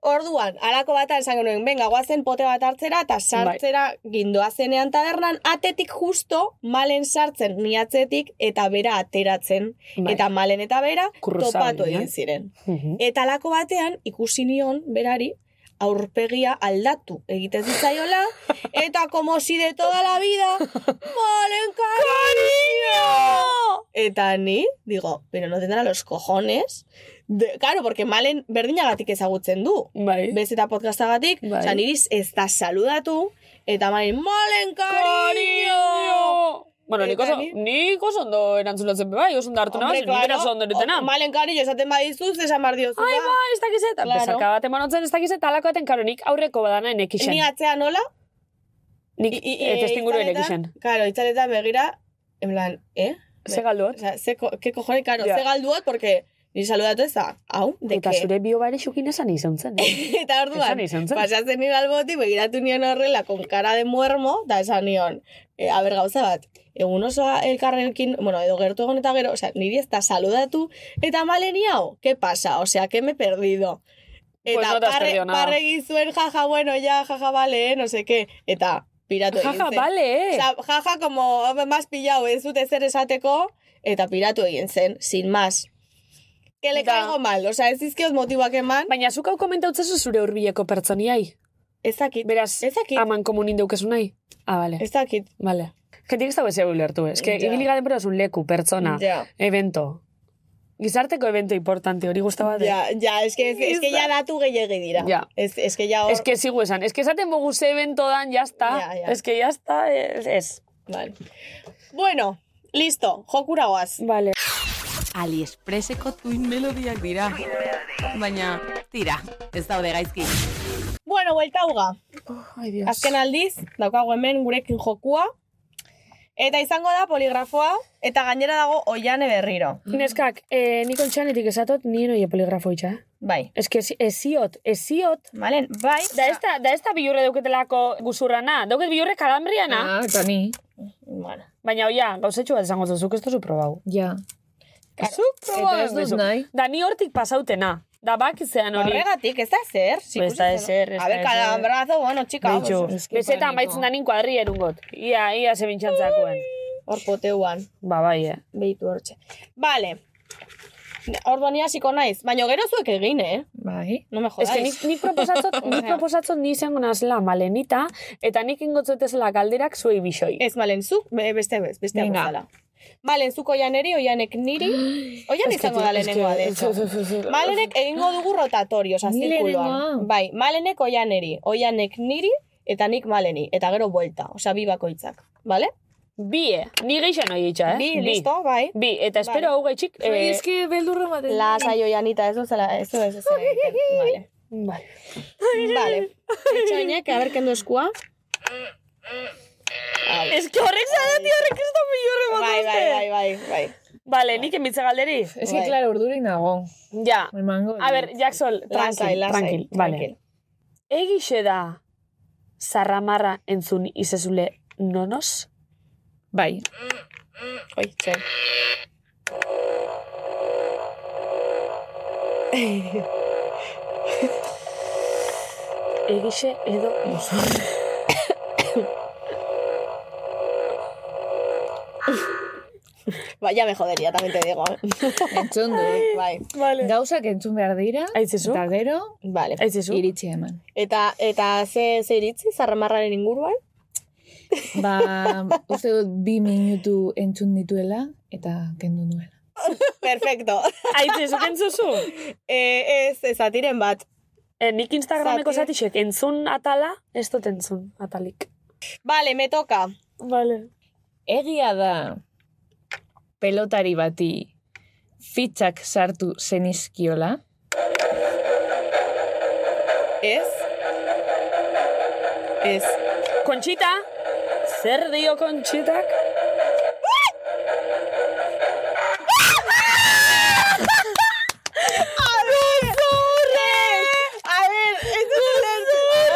Speaker 7: Orduan, alako bata esan genuen, benga, guazen pote bat hartzera eta sartzera gindoa zenean tabernan, atetik justo, malen sartzen ni atzetik eta bera ateratzen.
Speaker 3: Bai.
Speaker 7: Eta malen eta bera
Speaker 3: Kurrosabin,
Speaker 7: topatu
Speaker 3: eh?
Speaker 7: egin ziren.
Speaker 3: Mhm.
Speaker 7: Eta alako batean, ikusi nion, berari, aurpegia aldatu egiten zitzaiola, eta como si de toda la vida, malen cariño! Eta ni, digo, pero no tendrá los cojones. De, claro, porque malen berdinagatik ezagutzen du.
Speaker 3: Bai.
Speaker 7: Bez eta podcastagatik,
Speaker 3: Bai.
Speaker 7: bai. niriz ez da saludatu, eta malen, malen cariño!
Speaker 3: Cariño! Bueno, nik oso,
Speaker 7: Eta ni-
Speaker 3: nik oso ondo erantzulatzen be bai, oso ondo hartu nabaz,
Speaker 7: Hombre, Oh,
Speaker 3: nik bera oso ondo eritena.
Speaker 7: O- malen cariño esaten badizuz, esan bardiozula.
Speaker 3: Ai, ba, ez dakiz eta.
Speaker 7: Claro.
Speaker 3: Claro. Besarka bat emanotzen ez dakiz eta alako eten, karo, nik aurreko badana enek isen.
Speaker 7: Ni atzean nola,
Speaker 3: Nik eh, etestinguru enek isen.
Speaker 7: Claro, itzaletan begira, en plan, eh?
Speaker 3: Ze galduat.
Speaker 7: O sea, ze, ko- ke cojones, claro,
Speaker 3: Ya.
Speaker 7: ze galduot, porque ni saludatu ez da, hau, de
Speaker 3: Eta
Speaker 7: que.
Speaker 3: zure bio bare xukin esan izan zen. eh?
Speaker 7: Eta orduan,
Speaker 3: Esan izan zen.
Speaker 7: pasatzen nire alboti, begiratu nion horrela, con cara de muermo, da esan nion, e, a ber, gauza bat, eh, egun osoa elkarrekin, bueno, edo gertu egon eta gero, o sea, niri ez da saludatu, eta malen hau, ¿qué pasa? O sea, que me he perdido.
Speaker 3: Pues
Speaker 7: Eta
Speaker 3: no te has
Speaker 7: parre,
Speaker 3: perdido nada.
Speaker 7: parregi zuen, jaja, bueno, ya, jaja, vale, eh, no sé qué, eta piratu egin
Speaker 3: Jaja,
Speaker 7: zen.
Speaker 3: bale, eh?
Speaker 7: Osa, jaja, como, "Hombre, más pillado, ez dut ezer esateko, eta piratu egin zen, sin más. Que le
Speaker 3: Da. Bai.
Speaker 7: caigo mal, osea, ez dizkiot motiboak eman,
Speaker 3: Baina zuk hau komentautzezu zure hurbileko pertsoniai.
Speaker 7: ez dakit,
Speaker 3: Beraz,
Speaker 7: ez dakit,
Speaker 3: aman komunin daukezu nahi? Ah, bale.
Speaker 7: ez dakit,
Speaker 3: Bale. Gentik ez dago ez ulertu, ez que
Speaker 7: Ja.
Speaker 3: ibili garen pero zun leku, pertsona,
Speaker 7: Ja.
Speaker 3: evento. Gizarteko evento importante, hori guztaba de.
Speaker 7: ja, ja, es que, es, es que ya datu gehiagi dira,
Speaker 3: Ja.
Speaker 7: ez, es que ya hor,
Speaker 3: Es que sigo esan, es que esaten bogu ze evento dan, jazta,
Speaker 7: Ja, ja.
Speaker 3: es que jazta, ez. ez.
Speaker 7: vale. bueno, listo, jokura goaz,
Speaker 3: Vale.
Speaker 6: AliExpresseko tuin melodiak dira. Baina, tira, ez daude gaizki.
Speaker 7: bueno, buelta uga,
Speaker 3: Ai, Dios.
Speaker 7: azken aldiz, daukagu hemen gurekin jokua, eta izango da poligrafoa, eta gainera dago oiane berriro,
Speaker 3: Neskak, eh, nik ontsanetik esatot, nien oie poligrafo itxa, eh?
Speaker 7: bai,
Speaker 3: Ez que ezi- eziot, eziot,
Speaker 7: Malen, bai,
Speaker 3: da ez da, da ez da bilurre dauketelako guzurrana, dauket bilurre kalambriana,
Speaker 8: Ah, eta ni.
Speaker 7: bueno,
Speaker 3: baina oia, gauzetxu bat esango zuzuk, ez duzu probau.
Speaker 8: Ja.
Speaker 3: Zuk probau
Speaker 8: Eta ez dut
Speaker 3: duzu.
Speaker 8: nahi.
Speaker 3: Da ni hortik pasautena, da bakitzean hori.
Speaker 7: Ba, horregatik, ez da zer,
Speaker 3: ez da ezer, ez da
Speaker 7: a ver,
Speaker 3: ezer.
Speaker 7: calambrazo, bueno, chica,
Speaker 3: Beitxo, Bai, bezetan baitzen da nin kuadri erungot. Ia, ia ze bintxantzakuen.
Speaker 7: hor poteuan,
Speaker 3: Ba, bai, eh.
Speaker 7: behitu hortxe, vale, Orduan hasiko naiz, baina gero zuek egin, eh?
Speaker 8: Bai.
Speaker 7: No me
Speaker 3: Ez
Speaker 7: jodáis.
Speaker 3: que nik, nik proposatzot, nik proposatzot ni izango nazela malenita, eta nik ingotzotezela galderak zuei bisoi.
Speaker 7: Ez, malen, zuk, be- beste bez, beste
Speaker 8: Venga.
Speaker 7: gozala. Malen, zuk oianeri, oianek niri, oian izango da lehenengoa, de hecho. Malenek egingo dugu rotatorio, oza,
Speaker 8: Ni lehenengoa.
Speaker 7: zirkuluan. Bai, malenek oianeri, oianek niri, eta nik maleni, eta gero buelta, oza, bi bakoitzak, bale?
Speaker 3: Bie, ni geixan hori itxa, eh?
Speaker 7: Bi, listo, bai.
Speaker 3: Bi, eta espero
Speaker 7: Vale.
Speaker 3: hau gaitxik... eh,
Speaker 8: Zuei eski beldurra baten.
Speaker 7: Lasa, oianita, ez duzela, ez duzela, ez duzela, vale.
Speaker 3: Vale.
Speaker 7: Vale. Etxainek, a ber, kendu eskua.
Speaker 3: Ez que horrek zarati horrek ez da bilurre bat
Speaker 7: Bai, bai,
Speaker 3: dute.
Speaker 7: bai, bai, bai.
Speaker 3: Vale, nik emitza galderi.
Speaker 8: Ez que,
Speaker 7: Bai.
Speaker 8: klaro, urdurek nago.
Speaker 3: Ja.
Speaker 8: Emango.
Speaker 3: A ber, Jackson,
Speaker 7: Lasai,
Speaker 3: tranquil,
Speaker 7: lasai,
Speaker 3: tranquil. Vale.
Speaker 7: tranquil.
Speaker 3: Egixe da zarramarra entzun izezule nonos?
Speaker 8: Bai.
Speaker 7: Oi, zen.
Speaker 3: Egixe edo mozorre.
Speaker 7: Bai, ya me jodería, también te digo. eh.
Speaker 8: Entzun du.
Speaker 7: Bai,
Speaker 8: Gauzak entzun behar dira.
Speaker 3: Aitzizu?
Speaker 8: Eta gero,
Speaker 7: vale.
Speaker 3: Aizizu?
Speaker 8: iritsi eman.
Speaker 7: Eta, eta ze, ze iritzi, zarramarraren inguruan?
Speaker 8: Ba, uste dut bi minutu entzun dituela eta kendu nuela.
Speaker 7: Perfecto.
Speaker 3: Aitzi, zuk entzuzu?
Speaker 7: Eh, ez, ezatiren bat.
Speaker 3: Eh, nik Instagrameko
Speaker 7: Zati.
Speaker 3: zatixek entzun atala, ez dut entzun atalik.
Speaker 7: Vale, me toca.
Speaker 3: Vale.
Speaker 8: Egia da pelotari bati fitxak sartu zenizkiola.
Speaker 7: Ez? Ez.
Speaker 3: Kontxita, zer dio kontxitak?
Speaker 7: A ver, esto es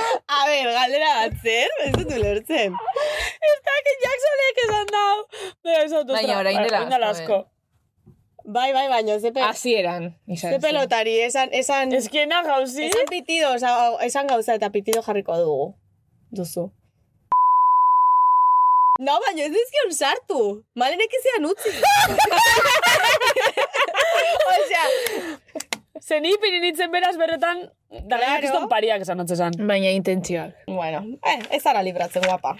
Speaker 7: A ver, galdera bat zer, ez dut ulertzen.
Speaker 3: Eta que Jacksonek esan dau. Baina, ez dut, ostra,
Speaker 7: Ba,
Speaker 6: Baina, orain dela
Speaker 3: orain dela
Speaker 6: asko,
Speaker 3: asko.
Speaker 7: Bai, bai, baino, ze, pe
Speaker 8: Hasieran. izan
Speaker 7: ze
Speaker 8: zen.
Speaker 7: pelotari, esan, esan,
Speaker 3: Ezkiena gauzi.
Speaker 7: esan pitido, osa, esan gauza eta pitido jarriko dugu. Duzu. No, baino ez dizkion sartu. Malenek izan utzi. Osea,
Speaker 3: Zen ipin nintzen beraz berretan, da
Speaker 7: Claro.
Speaker 3: gaina kriston pariak esan otzezan.
Speaker 8: Baina intentzioak.
Speaker 7: Bueno, eh, ez ara libratzen guapa.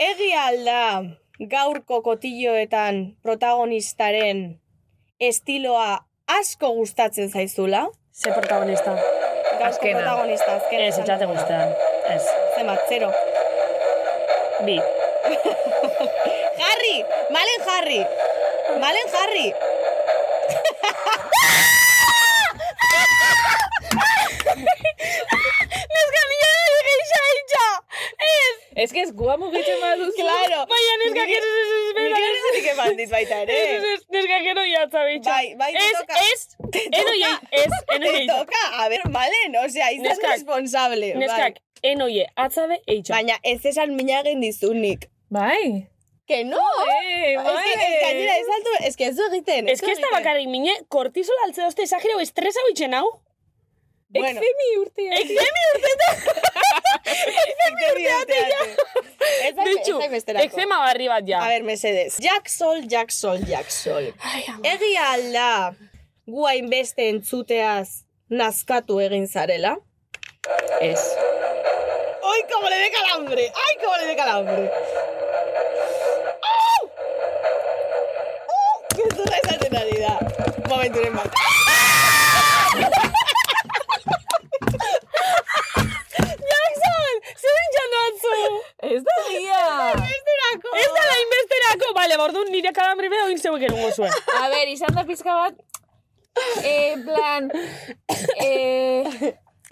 Speaker 7: Egi alda gaurko kotilloetan protagonistaren estiloa asko gustatzen zaizula.
Speaker 3: Ze protagonista.
Speaker 7: Gaurko
Speaker 3: Azkena.
Speaker 7: protagonista azkena.
Speaker 3: Ez, etxate guztean. Ez.
Speaker 7: Zemat, zero.
Speaker 3: Bi.
Speaker 7: Harry! Malen Harry! Malen Harry! Neskanilla de geixa itxa! Ez!
Speaker 8: Ez que ez gua mugitzen baduzu.
Speaker 7: Claro!
Speaker 3: Baina neska gero ez ez ez
Speaker 7: Nik
Speaker 3: bera.
Speaker 7: ere zenik eman dit baita ere.
Speaker 3: Ez ez ez neska gero jatza bitxa.
Speaker 7: Bai, bai, te
Speaker 3: Ez,
Speaker 7: toca.
Speaker 3: ez, eno jai, ez, eno
Speaker 7: Te
Speaker 3: jai.
Speaker 7: toca, a ver, malen, osea, izan
Speaker 3: Neskak.
Speaker 7: responsable.
Speaker 3: Neskak,
Speaker 7: bai.
Speaker 3: eno je, atzabe, eitxa.
Speaker 7: Baina ez esan minagen dizunik.
Speaker 8: Bai.
Speaker 7: Que no!
Speaker 8: Ei,
Speaker 7: Ez que, ez gainera, ez altu, ez que ez du egiten.
Speaker 3: Ez
Speaker 7: du
Speaker 3: Eh, que ez da
Speaker 7: egiten.
Speaker 3: bakarrik mine, kortizola altze dozte esagireu estresa bitxen hau.
Speaker 7: Bueno,
Speaker 8: urtea.
Speaker 3: Ekzemi
Speaker 7: ekzemi urteate. Ez da, ez
Speaker 3: bitxu,
Speaker 7: da besterako.
Speaker 3: ekzema barri bat ja.
Speaker 7: A ver, mesedez. Jack Sol, Jack Sol, Jack Sol. Egia alda, guain beste entzuteaz nazkatu egin zarela.
Speaker 8: Ez.
Speaker 7: ¡Ay, cómo le dé calambre! ¡Ay, cómo le dé calambre! ¡Au! ¡Uh! ¡Qué dura esa tonalidad! Momenturen bat.
Speaker 3: Jackson, zer entxan doatzu?
Speaker 6: Ez da egia!
Speaker 7: Besterako!
Speaker 3: Ez da la inbesterako. Vale, bordu nire kalambre beha oin zeuek erungo zuen.
Speaker 8: A ber, izan da pizka bat, eh, plan, eh,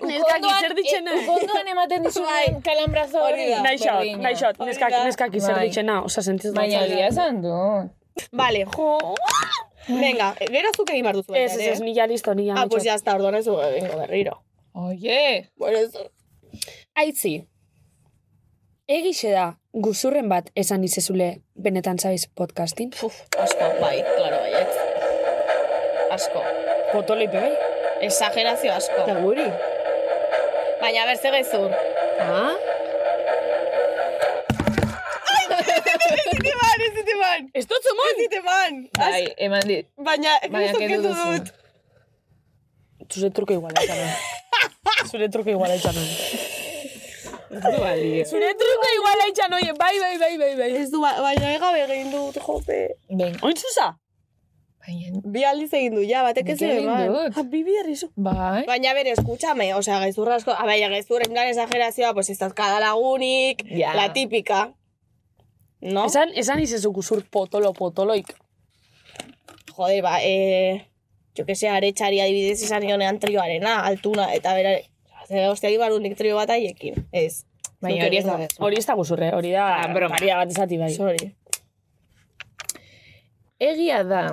Speaker 3: Neskak,
Speaker 8: ukondoan-
Speaker 3: zer ditzen
Speaker 8: eh,
Speaker 3: nahi?
Speaker 8: ukondoan ematen dizunen kalambrazo hori.
Speaker 7: Hori da.
Speaker 3: Naixot,
Speaker 8: Berdina.
Speaker 3: naixot, neskak,
Speaker 7: Hori da.
Speaker 3: neskak izer
Speaker 8: Bai.
Speaker 3: ditxena, osa sentiz da.
Speaker 8: Baina egia esan du.
Speaker 7: Vale, jo. Venga, eh, gero zuk egin behar duzu.
Speaker 3: Ez,
Speaker 7: baita
Speaker 3: ez,
Speaker 7: ere.
Speaker 3: ez, nila listo, nila
Speaker 7: Ah, pues ya está, orduan ez dugu egingo berriro.
Speaker 8: Oie!
Speaker 7: Bueno, ez...
Speaker 3: Aitzi, egixe da, guzurren bat esan izezule benetan zaiz podcastin.
Speaker 7: Puf, asko, bai, klaro, baiet. Asko.
Speaker 3: Potolipe, bai?
Speaker 7: Exagerazio asko.
Speaker 3: Eta guri.
Speaker 7: Baina, berze gezur.
Speaker 3: Ah?
Speaker 7: Ziteman, ez ziteman!
Speaker 3: Ez dut zumon!
Speaker 7: Ez ziteman!
Speaker 8: Bai, eman dit.
Speaker 7: Baina,
Speaker 8: Baina,
Speaker 7: kriston
Speaker 8: kendu
Speaker 7: kendu
Speaker 8: duzu.
Speaker 7: dut.
Speaker 3: Zure truke iguala izan nuen. Zure truke iguala izan nuen. Zure truke iguala izan nuen, bai, bai, bai, bai, bai.
Speaker 7: Ez du, ba- baina egabe egin dut, jope.
Speaker 8: Ben,
Speaker 3: Oin zuza?
Speaker 8: baina,
Speaker 7: Bi aldiz egin du, ja, batek ez
Speaker 8: nik
Speaker 7: zuen
Speaker 8: egin
Speaker 3: bai.
Speaker 7: eman.
Speaker 8: dut.
Speaker 3: Bibi herrizu.
Speaker 8: Bai,
Speaker 7: Baina bere, escúchame, o sea, gezurra asko, a baina gezurra, en plan exagerazioa, pues ez dauzkada lagunik,
Speaker 8: Ja.
Speaker 7: la típica. No?
Speaker 3: Esan, esan izezu guzur potolo potoloik.
Speaker 7: Joder, ba, eh, jo que se, aretxari adibidez izan nionean trioarena, altuna, eta bera, zer hostia ibaru nik trio bat aiekin, ez.
Speaker 8: baina hori ez da gezur.
Speaker 3: Hori ez da guzurre, hori da paria bat esati bai.
Speaker 7: Sorry.
Speaker 8: Egia da,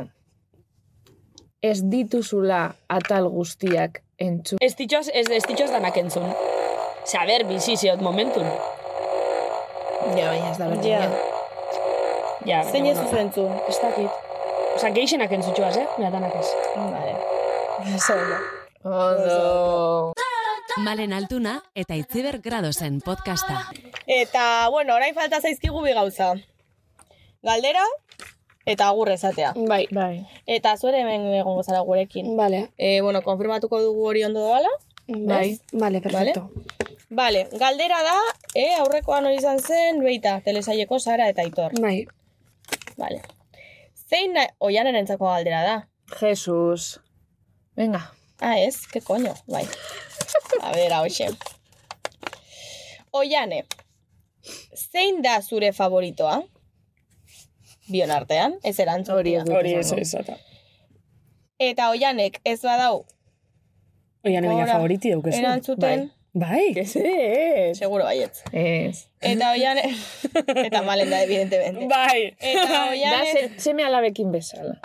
Speaker 8: ez dituzula atal guztiak entzun.
Speaker 3: Ez ditxoz, ez, ez ditxoz danak entzun. Ze, a ber, bizi ziot momentun.
Speaker 8: Ja, baina ez da berdina.
Speaker 7: Ja.
Speaker 3: Ja,
Speaker 7: Zein ez
Speaker 3: bueno,
Speaker 7: zuzentzu?
Speaker 3: Ez dakit. Osa, geixenak entzutxoaz, eh? Beatanak ez.
Speaker 7: Vale.
Speaker 8: Ondo.
Speaker 9: Malen Altuna eta Itziber Gradosen podcasta.
Speaker 7: Eta, bueno, orain falta zaizkigu bi gauza. Galdera, eta agur esatea.
Speaker 3: Bai.
Speaker 8: Bai.
Speaker 7: Eta zure hemen egongo zara gurekin.
Speaker 3: Vale.
Speaker 7: E, bueno, konfirmatuko dugu hori ondo doala,
Speaker 3: Bai, vale, perfecto.
Speaker 7: Vale, galdera da, eh, aurrekoan hori izan zen, beita, telesaileko Sara eta Aitor.
Speaker 3: Bai.
Speaker 7: Vale. Zein na... oianen entzako galdera da.
Speaker 8: Jesus. Venga.
Speaker 7: Ah, ez? Ke koño? Bai. A ber, hoxe. Oiane, zein da zure favoritoa? Bion artean, ez erantzun.
Speaker 8: Hori ez dut
Speaker 12: Hori ez
Speaker 8: esango.
Speaker 12: ez eta.
Speaker 7: Eta oianek ez badau,
Speaker 3: Oian baina
Speaker 7: Gora.
Speaker 3: favoriti daukezu.
Speaker 7: erantzuten,
Speaker 3: Bai.
Speaker 8: Ez, ez.
Speaker 7: seguro baietz.
Speaker 8: Ez.
Speaker 7: Eta oianek, eta malen da, evidentemente.
Speaker 12: Bai.
Speaker 7: Eta
Speaker 8: Da,
Speaker 7: oianek,
Speaker 8: se, seme alabekin bezala.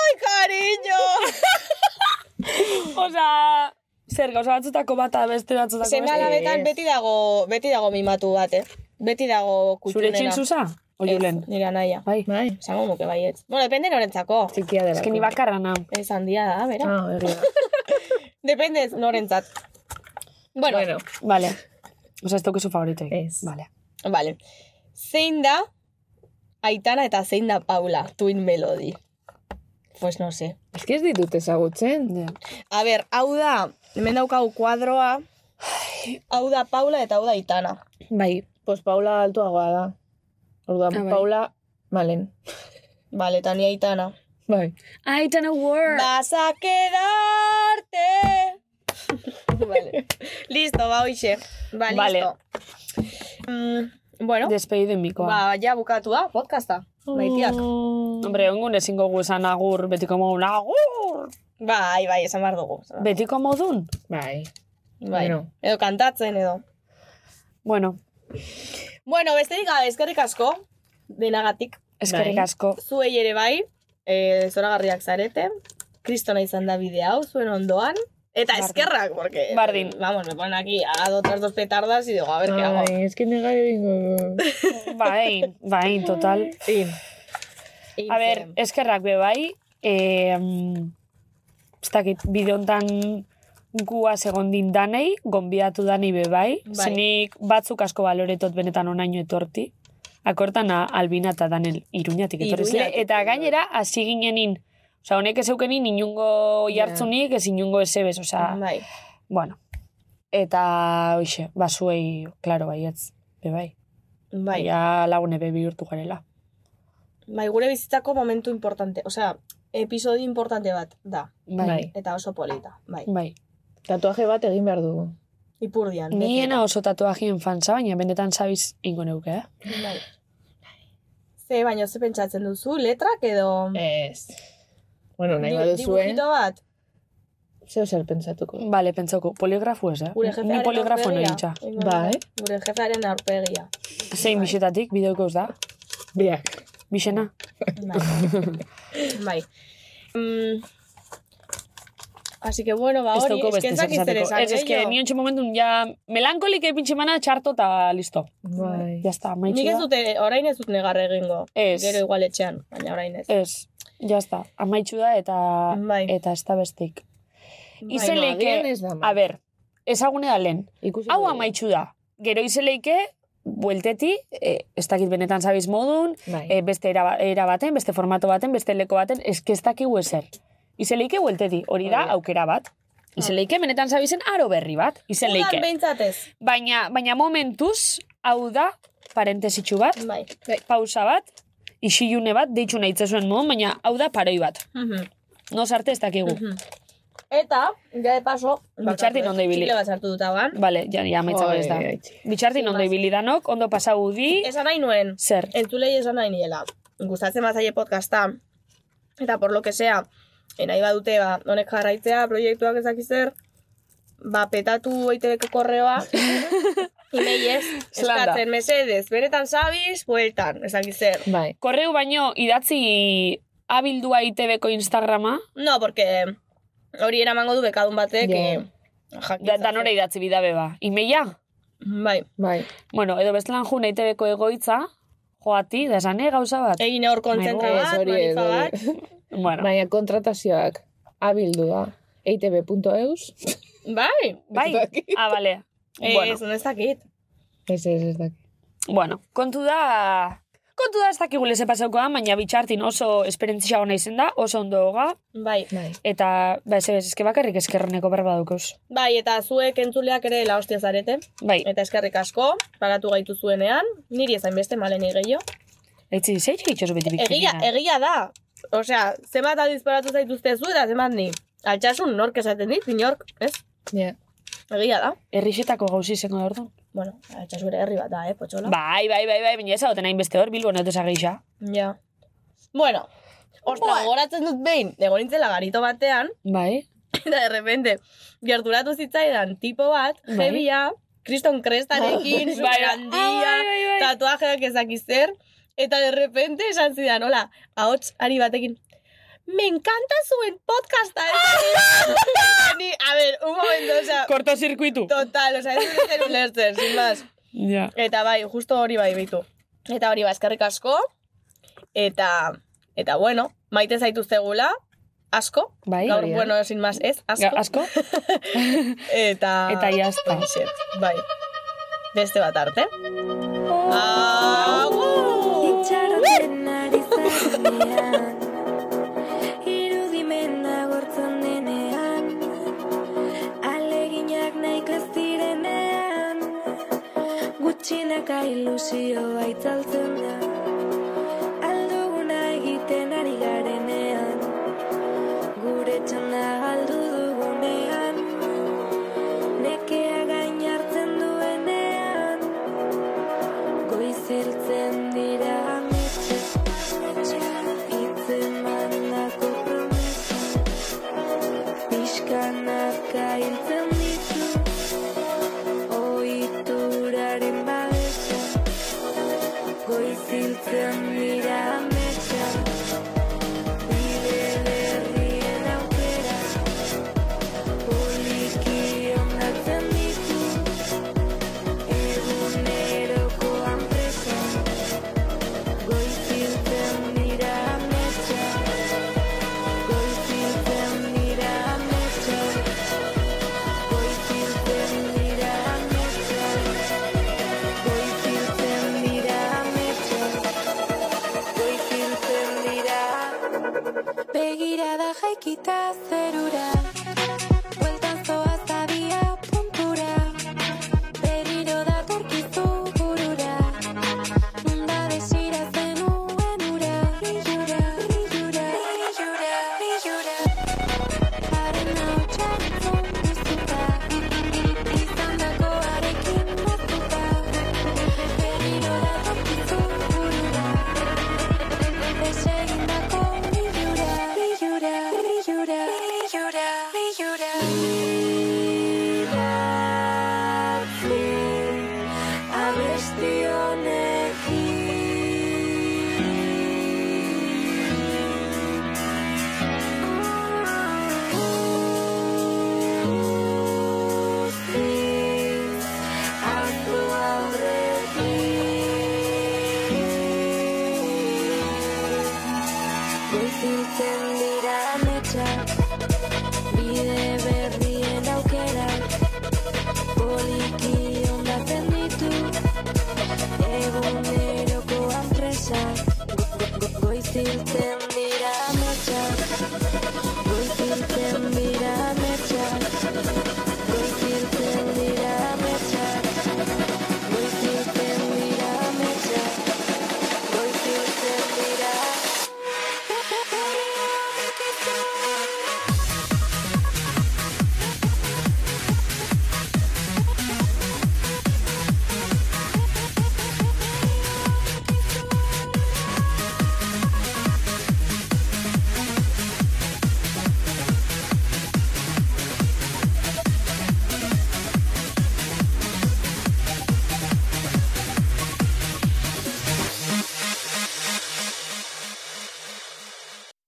Speaker 7: ai, cariño!
Speaker 12: Osa, zer gauza batzutako bata beste
Speaker 3: Ba,
Speaker 12: batzutako
Speaker 7: Seme alabetan beti dago, beti dago mimatu bat, eh? Beti dago
Speaker 3: Zure
Speaker 7: kutxunena.
Speaker 3: txin zuza? Oiulen.
Speaker 7: Ez, Nire anaia.
Speaker 3: Bai.
Speaker 8: Bai.
Speaker 7: Esango nuke baietz. Bueno, depende norentzako.
Speaker 8: Txikia dela.
Speaker 3: Ez que ni bakarra nau.
Speaker 7: Ez handia da, bera.
Speaker 8: Ah, egia. da.
Speaker 7: Depende norentzat. Bueno,
Speaker 8: bueno.
Speaker 3: Vale. Osa, ez daukezu favoritoik.
Speaker 8: Ez.
Speaker 3: Vale.
Speaker 7: vale. Zein da Aitana eta zein da Paula, Twin Melody? Pues no sé.
Speaker 8: Ez que ez ditut ezagutzen.
Speaker 7: A ber, hau da, hemen daukau kuadroa, hau da Paula eta hau da Aitana.
Speaker 3: Bai.
Speaker 8: Pues Paula altuagoa da. Orduan,
Speaker 3: Ah, bai.
Speaker 8: Paula Malen.
Speaker 7: Vale, eta ni Aitana.
Speaker 8: Bai.
Speaker 3: Aitan award.
Speaker 7: Vas a quedarte. vale. Listo, ba, hoxe. Ba,
Speaker 8: Vale.
Speaker 7: listo. Mm, bueno,
Speaker 3: Despedido mikoa.
Speaker 7: ba, ja bukatu da, podcasta. Bai, Maitiak.
Speaker 3: Hombre, ongun ezingo guzan agur, betiko modun, agur!
Speaker 7: Bai, bai, esan behar dugu. esan behar
Speaker 3: Betiko modun?
Speaker 8: Bai.
Speaker 7: dugu. Bai.
Speaker 8: bueno.
Speaker 7: Edo kantatzen, edo.
Speaker 3: Bueno,
Speaker 7: Bueno, besterik gabe, eskerrik asko, denagatik.
Speaker 3: eskerrik
Speaker 8: Bai.
Speaker 3: asko.
Speaker 7: Zuei ere bai, e, zoragarriak zarete. Kristona izan da bide hau, zuen ondoan. Eta
Speaker 3: Bardin.
Speaker 7: eskerrak, porque...
Speaker 3: Bardin.
Speaker 7: Vamos, me ponen aquí, ha dado otras dos petardas y digo, a ver qué hago.
Speaker 8: Ai, ez que negar egingo. du.
Speaker 3: Bai, bai, total. A ber, eskerrak be bai, eh, ez dakit, bide hontan guaz egon din danei, gonbiatu danei be bai,
Speaker 7: Bai.
Speaker 3: zenik batzuk asko baloretot benetan onaino etorti. Akortan a- albina eta danel iruñatik etorri zile.
Speaker 7: Iruñatik,
Speaker 3: Eta gainera, hasi ginenin, oza, honek ez eukenin inungo jartzunik, ez inungo esebez, oza,
Speaker 7: Bai.
Speaker 3: bueno. Eta, oixe, basuei, klaro, baietz, be bai.
Speaker 7: Bai,
Speaker 3: Ja lagune be bihurtu garela.
Speaker 7: bai, gure bizitzako momentu importante, osea, episodio importante bat da,
Speaker 8: Bai.
Speaker 7: eta oso polita, bai.
Speaker 3: Bai.
Speaker 8: Tatuaje bat egin behar dugu.
Speaker 7: Ipurdian. beti.
Speaker 3: Niena oso tatuajien fansa, baina benetan sabiz ingo neuke, eh?
Speaker 7: Bai. Ze, baina ze pentsatzen duzu, letrak edo...
Speaker 8: Ez. Bueno, nahi
Speaker 7: Di-
Speaker 8: baduzu, eh?
Speaker 7: dibujito bat?
Speaker 8: Zeo zer pentsatuko.
Speaker 3: Bale, pentsauko, poligrafu ez, eh?
Speaker 7: Gure jefearen
Speaker 3: Ni poligrafo
Speaker 7: aurpegia.
Speaker 3: nintza.
Speaker 7: Igual,
Speaker 8: Bai.
Speaker 7: Gure jefearen aurpegia.
Speaker 3: Zein bisetatik, bideoko ez da?
Speaker 8: Biak.
Speaker 3: Bixena?
Speaker 7: Bai. bai. Mm. Así que bueno, ba
Speaker 3: Ez
Speaker 7: hori,
Speaker 3: dauko
Speaker 7: eske
Speaker 3: beste
Speaker 7: ez
Speaker 3: zer
Speaker 7: dakiz zer
Speaker 3: esateko.
Speaker 7: esan.
Speaker 3: Ez, ez que
Speaker 7: gehiago.
Speaker 3: ni ontsi momentun, ja, melankolik epintxe mana txarto eta listo.
Speaker 8: Bai.
Speaker 3: Ja está, maitxu
Speaker 7: Nik ez
Speaker 3: da.
Speaker 7: dute, orain ez dut negar egingo.
Speaker 3: Ez. Eh,
Speaker 7: Gero igual etxean, baina orain ez.
Speaker 3: Ez, ja está, amaitxu da eta,
Speaker 7: Bai.
Speaker 3: eta ez da bestik.
Speaker 7: Bai,
Speaker 3: Izen
Speaker 8: no,
Speaker 3: leike,
Speaker 8: agian ez da ama-
Speaker 3: a ber, ezagune da lehen.
Speaker 8: Ikusi
Speaker 3: Hau
Speaker 8: dugu.
Speaker 3: amaitxu da. Gero izeleike, buelteti, eh, ez dakit benetan sabiz modun,
Speaker 8: Bai.
Speaker 3: eh, beste era, era baten, beste formato baten, beste leko baten, eske ez dakigu ezer. Izeleike buelteti, hori da aukera bat. Izeleike benetan zabizen aro berri bat, izen
Speaker 7: Udan
Speaker 3: leike.
Speaker 7: behintzat ez.
Speaker 3: Baina, baina momentuz, hau da, parentesitxu bat,
Speaker 7: Bai.
Speaker 3: pausa bat, isilune bat, deitxu nahi zuen modun, baina hau da paroi bat.
Speaker 7: Mhm.
Speaker 3: No arte ez dakigu.
Speaker 7: Eta, ja de paso,
Speaker 3: Bitxartin ondo ibili.
Speaker 7: Txikle bat sartu dut hauan.
Speaker 3: Vale, ja, ja amaitza
Speaker 8: Oi,
Speaker 3: ez da.
Speaker 8: ai, txi.
Speaker 3: Bitxartin ondo ibili danok, ondo pasau di,
Speaker 7: Esan nahi nuen,
Speaker 3: zer.
Speaker 7: entzulei esan nahi niela. Gustatzen bazaie podcasta, eta por lo que sea, eh, nahi badute, ba, honek jarraitzea, proiektuak ezakizer, ba, petatu eitebeko korreoa, imeiez,
Speaker 3: Zelan da.
Speaker 7: eskatzen mesedez, beretan zabiz, bueltan, ezakizer.
Speaker 8: Bai.
Speaker 3: Korreu baino idatzi abildua ITBko Instagrama,
Speaker 7: No, porque hori eramango du bekadun batek, eh,
Speaker 8: Ja.
Speaker 7: yeah. jakin.
Speaker 3: da, danora idatzi bidabe ba. Imeia?
Speaker 7: Bai,
Speaker 8: Bai.
Speaker 3: Bueno, edo bestelan jun EITBko egoitza, joati, da esane gauza bat.
Speaker 7: egin hor kontzentra
Speaker 3: Ez,
Speaker 7: bat,
Speaker 8: hori ez,
Speaker 7: manifa
Speaker 8: hori.
Speaker 7: bat,
Speaker 3: Bueno,
Speaker 8: Baina kontratazioak abildu da. eitb.eus.
Speaker 7: bai,
Speaker 3: bai, ah, bale.
Speaker 7: ez,
Speaker 3: Bueno,
Speaker 7: bueno. ez dakit.
Speaker 8: Ez ez ez daki.
Speaker 3: bueno, kontu da... kontu da ez dakigule ze pasauko da, baina bitxartin oso esperientzia hona izen da, oso ondo hoga,
Speaker 7: Bai.
Speaker 3: eta, ba, ez, ez, eske bakarrik eskerreneko berba dukeuz.
Speaker 7: Bai, eta zuek entzuleak ere la hostia zarete.
Speaker 3: Bai,
Speaker 7: Eta eskerrik asko, pagatu gaitu zuenean, niri ezain beste malen gehiago.
Speaker 3: etzi, zei itxosu beti bikini.
Speaker 7: Egia, er- egia da. Osea, zenbat aldiz paratu zaituzte zu eta zenbat ni. Altxasun nork esaten dit, inork, ez?
Speaker 8: Ja.
Speaker 7: Egia da.
Speaker 3: Errixetako gauzi izango da orduan.
Speaker 7: Bueno, altxasun ere herri bat da, eh, potxola.
Speaker 3: Bai, bai, bai, bai, baina ez dagoen hainbeste hor, Bilbo naute zageixa.
Speaker 7: Ja. Bueno, ostra, goratzen dut behin, egon nintzela garito batean,
Speaker 3: Bai,
Speaker 7: eta de repente, gerturatu zitzaidan tipo bat,
Speaker 3: Bai.
Speaker 7: jebia, kriston krestarekin,
Speaker 3: Bai,
Speaker 7: super handia,
Speaker 3: bai, bai, bai.
Speaker 7: tatuajeak ezakizer, eta de repente esan zidan, hola, ahots ari batekin, Me encanta zuen podcasta. Eta ni, a ver, un momento, o sea,
Speaker 3: korto zirkuitu.
Speaker 7: total, o sea, ez dut ezer ulertzen, sin más.
Speaker 3: Ja.
Speaker 7: Eta bai, justo hori bai bitu. Eta hori bai, eskerrik asko. Eta, eta bueno, maite zaituztegula, asko.
Speaker 3: Bai,
Speaker 7: Gaur,
Speaker 3: hori da.
Speaker 7: bueno, sin más, ez, asko. Ah.
Speaker 3: Ja, asko.
Speaker 7: Eta,
Speaker 3: Eta jazta.
Speaker 7: Hoxe, bai. Beste bat arte. Agur!
Speaker 13: Itxaroten ari zarenean Irudimena gortzen denean Aleginak nahiko ez direnean Gutxinaka ilusio baitzaltzen da Alduguna egiten ari garenean Gure txanda galdu dugunean Nekea gain hartzen duenean Goiziltzen dira ametxe Itzeman dako promesa Piskanaka hiltzen ditu Oituraren babesa Goiziltzen dira ametxe Bide berrien aukera Poliki ondatzen ditu Egunerokoan presa Goiziltzen dira ametsa Goiziltzen dira ametsa Goiziltzen dira ametsa Goiziltzen dira ametsa Goiziltzen dira Begirada jaikita zerura Bueltan zoaz da bia puntura Berriro datorkizu burura Nunda desira zenuen ura Bilura, bilura, bilura, bilura Haren hau txartzen duzuta Izandako arekin moztuta Berriro datorkizu burura Desegindako bilura Bilura, bilura, bilura, bilura Bilatzen abesti Guztiz hartu aurretik Goiziltzen dira ametsak Bide berrien aukera Poliki ondatzen ditu Egunerokoan presa Go- go- go- Goiziltzen